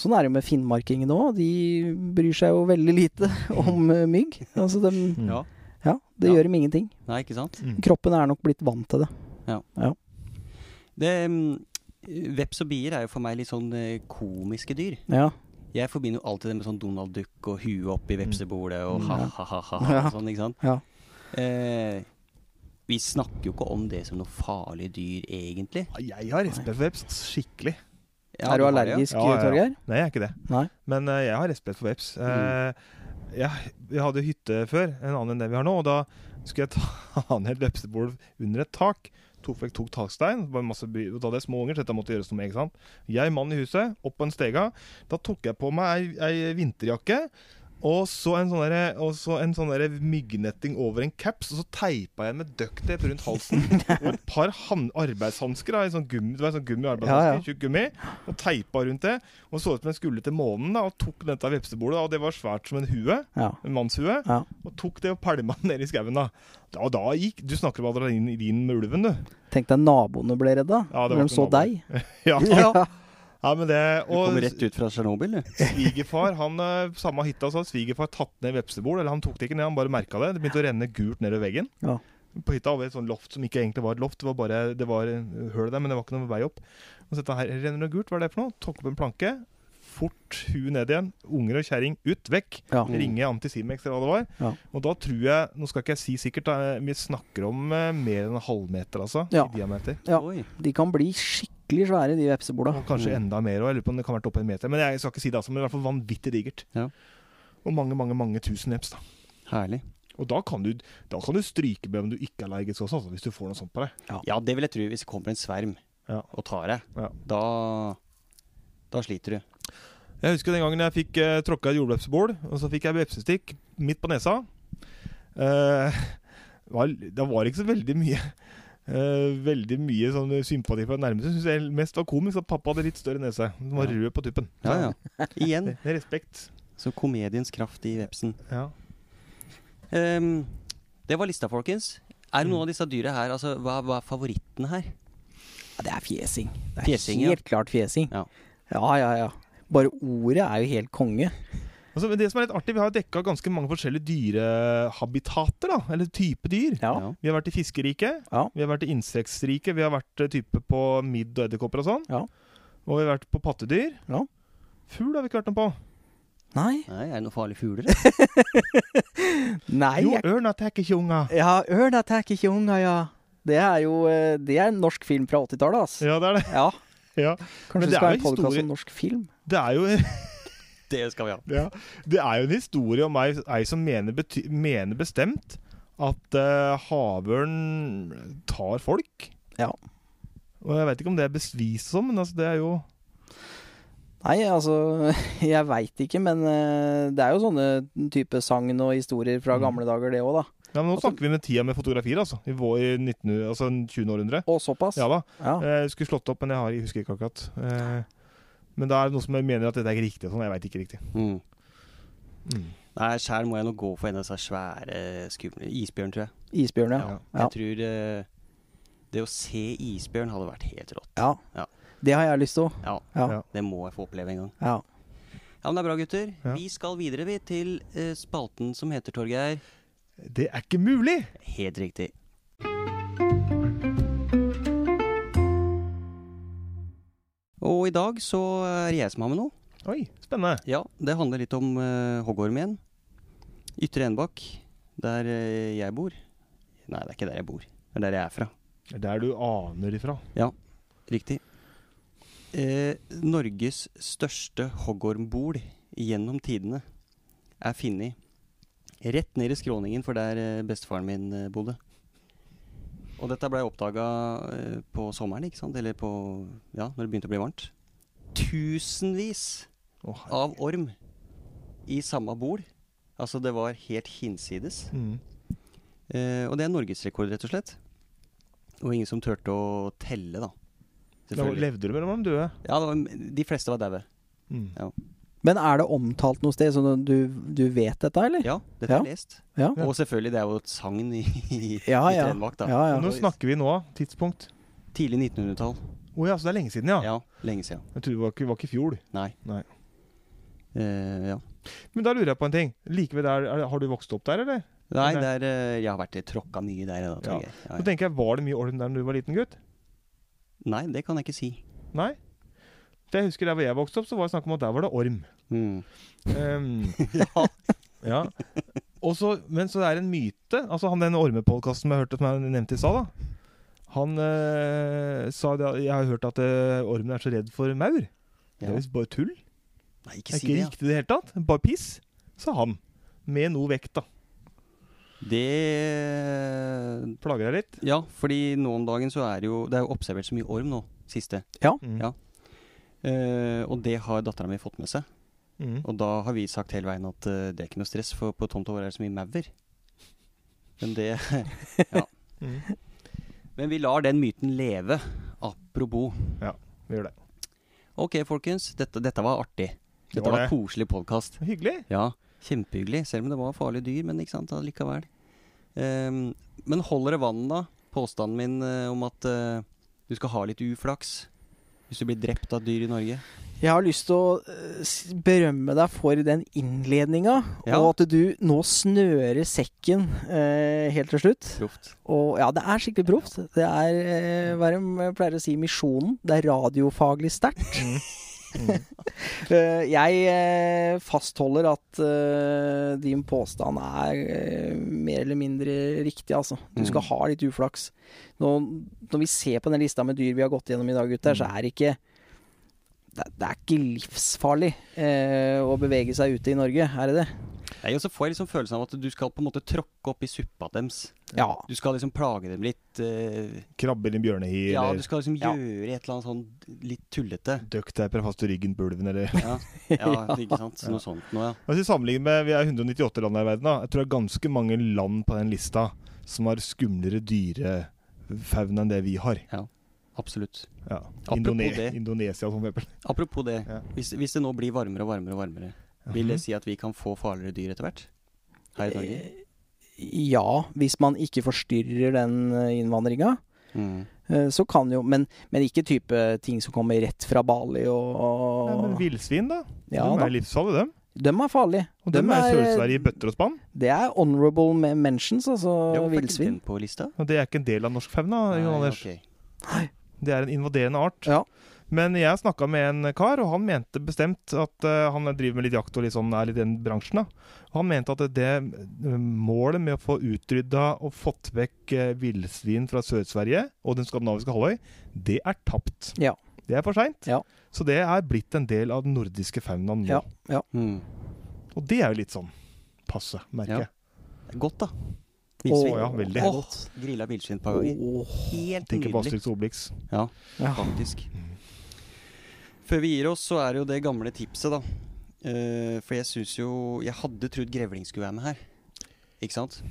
S3: Sånn er det jo med finnmarkingene òg. De bryr seg jo veldig lite <laughs> om eh, mygg. Altså de,
S2: Mm.
S1: Ja.
S3: ja, det
S1: Ja.
S3: gjør dem ingenting.
S1: Nei, ikke sant?
S3: Kroppen er nok blitt vant til det.
S1: Det, mm, veps og bier er jo for meg litt sånn eh, komiske dyr.
S3: Ja.
S1: Jeg forbinder jo alltid det med sånn Donald Duck og huet oppi vepsebolet og
S2: Mm.
S1: ha-ha-ha.
S3: Ja.
S1: og Sånn, ikke sant?
S3: Ja.
S1: Eh, vi snakker jo ikke om det som noe farlig dyr, egentlig.
S2: Jeg har respekt for veps skikkelig.
S1: Ja,
S3: er
S1: har det,
S3: du
S1: ja.
S3: allergisk,
S2: Ja, ja, ja.
S3: Torgeir?
S2: Nei, jeg er ikke det.
S3: Nei.
S2: Men eh, jeg har respekt for veps.
S1: Mm.
S2: Eh, jeg, jeg hadde hytte før, en annen enn den vi har nå, og da skulle jeg ta <laughs> ned et vepsebol under et tak. Tok vekk tok takstein, det var masse by, og da hadde jeg små unger, så dette måtte gjøres noe med. ikke sant? Jeg, mannen i huset, opp på en stega. Da tok jeg på meg ei, ei vinterjakke. Og så en sånn derre- og så en sånn derre myggnetting over en caps, og så teipa jeg den med ducktape rundt halsen. Og et par han- arbeidshansker, da, i sånn gummi, det var sånn gummi
S3: Ja, ja.
S2: arbeidshansker, tjukk gummi, og teipa rundt det. Og så ut som jeg skulle til månen, da, og tok dette vepsebordet, da, og det var svært som en hue.
S3: Ja.
S2: En mannshue.
S3: Ja.
S2: Og tok det og pælma den ned i skauen, da. da. Og da gikk Du snakker om adrenalin med ulven, du.
S3: Tenk deg naboene ble redda.
S2: Ja, det var
S3: når
S2: ikke
S3: de så deg.
S2: naboer. <laughs> Ja, ja.
S3: Ja.
S2: men det
S1: Du kommer rett ut fra Tsjernobyl, du.
S2: Svigerfar, han eh, samme hytta, så hadde svigerfar tatt ned vepsebol. Eller han tok det ikke ned, han bare merka det. Det begynte å renne gult nedover veggen.
S3: Ja.
S2: På hytta hadde vi et sånt loft som ikke egentlig var et loft, det var bare det var eh, høl der, men det var ikke noen vei opp. Og så dette her renner det gult, hva er det for noe? Tok opp en planke, fort huet ned igjen. Unger og kjerring ut, vekk.
S3: Ja.
S2: Ringe Antisimex eller hva det var.
S3: Ja.
S2: Og da tror jeg, nå skal ikke jeg si sikkert, da, vi snakker om eh, mer enn en halvmeter, altså.
S3: Ja.
S2: I diameter.
S3: Ja.
S1: Oi.
S3: De kan bli skikkelig svære, de vepsebola.
S2: Og kanskje enda mer. Og jeg lurer på om det kan ha vært oppe en meter. Men jeg skal ikke si det, altså, men det er i hvert fall vanvittig digert.
S1: Ja.
S2: Og mange, mange mange tusen eps. da.
S1: Herlig.
S2: Og da kan, du, da kan du stryke med om du ikke er allergisk også, altså, hvis du får noe sånt på deg.
S1: Ja, det vil jeg tro. Hvis det kommer en sverm
S2: Ja.
S1: og tar deg,
S2: Ja.
S1: da, da sliter du.
S2: Jeg husker den gangen jeg fikk eh, tråkka et jordvepsebol, og så fikk jeg vepsestikk midt på nesa. Eh, <laughs> vel, da var det ikke så veldig mye eh, Veldig mye sånn sympati for den nærmeste. Syns jeg mest var komisk at pappa hadde litt større nese. Den var
S1: Ja.
S2: rød på tuppen.
S1: Ja, ja. <laughs> Igjen.
S2: Det, det er respekt.
S1: Så komediens kraft i vepsen.
S2: Ja.
S1: Ehm, det var lista, folkens. Er det
S2: Mm.
S1: noen av disse dyra her altså, hva, hva er favoritten her?
S3: Ja, det er fjesing. Det er
S1: Fjesing, ja.
S3: helt klart fjesing.
S1: Ja.
S3: ja, ja, ja. Bare ordet er jo helt konge.
S2: Altså, men det som er litt artig, Vi har dekka ganske mange forskjellige dyrehabitater, da, eller type dyr.
S3: Ja.
S2: Vi har vært i fiskeriket,
S3: Ja.
S2: vi har vært i insektriket, vi har vært eh, type på midd og edderkopper og sånn.
S3: Ja.
S2: Og vi har vært på pattedyr.
S3: Ja.
S2: Fugl har vi ikke vært noe på.
S3: Nei.
S1: Nei, er det noen farlige fugler? eller?
S3: Nei,
S2: jo,
S3: jeg
S2: ørn attacker ikke unga.
S3: Ja, Ørn attacker ikke unga, ja. Det er jo eh, Det er en norsk film fra 80-tallet, altså.
S2: Ja, det er det.
S3: Ja.
S2: <laughs> Ja. Men
S3: Kanskje
S2: det
S3: det
S2: er
S3: skal være en
S2: jo
S3: podkast
S2: historie-
S3: om norsk film?
S2: Det er jo,
S1: <laughs>
S2: <laughs>
S1: Det skal vi ha.
S2: ja, det er jo en historie om ei, ei som mener, bety, mener bestemt at uh, havørn tar folk.
S3: Ja.
S2: Og jeg veit ikke om det er beviselig, men altså, det er jo
S3: Nei, altså <laughs> Jeg veit ikke, men eh, det er jo sånne type sagn og historier fra
S2: Mm.
S3: gamle dager, det òg, da.
S2: Ja, men Nå
S3: Altså-
S2: snakker vi med tida med fotografier, altså. I vår i 19, altså 20. århundre.
S3: Og såpass.
S2: Ja da.
S3: Ja.
S2: Eh, skulle slått opp, men jeg, har, jeg husker ikke akkurat. Eh, men da er det noen som mener at dette er ikke riktig. og Sånn, jeg veit ikke riktig.
S1: Mm.
S2: Mm.
S1: Nei, sjæl må jeg nå gå for en av disse svære, skumle Isbjørn, tror jeg.
S3: Isbjørn, ja.
S2: Ja.
S3: Ja.
S1: Jeg tror eh, Det å se isbjørn hadde vært helt rått.
S3: Ja.
S1: Ja.
S3: Det har jeg lyst til òg.
S1: Ja,
S3: Ja.
S1: det må jeg få oppleve en gang.
S3: Ja.
S1: Ja, men det er bra, gutter.
S2: Ja.
S1: Vi skal videre, vi, til eh, spalten som heter Torgeir
S2: Det er ikke mulig!
S1: Helt riktig. Og i dag så er det jeg som har med noe.
S2: Oi, spennende.
S1: Ja, det handler litt om uh, hoggormen. Ytre Enebakk, der eh, jeg bor. Nei, det er ikke der jeg bor. Det er der jeg er fra.
S2: Det er Der du aner ifra.
S1: Riktig. Eh, Norges største hoggormbol gjennom tidene er funnet rett ned i skråningen for der eh, bestefaren min eh, bodde. Og dette blei oppdaga eh, på sommeren, ikke sant? eller på Ja, når det begynte å bli varmt. Tusenvis
S2: Å, herre-
S1: av orm i samme bol. Altså, det var helt hinsides.
S2: Mm.
S1: Eh, og det er norgesrekord, rett og slett. Og ingen som turte å telle, da.
S2: Da levde du mellom de døde.
S1: Ja, det var, de fleste var daue.
S2: Mm.
S3: Men er det omtalt noe sted? Så du, du vet dette, eller?
S1: Ja, dette har
S3: Ja.
S1: jeg lest.
S3: Ja.
S1: Og selvfølgelig, det er jo et sagn i, i,
S3: Ja,
S1: i
S3: ja.
S1: Telemark, da.
S3: Ja, ja.
S2: Nå snakker vi nå, tidspunkt.
S1: Tidlig 1900-tall.
S2: Å ja, så det er lenge siden, ja.
S1: Ja, lenge siden.
S2: Jeg trodde det var ikke, var ikke i fjor.
S1: Nei.
S2: Nei.
S1: Eh, ja.
S2: Men da lurer jeg på en ting. Like ved der, er, det- Har du vokst opp der, eller?
S1: Nei,
S2: Ok.
S1: der, eh, jeg har vært tråkka mye der. Da, tror
S2: Ja.
S1: jeg. Ja,
S2: Nå
S1: ja.
S2: tenker jeg, Var det mye orm der da du var liten gutt?
S1: Nei, det kan jeg ikke si.
S2: Nei? For jeg husker Der hvor jeg vokste opp, så var det snakk om at der var det orm.
S1: Mm.
S2: Ehm,
S1: <laughs> Ja.
S2: ja. Og så- men så det er en myte. Altså han Den ormepodkasten som jeg hørte som jeg nevnte i stad, da. Han eh, sa det, at- Jeg har hørt at eh, ormen er så redd for maur. Det er
S1: Ja.
S2: visst bare tull.
S1: Nei,
S2: Det
S1: ikke
S2: er
S1: si
S2: ikke
S1: det.
S2: riktig i det hele tatt. Bare piss, sa han. Med noe vekt, da.
S1: Ja. Det
S2: Plager deg litt.
S1: eh, Ja, fordi nå om dagen så er det jo Det er jo observert så mye orm nå, siste.
S2: Mm.
S1: Ja. Eh, og det har dattera mi fått med seg.
S2: Mm.
S1: Og da har vi sagt hele veien at eh, det er ikke noe stress, for på tomta vår er det så mye maur. Men det <laughs>
S2: Mm.
S1: Men vi lar den myten leve. Apropos.
S2: Vi gjør det.
S1: Ok, folkens. Dette, dette var artig.
S2: Det
S1: Dette
S2: var
S1: var,
S2: det.
S1: koselig podkast.
S2: Hyggelig.
S1: Ja, kjempehyggelig. Selv om det var farlige dyr, men ikke sant, allikevel. Ehm, men holder det vann, da? Påstanden min eh, om at eh, du skal ha litt uflaks hvis du blir drept av dyr i Norge.
S3: Jeg har lyst til å eh, s- berømme deg for den innledninga,
S1: Ja.
S3: og at du nå snører sekken eh, helt til slutt.
S1: Proft.
S3: Og ja, det er skikkelig proft. Det er eh, hva er det jeg pleier å si, misjonen. Det er radiofaglig sterkt.
S2: Mm.
S3: <laughs> Eh, jeg eh, fastholder at eh, din påstand er eh, mer eller mindre riktig, altså. Du skal
S1: Mm.
S3: ha litt uflaks. Nå, når vi ser på den lista med dyr vi har gått gjennom i dag, gutter, så er det ikke det, det er ikke livsfarlig eh, å bevege seg ute i Norge, er det det?
S1: Nei, og så får jeg liksom følelsen av at du skal på en måte tråkke opp i suppa deres.
S3: Ja.
S1: Du skal liksom plage dem litt. eh,
S2: Krabber i bjørnehi,
S1: ja, du
S2: eller
S1: skal liksom
S3: Ja.
S1: gjøre et eller annet sånn litt
S2: <laughs>
S1: tullete.
S2: ducktaper fast i ryggen på ulven, eller
S1: Ja, ja ikke sant. Noe sånt noe, ja.
S2: Altså, i sammenligning med, Vi er 198 land her i verden. da Jeg tror det er ganske mange land på den lista som har skumlere dyrefauna enn det vi har.
S1: Absolutt.
S2: Ja.
S1: Apropos det.
S2: Indonesia, for eksempel.
S1: Apropos det.
S2: Ja. Mhm.
S1: Hvis, hvis det nå blir varmere og varmere, og varmere vil det si at vi kan få farligere dyr etter hvert? Her i Norge?
S3: Eh, Ja, hvis man ikke forstyrrer den eh, innvandringa.
S1: Mm.
S3: Eh, Så kan jo, men, men ikke type ting som kommer rett fra Bali og,
S2: Nei,
S3: og
S2: men Villsvin, da.
S3: Ja
S2: de
S3: da.
S2: er livsfarlige, dem.
S3: Dem er farlige.
S2: Og dem
S3: Dem
S2: er i
S3: er-
S2: Sør-Sverige i bøtter og spann.
S3: Det er honorable me- mentions, altså
S1: Ja, hvorfor er ikke
S3: villsvin.
S1: den På lista?
S2: Og det er ikke en del av norsk fauna. Jon
S1: Nei,
S2: Anders
S1: ok.
S2: Det er en invaderende art.
S3: Ja.
S2: Men jeg snakka med en kar, og han mente bestemt at eh, han driver med litt jakt og litt sånn, er litt i den bransjen. da. Og han mente at det eh, målet med å få utrydda og fått vekk eh, villsvin fra Sør-Sverige og den skandinaviske halvøy, det er tapt.
S3: Ja.
S2: Det er for seint.
S3: Ja.
S2: Så det er blitt en del av den nordiske faunaen nå.
S3: Ja, ja.
S1: Mm.
S2: Og det er jo litt sånn passe, merker
S1: Ja.
S2: jeg.
S1: Det er Godt, da.
S2: Å, ja, veldig.
S1: Åh, grilla villsvin et par ganger.
S3: Åh.
S1: Helt
S2: Tenker på Mm.
S1: nydelig.
S2: Asterix og Obelix.
S1: Ja,
S3: Ja.
S1: faktisk. Før vi gir oss, så er det jo det gamle tipset, da. Eh, for jeg syns jo Jeg hadde trodd grevling skulle være med her. Ikke sant?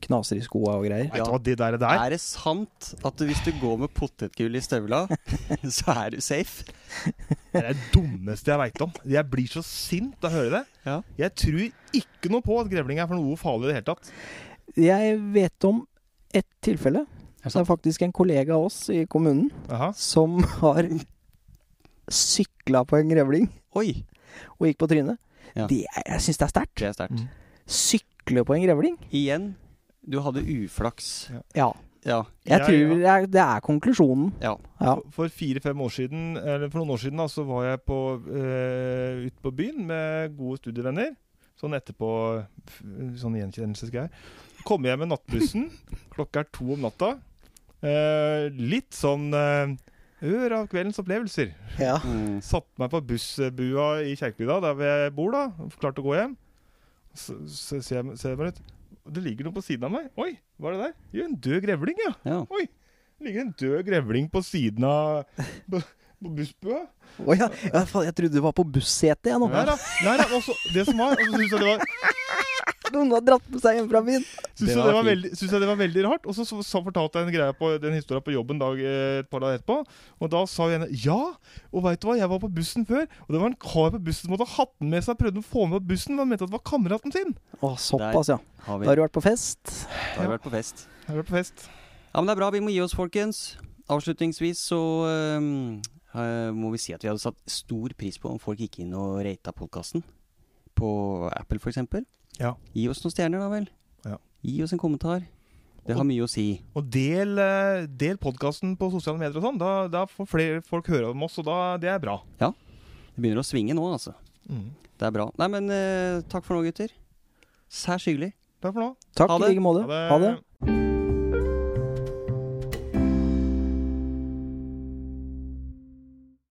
S3: Knaser i skoa og greier.
S2: Vet du hva det der er? der?
S1: Er det sant at hvis du går med potetgull i støvla, <laughs> så er du safe?
S2: Det er det dummeste jeg veit om. Jeg blir så sint av å høre det.
S1: Ja.
S2: Jeg tror ikke noe på at grevling er for noe farlig i det hele tatt.
S3: Jeg vet om ett tilfelle Det er faktisk en kollega av oss i kommunen
S2: Aha.
S3: som har sykla på en grevling
S1: Oi!
S3: og gikk på trynet.
S1: Ja.
S3: Det er, jeg syns det er sterkt.
S1: Det er sterkt.
S2: Mm.
S3: Sykle på en grevling?
S1: Igjen, du hadde uflaks.
S3: Ja.
S1: Ja.
S3: Jeg
S2: Ja,
S3: tror
S2: ja.
S3: Det, er, det er konklusjonen. Ja.
S2: For- For fire-fem år siden, eller for noen år siden, da, så var jeg på, eh, ute på byen med gode studievenner. Sånn etterpå f- Sånn gjenkjennelsesgreier. Kom hjem med nattbussen. Klokka er to om natta. Eh, litt sånn eh, ør av kveldens opplevelser.
S3: Ja.
S1: Mm.
S2: Satte meg på bussbua i Kjerkebygda, der hvor jeg bor, da. Klarte å gå hjem. Så, så ser jeg ser jeg meg ut. Det ligger noe på siden av meg. Oi, hva er det der? Jo, en død grevling, ja.
S1: ja.
S2: Det ligger en død grevling på siden av på, på bussbua.
S3: Å ja. ja faen, jeg trodde det var på bussetet, jeg nå.
S2: Nei da. Nei, da. og så- det som var, og så syntes jeg det var,
S3: Noen har dratt med seg hjem fra byen.
S2: syntes
S1: Det
S2: jeg
S1: var
S2: det var,
S1: fint.
S2: veldig, syntes jeg det var veldig rart. Og så, så, så fortalte jeg en greie på den historien på jobben dag, eh, et par dager etterpå. Og da sa hun ja, og veit du hva, jeg var på bussen før, og det var en kar på bussen som hadde hatt den med seg, prøvde å få med på bussen, men han mente at det var kameraten sin.
S3: Å, såpass, ja.
S1: Har vi,
S3: Da har du vært på fest.
S1: da har vi vært på fest.
S2: Jeg var på fest.
S1: Ja, men det er bra. Vi må gi oss, folkens. Avslutningsvis så øhm, øh, må vi si at vi hadde satt stor pris på om folk gikk inn og rata podkasten. På Apple, f.eks.
S2: Ja.
S1: Gi oss noen stjerner, da vel.
S2: Ja.
S1: Gi oss en kommentar. Det har
S2: Og-
S1: mye å si.
S2: Og del, eh, del podkasten på sosiale medier og sånn. Da, da får flere folk høre om oss, og da, det er bra. Mm.
S1: Det begynner å svinge nå, altså. Det er eh, bra. Nei, men øh, takk for nå, gutter. Særs hyggelig.
S2: Takk for nå.
S3: Takk
S1: Ha
S3: i
S1: det.
S3: like måte. Ha det.